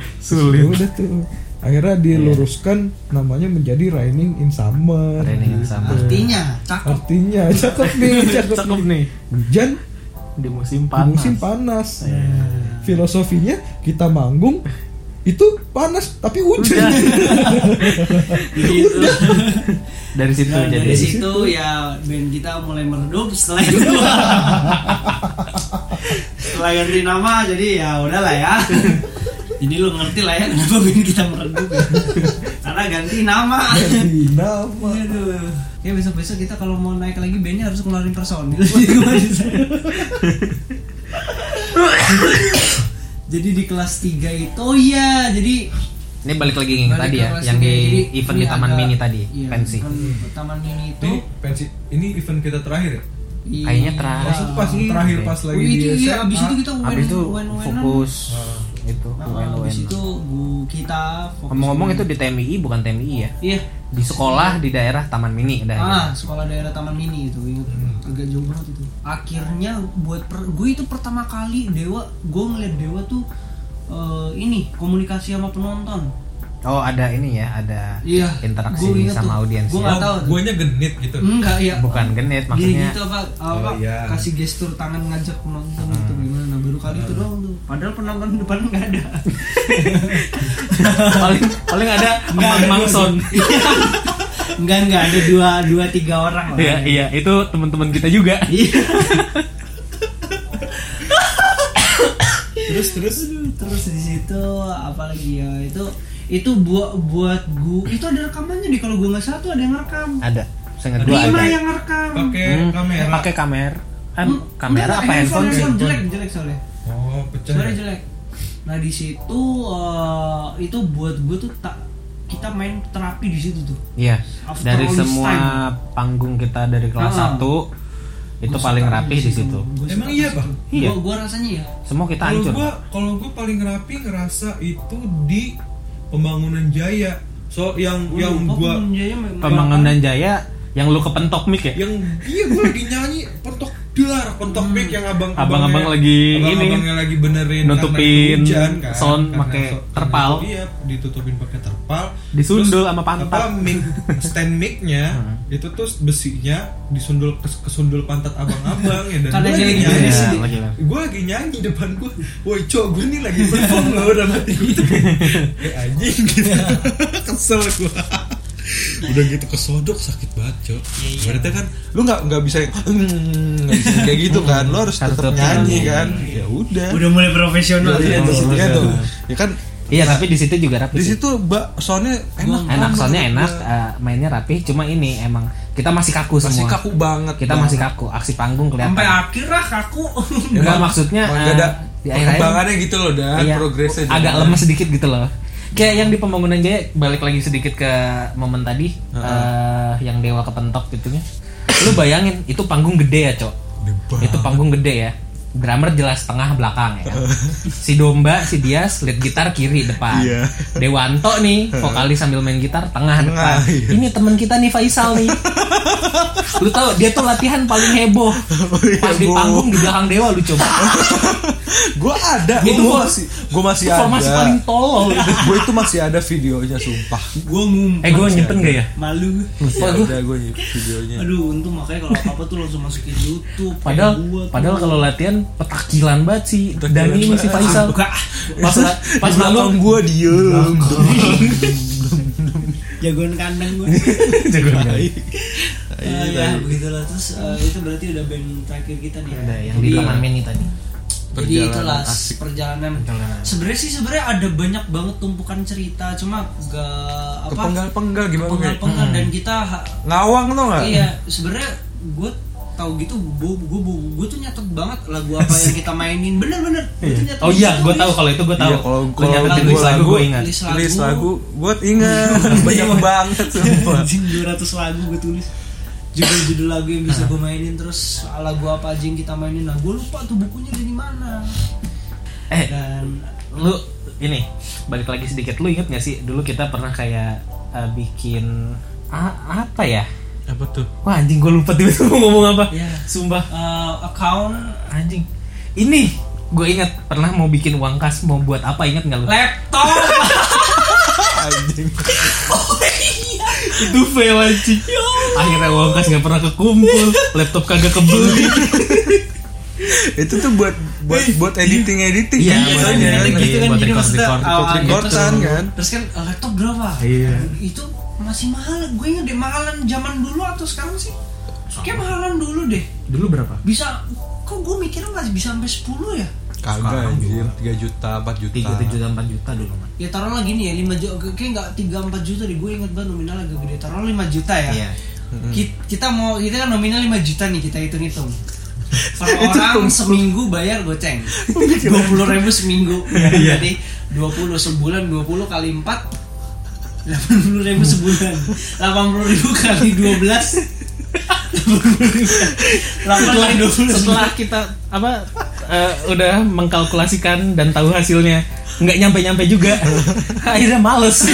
Speaker 5: ya
Speaker 4: sulit. Iya.
Speaker 5: udah tuh akhirnya diluruskan namanya menjadi raining in summer Gitu.
Speaker 4: Raining in summer.
Speaker 3: artinya cakep
Speaker 5: artinya cakep nih cakep, nih.
Speaker 4: cakep nih
Speaker 5: hujan
Speaker 4: di musim
Speaker 5: di
Speaker 4: panas Iya.
Speaker 5: musim panas filosofinya kita manggung itu panas tapi hujan
Speaker 4: Gitu. dari situ
Speaker 3: dan Nah, Iya,
Speaker 4: jadi
Speaker 3: dari situ ya band kita mulai meredup setelah itu setelah ganti nama jadi ya udahlah ya jadi lu ngerti lah ya kenapa band kita meredup ya. karena ganti nama
Speaker 5: Ganti nama
Speaker 3: Aduh. Ya besok-besok kita kalau mau naik lagi bandnya harus ngeluarin personil. jadi di kelas 3 itu oh iya jadi
Speaker 4: ini balik lagi yang tadi ya yang di event
Speaker 3: iya,
Speaker 4: di taman mini tadi pensi
Speaker 3: Taman mini itu
Speaker 7: Ini pensi ini event kita terakhir ya?
Speaker 3: i-
Speaker 4: kayaknya terakhir
Speaker 5: itu pas terakhir pas
Speaker 3: Oh,
Speaker 5: lagi di
Speaker 3: Iya. itu, iya, abis itu
Speaker 5: SMA
Speaker 3: kita
Speaker 4: habis itu
Speaker 3: UN-an.
Speaker 4: fokus itu
Speaker 3: Nah,
Speaker 4: UN
Speaker 3: abis itu gua- kita fokus
Speaker 4: ngomong-ngomong itu di TMI bukan TMI ya
Speaker 3: Iya.
Speaker 4: di sekolah di daerah taman mini udah
Speaker 3: Ah, sekolah daerah Taman Mini itu ingat
Speaker 4: Hmm.
Speaker 3: agak jauh banget itu. Akhirnya buat per, gue itu pertama kali Dewa, gue ngeliat Dewa tuh eh, ini komunikasi sama penonton.
Speaker 4: oh ada ini ya ada
Speaker 3: Iya.
Speaker 4: interaksi
Speaker 3: gua ingat
Speaker 4: sama
Speaker 3: tuh.
Speaker 4: audiens
Speaker 3: Gue
Speaker 4: ya.
Speaker 3: nggak tahu. tuh.
Speaker 7: Oh, Guanya genit gitu.
Speaker 4: Hmm.
Speaker 3: Enggak ya.
Speaker 4: bukan genit
Speaker 3: Jadi
Speaker 4: maksudnya
Speaker 3: gitu apa, apa
Speaker 7: Oh, iya.
Speaker 3: kasih gestur tangan ngajak penonton
Speaker 4: Hmm.
Speaker 3: gitu gimana? Nah, baru kali itu doang tuh. Padahal penonton di depan nggak ada.
Speaker 4: paling paling ada Mang Mangson
Speaker 3: enggak enggak ada dua dua tiga orang lah.
Speaker 4: iya iya itu teman-teman kita juga
Speaker 3: Iya.
Speaker 7: Terus terus
Speaker 3: Aduh, terus di situ apalagi ya itu itu buat buat gua itu ada rekamannya nih kalau gua nggak salah tuh ada yang rekam
Speaker 4: ada saya ingat dua
Speaker 3: lima
Speaker 4: ada
Speaker 3: yang rekam
Speaker 7: pakai kamera.
Speaker 4: Hmm. pakai kamera kan
Speaker 3: Hmm,
Speaker 4: kamera
Speaker 3: enggak,
Speaker 4: apa handphone sih
Speaker 3: handphone jelek jelek soalnya
Speaker 7: Oh, pecah.
Speaker 3: soalnya
Speaker 7: ya?
Speaker 3: jelek nah di situ eh, itu buat gua tuh tak kita main terapi di situ tuh
Speaker 4: iya
Speaker 3: After
Speaker 4: dari
Speaker 3: all this
Speaker 4: semua
Speaker 3: time.
Speaker 4: panggung kita dari kelas
Speaker 3: Ah.
Speaker 4: 1 itu paling rapi di situ
Speaker 7: Emang iya, Pak?
Speaker 4: Iya.
Speaker 3: Gua, gua rasanya ya.
Speaker 4: semua kita
Speaker 7: Kalau
Speaker 4: hancur
Speaker 7: gua kalau gua paling rapi ngerasa itu di pembangunan Jaya. So
Speaker 3: Hmm,
Speaker 7: yang
Speaker 5: Ya
Speaker 7: yang gua
Speaker 4: ya. pembangunan jaya yang lu kepentok mic ya
Speaker 7: yang iya gua lagi nyanyi pentok dar pentok mic yang abang
Speaker 4: Abang-abang lagi ini.
Speaker 7: abangnya lagi benerin
Speaker 4: Nutupin
Speaker 7: karena hujan kan,
Speaker 4: sound
Speaker 7: karena
Speaker 4: pakai
Speaker 7: so- karena
Speaker 4: terpal.
Speaker 7: so- iya ditutupin pakai terpal
Speaker 4: Disundul
Speaker 7: Terus,
Speaker 4: sama pantat. Hmm.
Speaker 7: apa, mic, stand micnya itu tuh besinya disundul kes- kesundul pantat abang-abang ya dan
Speaker 3: Karena
Speaker 7: gua lagi
Speaker 3: jadi
Speaker 7: nyanyi
Speaker 4: gini.
Speaker 7: sih.
Speaker 4: Iya, lagi lah.
Speaker 7: gua lagi nyanyi depan gua woi cowok gua nih lagi perform loh udah mati gitu eh anjing gitu kesel gua udah gitu kesodok sakit banget cok
Speaker 4: Iya,
Speaker 7: berarti kan lu nggak nggak bisa "Hmm," nggak bisa kayak gitu kan lu harus
Speaker 4: Harus
Speaker 7: tetap
Speaker 4: tetap
Speaker 7: nyanyi
Speaker 4: nyanyi.
Speaker 7: kan ya udah
Speaker 3: Udah mulai profesional.
Speaker 7: Iya,
Speaker 4: Iya,
Speaker 7: terus
Speaker 4: iya,
Speaker 7: dia
Speaker 4: iya.
Speaker 7: tuh ya kan
Speaker 4: iya tapi di situ juga rapi
Speaker 7: di
Speaker 4: sih.
Speaker 7: situ mbak soalnya enak
Speaker 4: enak
Speaker 7: banget. Iya.
Speaker 4: soalnya enak eh, mainnya rapi cuma ini emang kita masih kaku
Speaker 7: masih
Speaker 4: semua
Speaker 7: kaku banget
Speaker 4: kita
Speaker 7: Bang.
Speaker 4: masih kaku aksi panggung kelihatan
Speaker 3: Sampai akhir lah kaku.
Speaker 4: Enggak maksudnya
Speaker 7: Nggak
Speaker 4: eh,
Speaker 7: ada
Speaker 4: di akhir-akhir
Speaker 7: perkembangannya gitu loh dan
Speaker 4: Iya,
Speaker 7: progresnya
Speaker 4: agak
Speaker 7: juga.
Speaker 4: lemes sedikit gitu loh kayak yang di pembangunan jaya balik lagi sedikit ke momen tadi eh, yang dewa kepentok gitu ya lu bayangin itu panggung gede ya cok
Speaker 7: Gede banget.
Speaker 4: itu panggung gede ya drummer jelas tengah belakang ya kan? si domba si dias lead gitar kiri depan
Speaker 7: Iya.
Speaker 4: dewanto nih vokalis sambil main gitar tengah depan
Speaker 7: iya.
Speaker 4: ini teman kita nih faisal nih lu tahu dia tuh latihan paling heboh pas di
Speaker 7: Oh, iya, Heboh.
Speaker 4: panggung di belakang dewa lu coba
Speaker 7: gue ada
Speaker 4: Itu
Speaker 7: gue
Speaker 4: gua-
Speaker 7: masih gue masih ada
Speaker 4: formasi paling tolol gitu.
Speaker 7: gue itu masih ada videonya sumpah
Speaker 3: gua ngumpet.
Speaker 4: eh gue nyimpen gak ya
Speaker 3: malu.
Speaker 7: masih
Speaker 4: Wah, gua-
Speaker 7: ada gue videonya
Speaker 3: Aduh, untung makanya kalau apa-apa tuh langsung masukin YouTube.
Speaker 4: Iya. Padahal
Speaker 3: Kayak Eh, gua tuh.
Speaker 4: padahal kalau latihan petakilan banget sih
Speaker 7: Petakilan
Speaker 4: Dani ini si
Speaker 7: banget.
Speaker 4: Faisal.
Speaker 3: Enggak.
Speaker 4: Pas la- pas
Speaker 7: belakang
Speaker 4: lalu
Speaker 7: gue diem
Speaker 3: jagoan kandang gua. Iya.
Speaker 4: Iya,
Speaker 3: Eh, ya, begitulah terus eh, itu berarti udah band terakhir kita nih. ya?
Speaker 4: ada yang di
Speaker 3: Jadi-
Speaker 4: taman mini tadi.
Speaker 3: Jadi
Speaker 7: Perjalanan
Speaker 3: itulah
Speaker 7: asik.
Speaker 3: perjalanan.
Speaker 4: Perjalanan.
Speaker 3: Sebenarnya sih sebenarnya ada banyak banget tumpukan cerita, cuma gak apa
Speaker 7: kepenggal-penggal gimana gue
Speaker 3: penggal-penggal dan
Speaker 4: Hmm.
Speaker 3: kita ha-
Speaker 7: ngawang tau
Speaker 4: Ah.
Speaker 7: gak
Speaker 3: iya sebenarnya gue tahu gitu gue gue tuh nyatet banget lagu apa yang kita mainin bener-bener gua tuh nyatet
Speaker 4: Oh iya,
Speaker 3: gitu,
Speaker 4: gue
Speaker 3: Lis.
Speaker 4: tahu kalau itu gue tahu.
Speaker 7: Iya, kalau-
Speaker 4: Lu
Speaker 7: kalau
Speaker 4: nyatet
Speaker 7: gua
Speaker 4: list lagu
Speaker 7: lagu-
Speaker 4: gue ingat.
Speaker 3: list lagu,
Speaker 7: Tulis lagu, gue ingat banyak banget sumpah.
Speaker 3: anjing 200 lagu gue tulis judul-judul lagu yang
Speaker 4: Ah.
Speaker 3: bisa gue mainin terus lagu apa aja yang kita mainin nah gue lupa tuh bukunya dari mana
Speaker 4: Eh,
Speaker 3: dan
Speaker 4: lu ini balik lagi sedikit lu inget gak sih dulu kita pernah kayak eh, bikin a- apa ya?
Speaker 7: Apa tuh?
Speaker 4: Wah anjing gue lupa tiba-tiba mau ngomong apa.
Speaker 3: Iya.
Speaker 4: Sumpah
Speaker 3: eh, account
Speaker 4: anjing. Ini gue inget pernah mau bikin uang kas mau buat apa inget nggak lu?
Speaker 3: laptop
Speaker 7: Anjing.
Speaker 3: Iya, ya
Speaker 4: itu fail anjing akhirnya uang kas nggak pernah kekumpul laptop kagak kebeli
Speaker 7: Itu tuh buat buat buat editing editing
Speaker 4: Eh, Iya,
Speaker 3: Iya,
Speaker 4: buat
Speaker 3: soalnya
Speaker 4: editing,
Speaker 3: ada gitu kan jadi
Speaker 4: buat record,
Speaker 3: maksudnya
Speaker 4: record,
Speaker 3: awalnya
Speaker 7: record,
Speaker 3: gitu.
Speaker 7: recordan kan.
Speaker 3: Terus kan eh, laptop berapa?
Speaker 4: Iya.
Speaker 3: Itu masih mahal. Gue inget deh mahalan zaman dulu atau sekarang sih? Kayak mahalan dulu deh.
Speaker 4: dulu berapa
Speaker 3: Bisa kok gue mikirnya nggak bisa sampai 10 ya?
Speaker 7: Kagak anjir, 3 juta, 4 juta.
Speaker 4: tiga tujuh juta empat juta dulu man
Speaker 3: Ya taruhlah gini ya 5 juta kayak nggak 3 4 juta deh. Gue inget banget nominal agak gede. Taruhlah 5 juta ya.
Speaker 4: Iya.
Speaker 3: Ki- Kita mau kita kan nominal 5 juta nih kita hitung-hitung. Per orang seminggu bayar goceng. 20.000 ribu seminggu. Ya kan?
Speaker 7: Iya.
Speaker 3: Jadi 20 sebulan 20 kali 4 80 ribu sebulan 80 ribu kali 12 80 kali 20
Speaker 4: setelah kita apa eh, udah mengkalkulasikan dan tahu hasilnya nggak nyampe nyampe juga akhirnya males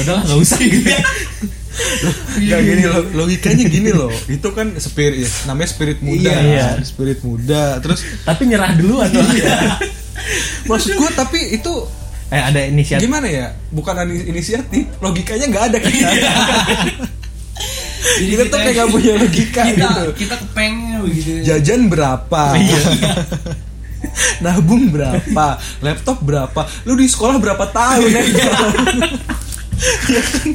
Speaker 4: udahlah nggak usah gitu
Speaker 7: Gak gini
Speaker 4: Iya.
Speaker 7: loh, logikanya gini loh. Itu kan spirit, namanya spirit muda.
Speaker 4: Iya, iya.
Speaker 7: Spirit muda. Terus
Speaker 4: tapi nyerah dulu atau
Speaker 7: maksud gue tapi itu
Speaker 4: eh ada inisiatif
Speaker 7: gimana ya? Bukan ini- inisiatif, logikanya nggak ada kita.
Speaker 4: Iya.
Speaker 3: Jadi
Speaker 7: kita tuh kayak nggak punya logika
Speaker 3: kita,
Speaker 7: gitu.
Speaker 3: kita kepengen begitu
Speaker 7: Jajan berapa? Nabung berapa? Laptop berapa? Lu di sekolah berapa tahun? ya?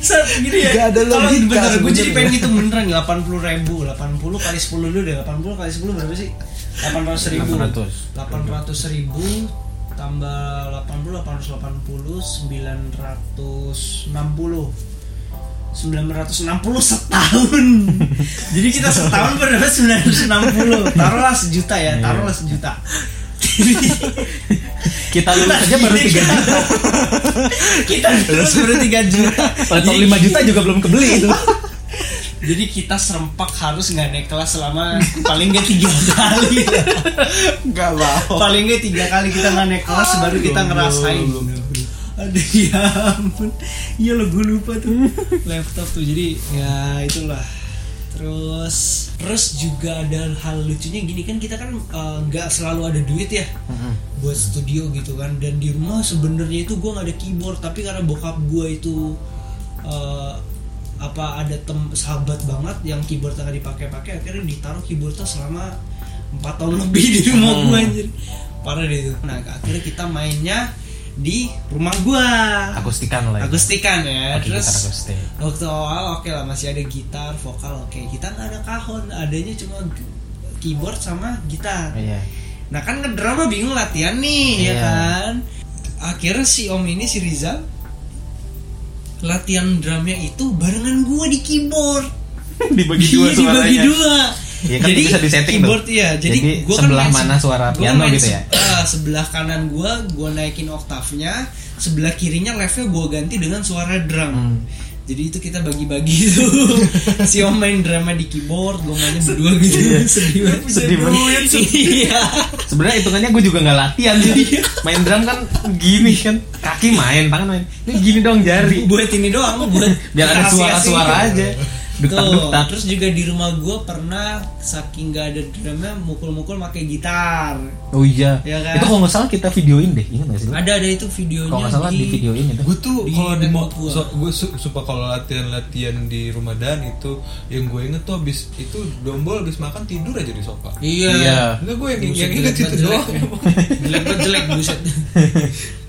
Speaker 3: Set, gini ya.
Speaker 7: Nggak ada
Speaker 3: Kalau
Speaker 7: logika
Speaker 3: bener, gue jadi
Speaker 7: sebenarnya.
Speaker 3: pengen ngitung beneran 80 ribu 80 kali 10 dulu deh 80 kali 10 berapa sih? 800 ribu
Speaker 4: 800.
Speaker 3: 800 ribu Tambah 80 880 960 960 setahun Jadi kita setahun berdapat 960 Taruhlah sejuta
Speaker 7: Iya.
Speaker 3: ya Taruhlah sejuta
Speaker 4: kita lulus aja baru tiga juta
Speaker 3: kan. Kita terus baru 3 juta
Speaker 4: laptop lima juta juga belum kebeli itu
Speaker 3: Jadi kita serempak harus nggak naik kelas selama paling nggak tiga kali.
Speaker 8: Gak mau.
Speaker 3: paling nggak tiga kali kita nggak naik kelas baru kita ngerasain. Aduh ya ampun, iya lo gue lupa tuh laptop tuh. Jadi ya itulah. Terus terus juga ada hal lucunya gini kan kita kan eh, nggak selalu ada duit ya buat studio gitu kan dan di rumah sebenarnya itu gue nggak ada keyboard tapi karena bokap gue itu eh, apa ada tem sahabat banget yang keyboard nggak dipakai-pakai akhirnya ditaruh keyboardnya selama empat tahun lebih di rumah
Speaker 4: Hmm.
Speaker 3: gue anjir parah deh itu nah akhirnya kita mainnya di rumah gue
Speaker 4: akustikan lah ya.
Speaker 3: akustikan ya
Speaker 4: Pakai
Speaker 3: terus
Speaker 4: gitar akustik.
Speaker 3: waktu awal oke lah masih ada gitar vokal oke kita nggak ada kahon adanya cuma keyboard sama gitar
Speaker 4: Iya.
Speaker 3: nah kan ngedrama bingung latihan nih ya
Speaker 4: Iya.
Speaker 3: kan akhirnya si om ini si Rizal latihan drumnya itu barengan gua di keyboard
Speaker 4: Dibagi
Speaker 3: Iya, dibagi dua
Speaker 4: Iya, kan bisa disetting tuh.
Speaker 3: keyboard ya jadi,
Speaker 4: Jadi
Speaker 3: gua
Speaker 4: sebelah
Speaker 3: main se-
Speaker 4: mana suara
Speaker 3: gua
Speaker 4: piano
Speaker 3: main
Speaker 4: gitu
Speaker 3: se-
Speaker 4: ya?
Speaker 3: eh, sebelah kanan gua gua naikin oktavnya sebelah kirinya levelnya gua ganti dengan suara drum
Speaker 4: Hmm.
Speaker 3: jadi itu kita bagi-bagi tuh si om main drama di keyboard gua mainnya berdua gitu sedih banget
Speaker 4: Iya. Sedih banget.
Speaker 3: iya
Speaker 4: Sebenarnya hitungannya gue juga nggak latihan sih. Main drum kan gini kan, kaki main, tangan main. Ini gini dong jari.
Speaker 3: buat ini doang buat
Speaker 4: Biar ada suara-suara aja.
Speaker 3: Tuh,
Speaker 4: Duktak-duktak.
Speaker 3: terus juga di rumah gue pernah saking gak ada drumnya mukul-mukul pakai gitar
Speaker 4: Oh iya.
Speaker 3: Iya kan?
Speaker 4: Itu kalau nggak salah kita videoin deh, ingat nggak sih? lu?
Speaker 3: Ada ada itu videonya.
Speaker 4: Kalau nggak salah di videoin itu.
Speaker 7: gue tuh
Speaker 3: Di
Speaker 7: kalau Iya, di mau
Speaker 3: laptop gua.
Speaker 7: so, gue su suka kalau latihan latihan di rumah dan itu yang gue inget tuh abis itu dombol abis makan tidur aja di sofa
Speaker 3: Iya.
Speaker 4: Iya.
Speaker 7: Enggak gue yang,
Speaker 3: Buset,
Speaker 7: yang inget
Speaker 3: jelek
Speaker 7: itu
Speaker 3: banget,
Speaker 7: doang
Speaker 3: jelek. Jelek banget, jelek buset.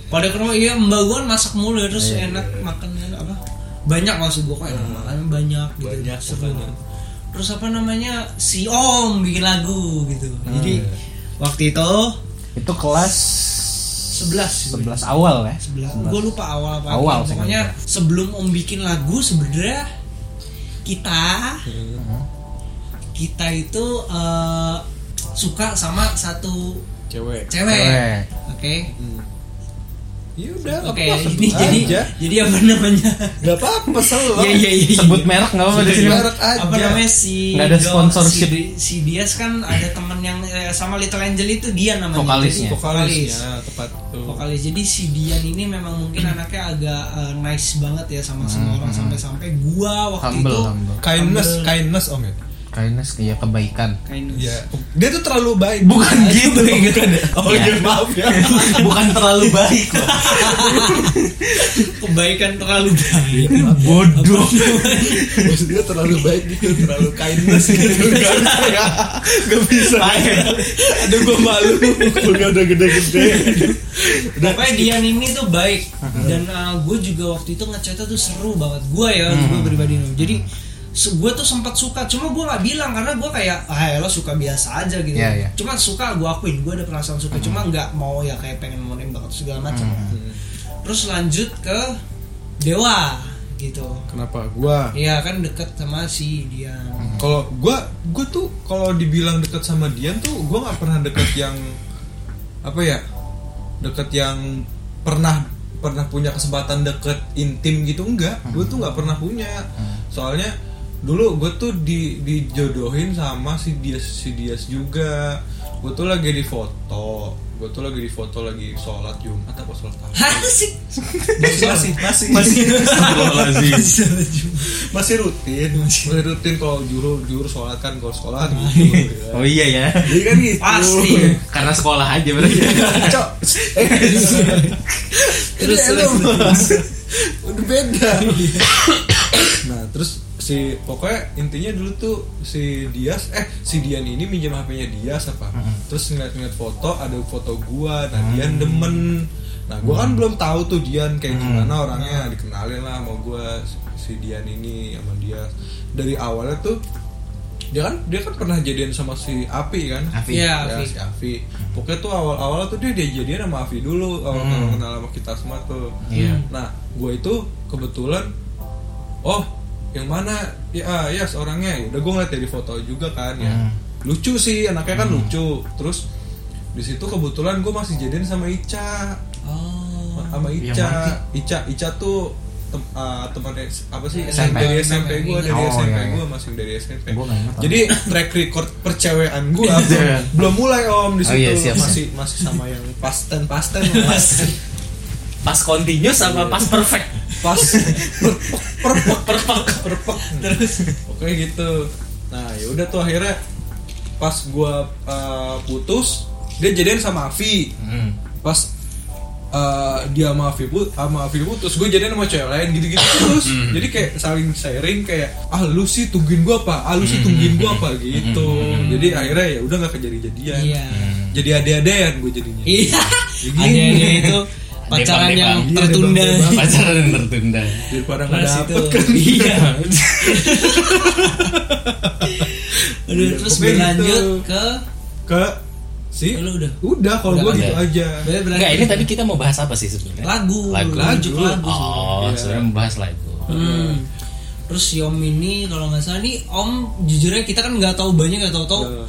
Speaker 3: Pada ke rumah iya mbak gue masak mulu ya,
Speaker 4: Iya,
Speaker 3: terus enak makannya apa? Banyak maksud gue kok enak makannya banyak gitu.
Speaker 7: Iya. Banyak,
Speaker 3: seru.
Speaker 7: makanya.
Speaker 3: Terus apa namanya si Om bikin lagu gitu.
Speaker 4: Ah,
Speaker 3: Jadi
Speaker 4: iya,
Speaker 3: waktu itu
Speaker 4: Itu kelas
Speaker 3: 11
Speaker 4: 11 awal ya.
Speaker 3: sebelah
Speaker 4: 11.
Speaker 3: gue lupa awal apa
Speaker 4: Awal sih,
Speaker 3: pokoknya sebelum om bikin lagu sebenarnya kita kita itu eh, suka sama satu
Speaker 7: cewek
Speaker 3: cewek
Speaker 4: Cewek.
Speaker 3: oke
Speaker 7: ya udah
Speaker 3: oke
Speaker 7: apa
Speaker 3: ini jadi jadi apa namanya
Speaker 7: nggak apa apa selalu
Speaker 4: Iya,
Speaker 3: ya ya ya
Speaker 4: Sebut merek nggak apa-apa di sini.
Speaker 7: merek aja
Speaker 3: apa namanya si
Speaker 4: Nggak ada
Speaker 3: Do-
Speaker 4: sponsorship.
Speaker 3: si, si Dias kan ada teman yang eh, sama Little Angel itu dia namanya Jadi vokalis
Speaker 4: Vokalisnya.
Speaker 5: ya.
Speaker 7: vokalisnya Iya, tepat tuh
Speaker 3: vokalis jadi si Dian ini memang mungkin anaknya agak eh, nice banget ya sama semua orang sampai-sampai gua waktu
Speaker 2: humble
Speaker 3: itu
Speaker 2: humble
Speaker 7: kindness kindness om ya
Speaker 2: kindness
Speaker 4: iya,
Speaker 2: kayak kebaikan
Speaker 3: kindness
Speaker 7: Ya, dia tuh terlalu baik
Speaker 4: Bukan gitu ingetannya.
Speaker 7: oh iya maaf ya
Speaker 4: Bukan terlalu baik loh.
Speaker 3: kebaikan terlalu baik
Speaker 4: Bodoh.
Speaker 7: maksudnya terlalu baik gitu terlalu kindness gitu nggak bisa nggak nggak bisa aduh gue malu kulnya udah gede-gede
Speaker 3: Pokoknya Dian ini tuh baik dan gue juga waktu itu ngechatnya tuh seru banget gue ya
Speaker 2: Mhm.
Speaker 3: gue pribadi jadi gue tuh sempat suka cuma gue nggak bilang karena gue kayak ah ya lo suka biasa aja gitu
Speaker 2: Iya, Mhm. iya.
Speaker 3: cuma suka gue akuin gue ada perasaan suka cuma nggak mau ya kayak pengen mau nembak atau segala macam
Speaker 2: Mhm.
Speaker 3: gitu. terus lanjut ke dewa gitu
Speaker 7: kenapa gue
Speaker 3: Iya kan deket sama si Dian
Speaker 2: Mhm.
Speaker 7: kalau gue gue tuh kalau dibilang dekat sama Dian tuh gue nggak pernah dekat yang apa ya dekat yang pernah pernah punya kesempatan deket intim gitu enggak gue tuh nggak pernah punya soalnya Ya, dulu gue tuh di dijodohin sama si Dias si Dias juga gue tuh lagi di foto gue tuh lagi di foto lagi sholat Jumat apa sholat apa
Speaker 3: Asik.
Speaker 7: masih masih masih masih rutin Iya, masih rutin kalau juru juru sholat kan kalau sholat gitu ya.
Speaker 4: Oh iya ya.
Speaker 7: Jadi kan gitu.
Speaker 3: Pasti.
Speaker 4: Karena sekolah aja berarti.
Speaker 7: Cok. Eh,
Speaker 3: Terus
Speaker 7: ini
Speaker 3: terus.
Speaker 7: lu. Udah beda. nah, terus si pokoknya intinya dulu tuh si Dias eh si Dian ini minjem HP-nya Dias apa. Terus ngeliat-ngeliat foto, ada foto gua. Nah, Dian demen. Nah, gua kan belum tahu tuh Dian kayak gimana orangnya, nah, dikenalin lah sama gua si Dian ini sama Dias. Dari awalnya tuh dia kan dia kan pernah jadian sama si Api kan
Speaker 3: Iya,
Speaker 7: ya,
Speaker 3: Afi.
Speaker 7: si Afi. Pokoknya tuh awal-awal tuh dia dia jadian sama Afi dulu awal awal kenal sama kita semua tuh. Nah, gue itu kebetulan oh yang mana ya ah, ya orangnya ya udah gue ngeliat dari foto juga kan ya lucu sih anaknya kan lucu terus di situ kebetulan gue masih jadian sama Ica
Speaker 3: Oh.
Speaker 7: sama Ica Ica Ica tuh tem ah, teman S- apa sih
Speaker 2: SMP.
Speaker 7: SMP. dari SMP gue dari
Speaker 2: Oh,
Speaker 7: SMP
Speaker 2: iya, iya.
Speaker 7: gue masih dari SMP
Speaker 2: Gua nggak ingat, Om.
Speaker 7: jadi track record percewean gue belum, belum mulai om di
Speaker 4: Oh,
Speaker 7: situ
Speaker 4: iya, siap, siap.
Speaker 7: masih masih sama yang pasten pasten mas
Speaker 4: pas continuous sama pas perfect
Speaker 7: pas perpek perpek perpek perpek terus oke gitu nah ya udah tuh akhirnya pas gua uh, putus dia jadian sama Avi pas uh, dia sama Avi put sama Avi putus gue jadian sama cewek lain gitu gitu terus jadi kayak saling sharing kayak ah lu sih tungguin gua apa ah lu sih tungguin gua apa gitu jadi akhirnya ya udah nggak kejadi jadian
Speaker 3: Iya.
Speaker 7: jadi ade-adean gue jadinya
Speaker 3: Iya.
Speaker 7: Jadi-
Speaker 3: Ada ada itu pacaran
Speaker 6: Debang,
Speaker 3: yang
Speaker 7: debang.
Speaker 3: tertunda.
Speaker 7: Iya, debang,
Speaker 6: pacaran yang tertunda
Speaker 7: daripada nggak
Speaker 3: Terus
Speaker 7: dapet
Speaker 3: itu.
Speaker 7: kan
Speaker 3: Iya. Aduh, terus
Speaker 7: pokoknya
Speaker 3: berlanjut
Speaker 7: gitu.
Speaker 3: ke
Speaker 7: ke si
Speaker 3: Eh, lu udah.
Speaker 7: udah kalau gue
Speaker 3: Udah,
Speaker 7: gitu aja
Speaker 3: Gue berlanjut
Speaker 6: Enggak, ini tadi kita mau bahas apa sih sebenarnya?
Speaker 3: lagu,
Speaker 6: Lagu.
Speaker 3: lanjut ke lagu.
Speaker 6: Oh,
Speaker 7: Iya.
Speaker 6: sebenarnya membahas lagu.
Speaker 3: Hmm. Terus Yom ini kalau nggak salah nih Om jujurnya kita kan nggak tahu banyak ya tahu-tahu
Speaker 7: Nah,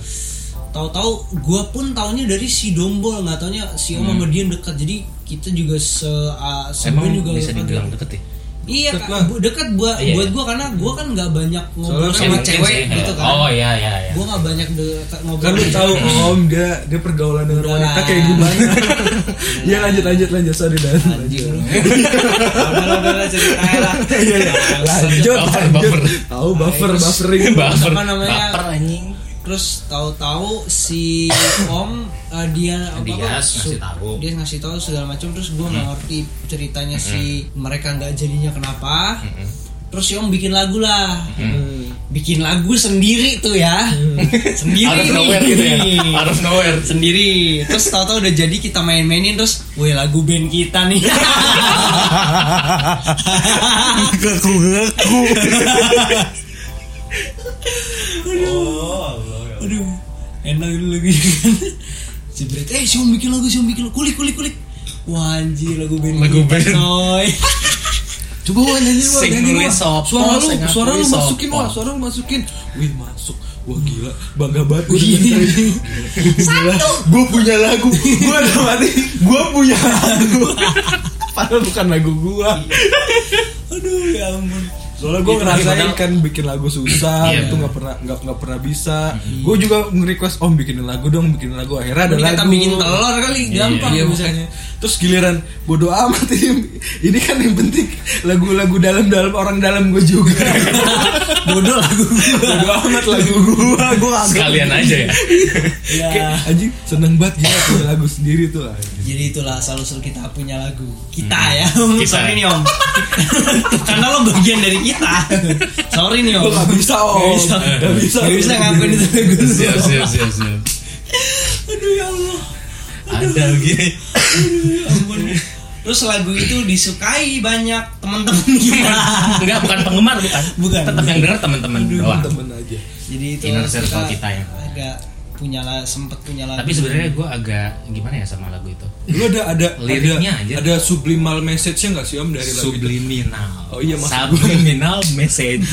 Speaker 3: tahu-tahu gue pun taunya dari si Dombol nggak taunya si Om sama dia dekat jadi kita juga se uh,
Speaker 6: Emang
Speaker 3: sebenarnya juga
Speaker 6: bisa
Speaker 3: kaget.
Speaker 6: dibilang deket ya?
Speaker 3: Iya
Speaker 7: Deket
Speaker 3: Kak.
Speaker 7: lah.
Speaker 3: Bu- dekat buat
Speaker 6: Iya,
Speaker 3: buat
Speaker 6: iya.
Speaker 3: gue karena gue kan nggak banyak ngobrol
Speaker 7: Soalnya kan
Speaker 3: sama
Speaker 7: mungkin
Speaker 3: cewek
Speaker 6: sih,
Speaker 3: gitu
Speaker 6: eh,
Speaker 3: kan.
Speaker 6: Oh iya iya iya.
Speaker 3: Gue nggak banyak de- ngobrol.
Speaker 7: kan lu
Speaker 3: sama
Speaker 7: tahu
Speaker 3: cewek.
Speaker 7: om dia dia pergaulan dengan
Speaker 3: Udah
Speaker 7: wanita
Speaker 3: lah.
Speaker 7: kayak gimana ya lanjut lanjut lanjut sorry dan
Speaker 3: Anjing lu. Udah udah udah ceritain lah.
Speaker 7: lanjut
Speaker 6: Iya, Buffer,
Speaker 7: lanjut
Speaker 6: buffer.
Speaker 7: tahu buffer
Speaker 3: Terus-
Speaker 7: buffering
Speaker 6: Baper,
Speaker 3: Apa namanya?
Speaker 6: baper anjing.
Speaker 3: Terus tahu-tahu si Om eh, dia apa
Speaker 6: Dia
Speaker 3: su-
Speaker 6: ngasih tahu. Hmm.
Speaker 3: Dia ngasih tahu segala macam terus gue nggak ngerti ceritanya si mereka nggak jadinya kenapa.
Speaker 6: Hmm.
Speaker 3: Terus si Om bikin lagu lah. Bikin lagu sendiri tuh ya. sendiri.
Speaker 6: Out of nowhere Hmm. gitu ya.
Speaker 3: nih.
Speaker 6: Out of nowhere.
Speaker 3: sendiri terus tahu-tahu udah jadi kita main-mainin terus weh lagu band kita nih
Speaker 8: Keku keku.
Speaker 3: aduh enak dulu lagi kan jebret eh siom bikin lagu siom bikin lagu kulik kulik kulik wah anjir lagu band
Speaker 6: Lagu
Speaker 3: kita,
Speaker 6: band.
Speaker 3: coy
Speaker 7: coba wah nyanyi wah
Speaker 6: Sing
Speaker 7: nyanyi
Speaker 6: nulis
Speaker 7: wah
Speaker 6: sopo,
Speaker 7: suara lu
Speaker 6: sing
Speaker 7: suara lu
Speaker 6: ngakui
Speaker 7: masukin
Speaker 6: sopo.
Speaker 7: wah suara lu masukin wih masuk wah gila bangga banget gue dengan saya. Gila, gue punya lagu gue ada mati gue punya lagu padahal bukan lagu gue
Speaker 3: aduh ya ampun
Speaker 7: soalnya gue
Speaker 6: Itu
Speaker 7: ngerasain
Speaker 6: gimana?
Speaker 7: kan bikin lagu susah
Speaker 6: Iya.
Speaker 7: itu nggak pernah nggak nggak pernah bisa gue juga nge-request om bikinin lagu dong bikinin lagu akhirnya ada
Speaker 3: kita
Speaker 7: lagu
Speaker 3: bikin telur kali gampang
Speaker 7: iya misalnya terus giliran bodoh amat ini ini kan yang penting lagu-lagu dalam-dalam orang dalam gue juga bodoh lagu bodoh amat lagu gue gue
Speaker 6: Sekalian aja ya.
Speaker 3: ya
Speaker 7: anjing seneng banget gila punya lagu sendiri tuh anjing.
Speaker 3: jadi itulah selalu kita punya lagu kita
Speaker 7: Hmm.
Speaker 3: ya Om.
Speaker 6: Kita.
Speaker 3: sorry nih om karena lo bagian dari kita sorry nih om
Speaker 7: Gua nggak bisa, Om.
Speaker 3: Nggak bisa
Speaker 7: Nggak bisa.
Speaker 3: Nggak bisa ngapain itu lagu
Speaker 6: Siap siap siap siap.
Speaker 3: aduh ya allah
Speaker 6: Ada gini.
Speaker 3: Ya ampun. Terus lagu itu disukai banyak teman-teman kita.
Speaker 6: Enggak bukan penggemar bukan.
Speaker 3: Bukan.
Speaker 6: Tetap yang denger teman-teman doang.
Speaker 7: temen aja
Speaker 3: Jadi itu
Speaker 6: Inner circle kita ya.
Speaker 3: agak punya lah sempet punya lagu.
Speaker 6: Tapi sebenarnya gue agak gimana ya sama lagu itu?
Speaker 7: lu ada ada
Speaker 6: Liriknya
Speaker 7: ada,
Speaker 6: aja.
Speaker 7: ada sublimal message nya nggak sih om dari lagu itu
Speaker 6: Subliminal.
Speaker 7: Oh iya, maksud
Speaker 6: Subliminal message.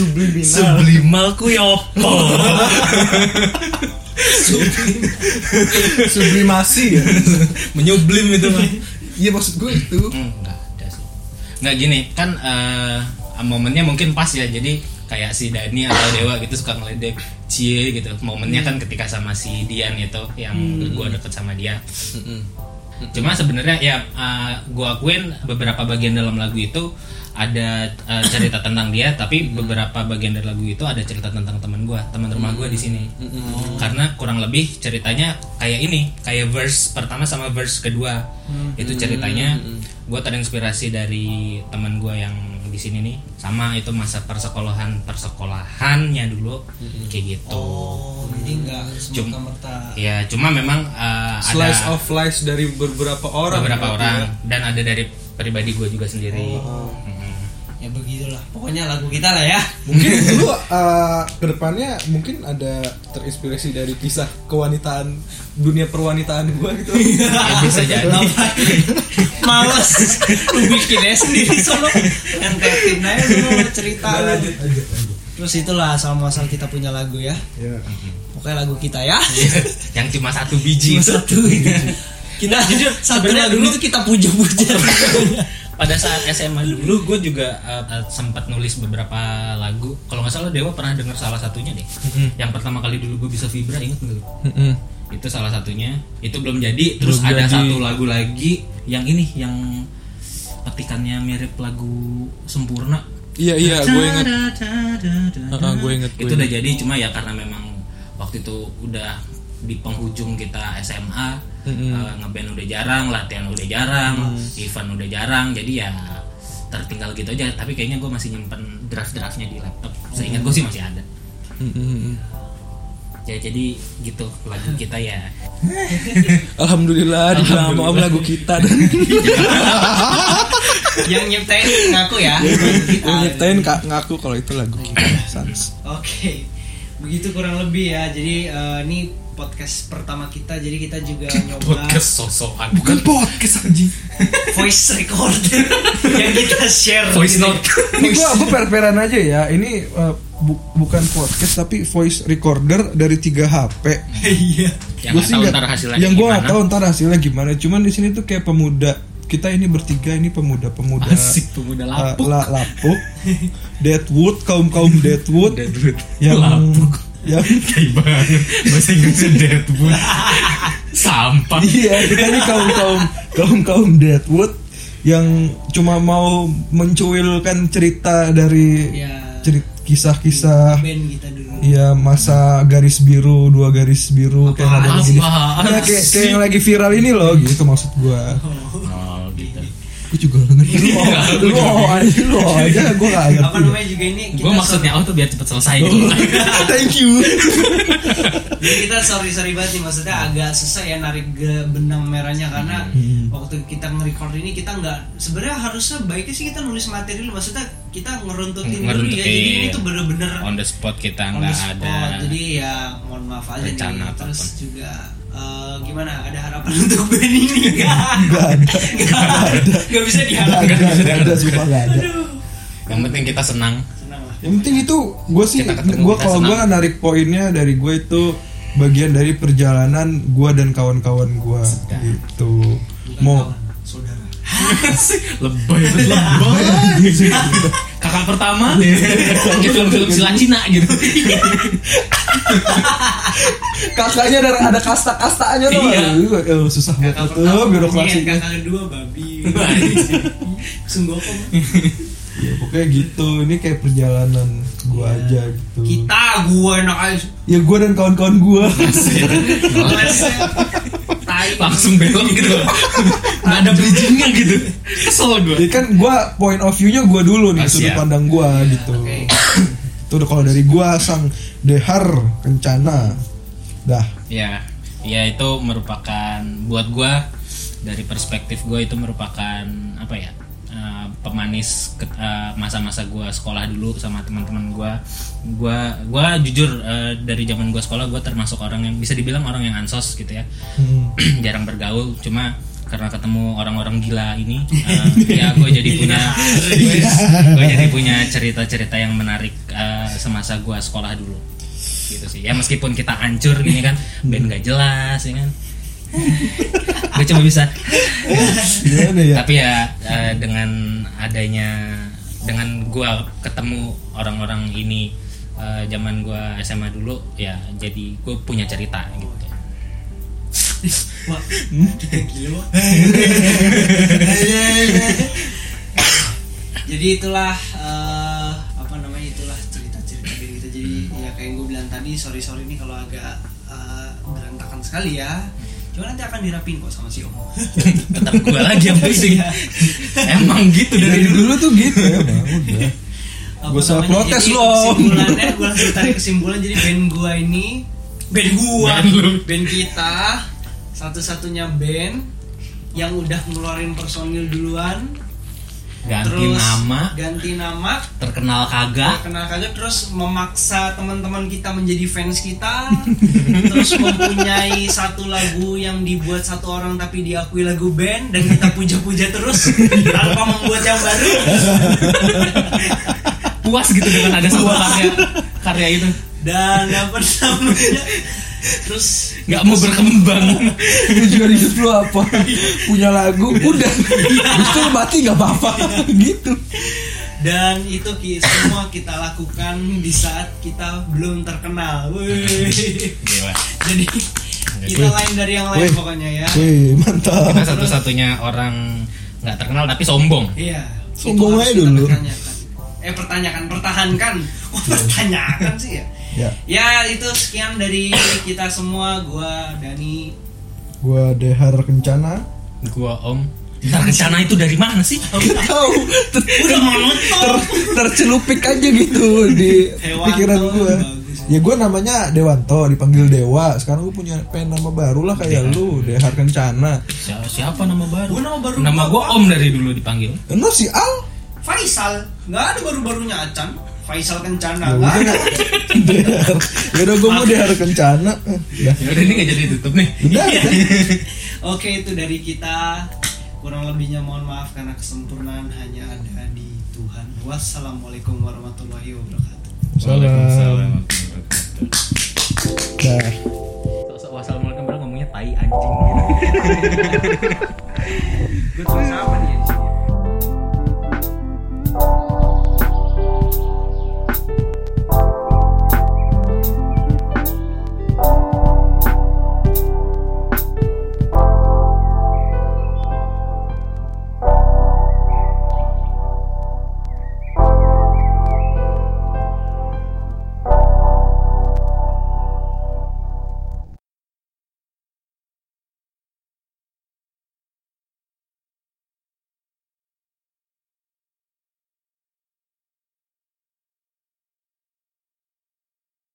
Speaker 6: Subliminal. Sublimal ku yopo.
Speaker 7: sublimasi ya
Speaker 6: Menyublim itu mah.
Speaker 7: iya maksud gue itu
Speaker 6: Enggak ada sih. Enggak gini, kan eh, momennya mungkin pas ya. Jadi kayak si Dani atau Dewa gitu suka ngeledek Cie gitu. Momennya kan ketika sama si Dian itu yang gua deket sama dia. Cuma sebenarnya ya eh, gua akuin beberapa bagian dalam lagu itu ada eh, cerita tentang dia, tapi beberapa bagian dari lagu itu ada cerita tentang teman gua, teman rumah gua di sini. Karena kurang lebih ceritanya kayak ini, kayak verse pertama sama verse kedua. Itu ceritanya gua terinspirasi dari teman gua yang di sini nih. Sama itu masa persekolahan, persekolahannya dulu kayak gitu.
Speaker 3: oh, jadi enggak
Speaker 6: Cuma-
Speaker 3: semata merta.
Speaker 6: Ya, cuma memang eh,
Speaker 7: slice
Speaker 6: ada
Speaker 7: of life dari beberapa orang
Speaker 6: beberapa
Speaker 7: berarti
Speaker 6: orang
Speaker 7: ya.
Speaker 6: dan ada dari pribadi gue juga sendiri. Mm-mm.
Speaker 3: Ya begitulah. Pokoknya lagu kita lah ya.
Speaker 7: mungkin dulu uh, kedepannya mungkin ada terinspirasi dari kisah kewanitaan dunia perwanitaan gue gitu
Speaker 6: Ya, bisa jadi.
Speaker 3: Males lu bikin aja sendiri solo. Entertain aja lu cerita
Speaker 7: Udah,
Speaker 3: lu.
Speaker 7: lanjut lanjut lanjut
Speaker 3: Terus itulah asal muasal kita punya lagu ya.
Speaker 7: ya
Speaker 3: Pokoknya lagu kita ya.
Speaker 6: yang cuma satu biji.
Speaker 3: Cuma satu. kita jujur satu
Speaker 6: sebenarnya
Speaker 3: lagu
Speaker 6: dulu-
Speaker 3: itu kita puja-puja.
Speaker 6: pada saat SMA dulu gue juga uh, sempat nulis beberapa lagu kalau nggak salah Dewa pernah dengar salah satunya deh yang pertama kali dulu gue bisa vibra inget nggak lu? itu salah satunya itu belum jadi terus
Speaker 7: Belum
Speaker 6: ada
Speaker 7: jadi.
Speaker 6: satu lagu lagi yang ini yang petikannya mirip lagu sempurna
Speaker 7: Iya iya, gue inget. Heeh, gue inget, gue
Speaker 6: itu udah jadi cuma ya karena memang waktu itu udah di penghujung kita SMA eh, ngeband udah jarang latihan udah jarang event udah jarang jadi ya tertinggal gitu aja tapi kayaknya gue masih nyimpen draft draftnya di laptop seingat gue sih masih ada
Speaker 7: Mm-mm.
Speaker 6: ya jadi gitu lagu kita ya
Speaker 7: Alhamdulillah, dibilang maaf lagu kita dan
Speaker 3: yang nyiptain ngaku ya
Speaker 7: yang nyiptain Kak, ngaku kalau itu lagu kita. Sans.
Speaker 3: Oke, begitu kurang lebih ya. Jadi eh, ini podcast pertama kita, jadi kita juga nyoba
Speaker 6: sosokan
Speaker 7: Bukan podcast anjing.
Speaker 3: voice recorder yang kita share. gitu.
Speaker 6: voice
Speaker 3: Jadi,
Speaker 6: note
Speaker 5: Ini gua gua per-peran aja ya. Ini eh, bu- bukan podcast tapi voice recorder dari tiga HP.
Speaker 3: Iya.
Speaker 6: yang nggak tahu
Speaker 5: nggak-
Speaker 6: ntar hasilnya
Speaker 5: Yang gue nggak
Speaker 6: gimana.
Speaker 5: tahu ntar hasilnya gimana. Cuman di sini tuh kayak pemuda kita ini bertiga ini pemuda-pemuda
Speaker 6: Asik,
Speaker 5: eh,
Speaker 6: pemuda lapuk.
Speaker 5: la- lapuk. Deadwood kaum kaum Deadwood
Speaker 7: Deadwood.
Speaker 5: yang lapuk. yang
Speaker 6: Tai banget Bahasa Inggrisnya Deadwood Sampah
Speaker 5: iya kita ini kaum kaum kaum kaum Deadwood yang cuma mau mencuilkan cerita dari
Speaker 3: Ya,
Speaker 5: cerita kisah-kisah
Speaker 3: band kita dulu.
Speaker 5: Iya masa garis biru dua garis biru kayak yang lagi gini.
Speaker 6: apaan
Speaker 5: Ya, kayak, kayak yang lagi viral ini loh gitu maksud gua.
Speaker 6: Oh gitu
Speaker 5: Gue juga nggak ngerti lu oh, lu oh aja lu oh aja gua nggak
Speaker 3: Apa
Speaker 5: ngerti.
Speaker 3: namanya juga ini? Kita Iya,
Speaker 6: Gue maksudnya oh tuh biar cepet selesai gitu
Speaker 5: Thank you.
Speaker 3: Jadi kita sorry sorry banget nih maksudnya agak susah ya narik ke benang merahnya karena waktu kita nge-record ini kita nggak sebenarnya harusnya baiknya sih kita nulis materi dulu maksudnya kita ngeruntutin, dulu ya jadi
Speaker 6: Ngeruntutin.
Speaker 3: ini tuh bener-bener
Speaker 6: On the spot kita
Speaker 3: on
Speaker 6: nggak
Speaker 3: the spot.
Speaker 6: ada
Speaker 3: jadi ya mohon maaf aja nih
Speaker 6: rencana
Speaker 3: terus
Speaker 6: apapun.
Speaker 3: juga eh, gimana ada harapan untuk band ini nggak
Speaker 5: ada.
Speaker 3: nggak ada nggak bisa
Speaker 5: Gak
Speaker 3: diharapkan
Speaker 5: ada gak ada sumpah nggak ada.
Speaker 6: Yang penting kita senang
Speaker 3: senang lah
Speaker 5: Yang penting itu gue sih
Speaker 6: Kita ketemu,
Speaker 5: gua
Speaker 6: kita
Speaker 5: kalau gua narik poinnya dari gue itu bagian dari perjalanan gua dan kawan-kawan gua gitu. Mau
Speaker 3: saudara
Speaker 6: Lebay Lebay Kakak pertama Kayak film-film sila Cina gitu
Speaker 5: kakaknya ada ada kasta-kastanya tuh.
Speaker 6: Iya.
Speaker 5: Aduh, eh, susah banget
Speaker 3: kakak
Speaker 5: itu
Speaker 3: pertama
Speaker 5: birokrasi.
Speaker 3: monyet, kakak kedua babi sunggokong
Speaker 5: Ya, pokoknya gitu. Ini kayak perjalanan gua
Speaker 7: Iya.
Speaker 5: aja gitu.
Speaker 3: kita gua enak aja
Speaker 5: Ya gua dan kawan-kawan gua.
Speaker 3: Lesnya. tai
Speaker 6: Langsung belok gitu Gak ada bridgingnya gitu Kesel gue
Speaker 5: ya kan gua point of view-nya gua dulu nih
Speaker 6: Ah,
Speaker 5: sudut
Speaker 6: siap.
Speaker 5: pandang gua gitu.
Speaker 3: oke.
Speaker 5: Itu udah kalau dari gua sang Dehar Kencana. Dah.
Speaker 6: Ya, ya itu merupakan buat gua dari perspektif gua itu merupakan apa ya eh, pemanis ke- eh, masa-masa gua sekolah dulu sama teman-teman gua. Gua, gua jujur eh, dari zaman gua sekolah gua termasuk orang yang bisa dibilang orang yang ansos gitu ya, jarang bergaul. Cuma karena ketemu orang-orang gila ini, eh, ya gue jadi punya, gue jadi punya cerita-cerita yang menarik eh, semasa gua sekolah dulu gitu sih ya meskipun kita hancur gini kan band gak jelas ya kan gue cuma bisa
Speaker 5: Gimana ya?
Speaker 6: tapi ya eh, dengan adanya dengan gua ketemu orang-orang ini eh, zaman gua SMA dulu ya jadi gue punya cerita gitu
Speaker 3: Wah, gila Wak. Jadi itulah eh, apa namanya itulah cerita-cerita diri kita. Jadi ya kayak yang gue bilang tadi, sorry sorry nih kalau agak eh, berantakan sekali ya. Cuma nanti akan dirapin kok sama si Om.
Speaker 6: tetap gua lagi yang pusing emang gitu
Speaker 5: Dari
Speaker 6: dari
Speaker 5: dulu
Speaker 6: dulu
Speaker 5: tuh gitu ya, Bang. Udah.
Speaker 3: Apa
Speaker 5: Gua salah
Speaker 3: namanya,
Speaker 5: protes,
Speaker 3: jadi
Speaker 5: lu, Om.
Speaker 3: Kesimpulannya gue langsung tarik kesimpulan jadi band gua ini band gua
Speaker 6: Band lu.
Speaker 3: band kita satu-satunya band yang udah ngeluarin personil duluan
Speaker 6: ganti nama
Speaker 3: ganti nama
Speaker 6: terkenal kagak
Speaker 3: kenal kagak terus memaksa teman-teman kita menjadi fans kita terus mempunyai satu lagu yang dibuat satu orang tapi diakui lagu band dan kita puja-puja terus tanpa membuat yang baru
Speaker 6: puas gitu dengan ada satu karya karya itu
Speaker 3: dan apa namanya terus
Speaker 6: nggak mau berkembang
Speaker 9: Tujuan hidup lu apa? Punya lagu, udah. Justru mati nggak apa-apa. Gitu.
Speaker 3: dan itu ki- semua kita lakukan di saat kita belum terkenal Wih. jadi kita lain dari yang lain pokoknya ya
Speaker 7: Wih, mantap.
Speaker 6: kita satu-satunya orang nggak terkenal tapi sombong
Speaker 3: iya itu
Speaker 7: Sombong
Speaker 3: harus
Speaker 7: aja
Speaker 3: kita
Speaker 7: dulu.
Speaker 3: pertanyakan. eh pertanyakan pertahankan kok pertanyakan sih ya
Speaker 7: Ya,
Speaker 3: Ya itu sekian dari kita semua Gua Dani
Speaker 7: gua Dehar Kencana.
Speaker 6: gua om Ntar rencana itu dari mana sih?
Speaker 9: Tahu, ter-
Speaker 3: Udah monoton
Speaker 9: ter- tercelupik aja gitu di
Speaker 3: Hewan
Speaker 7: Pikiran
Speaker 3: tuh
Speaker 7: gua.
Speaker 3: bagus.
Speaker 7: Ya gua namanya Dewanto, dipanggil Dewa. Sekarang gua punya pengen nama baru lah kayak lu, Dehar Kencana.
Speaker 6: Siapa, siapa nama baru?
Speaker 3: Gua nama baru
Speaker 6: Nama gua om dari dulu dipanggil
Speaker 7: Enak si Al.
Speaker 3: Faisal Nggak ada baru-barunya Acan Faisal Kencana nggak
Speaker 7: Ya udah
Speaker 3: ada.
Speaker 7: nggak- Dehar. Ya udah gua mau Dehar Kencana. Eh, Udah.
Speaker 6: Ya udah ini nggak jadi tutup nih
Speaker 7: Udah. udah.
Speaker 3: Oke itu dari kita Kurang lebihnya mohon maaf karena kesempurnaan hanya ada di Tuhan Wassalamualaikum warahmatullahi wabarakatuh
Speaker 7: Salam. Dah.
Speaker 6: Sok-sok wassalamualaikum padahal ngomongnya tai anjing gitu
Speaker 3: Gue tulis apa nih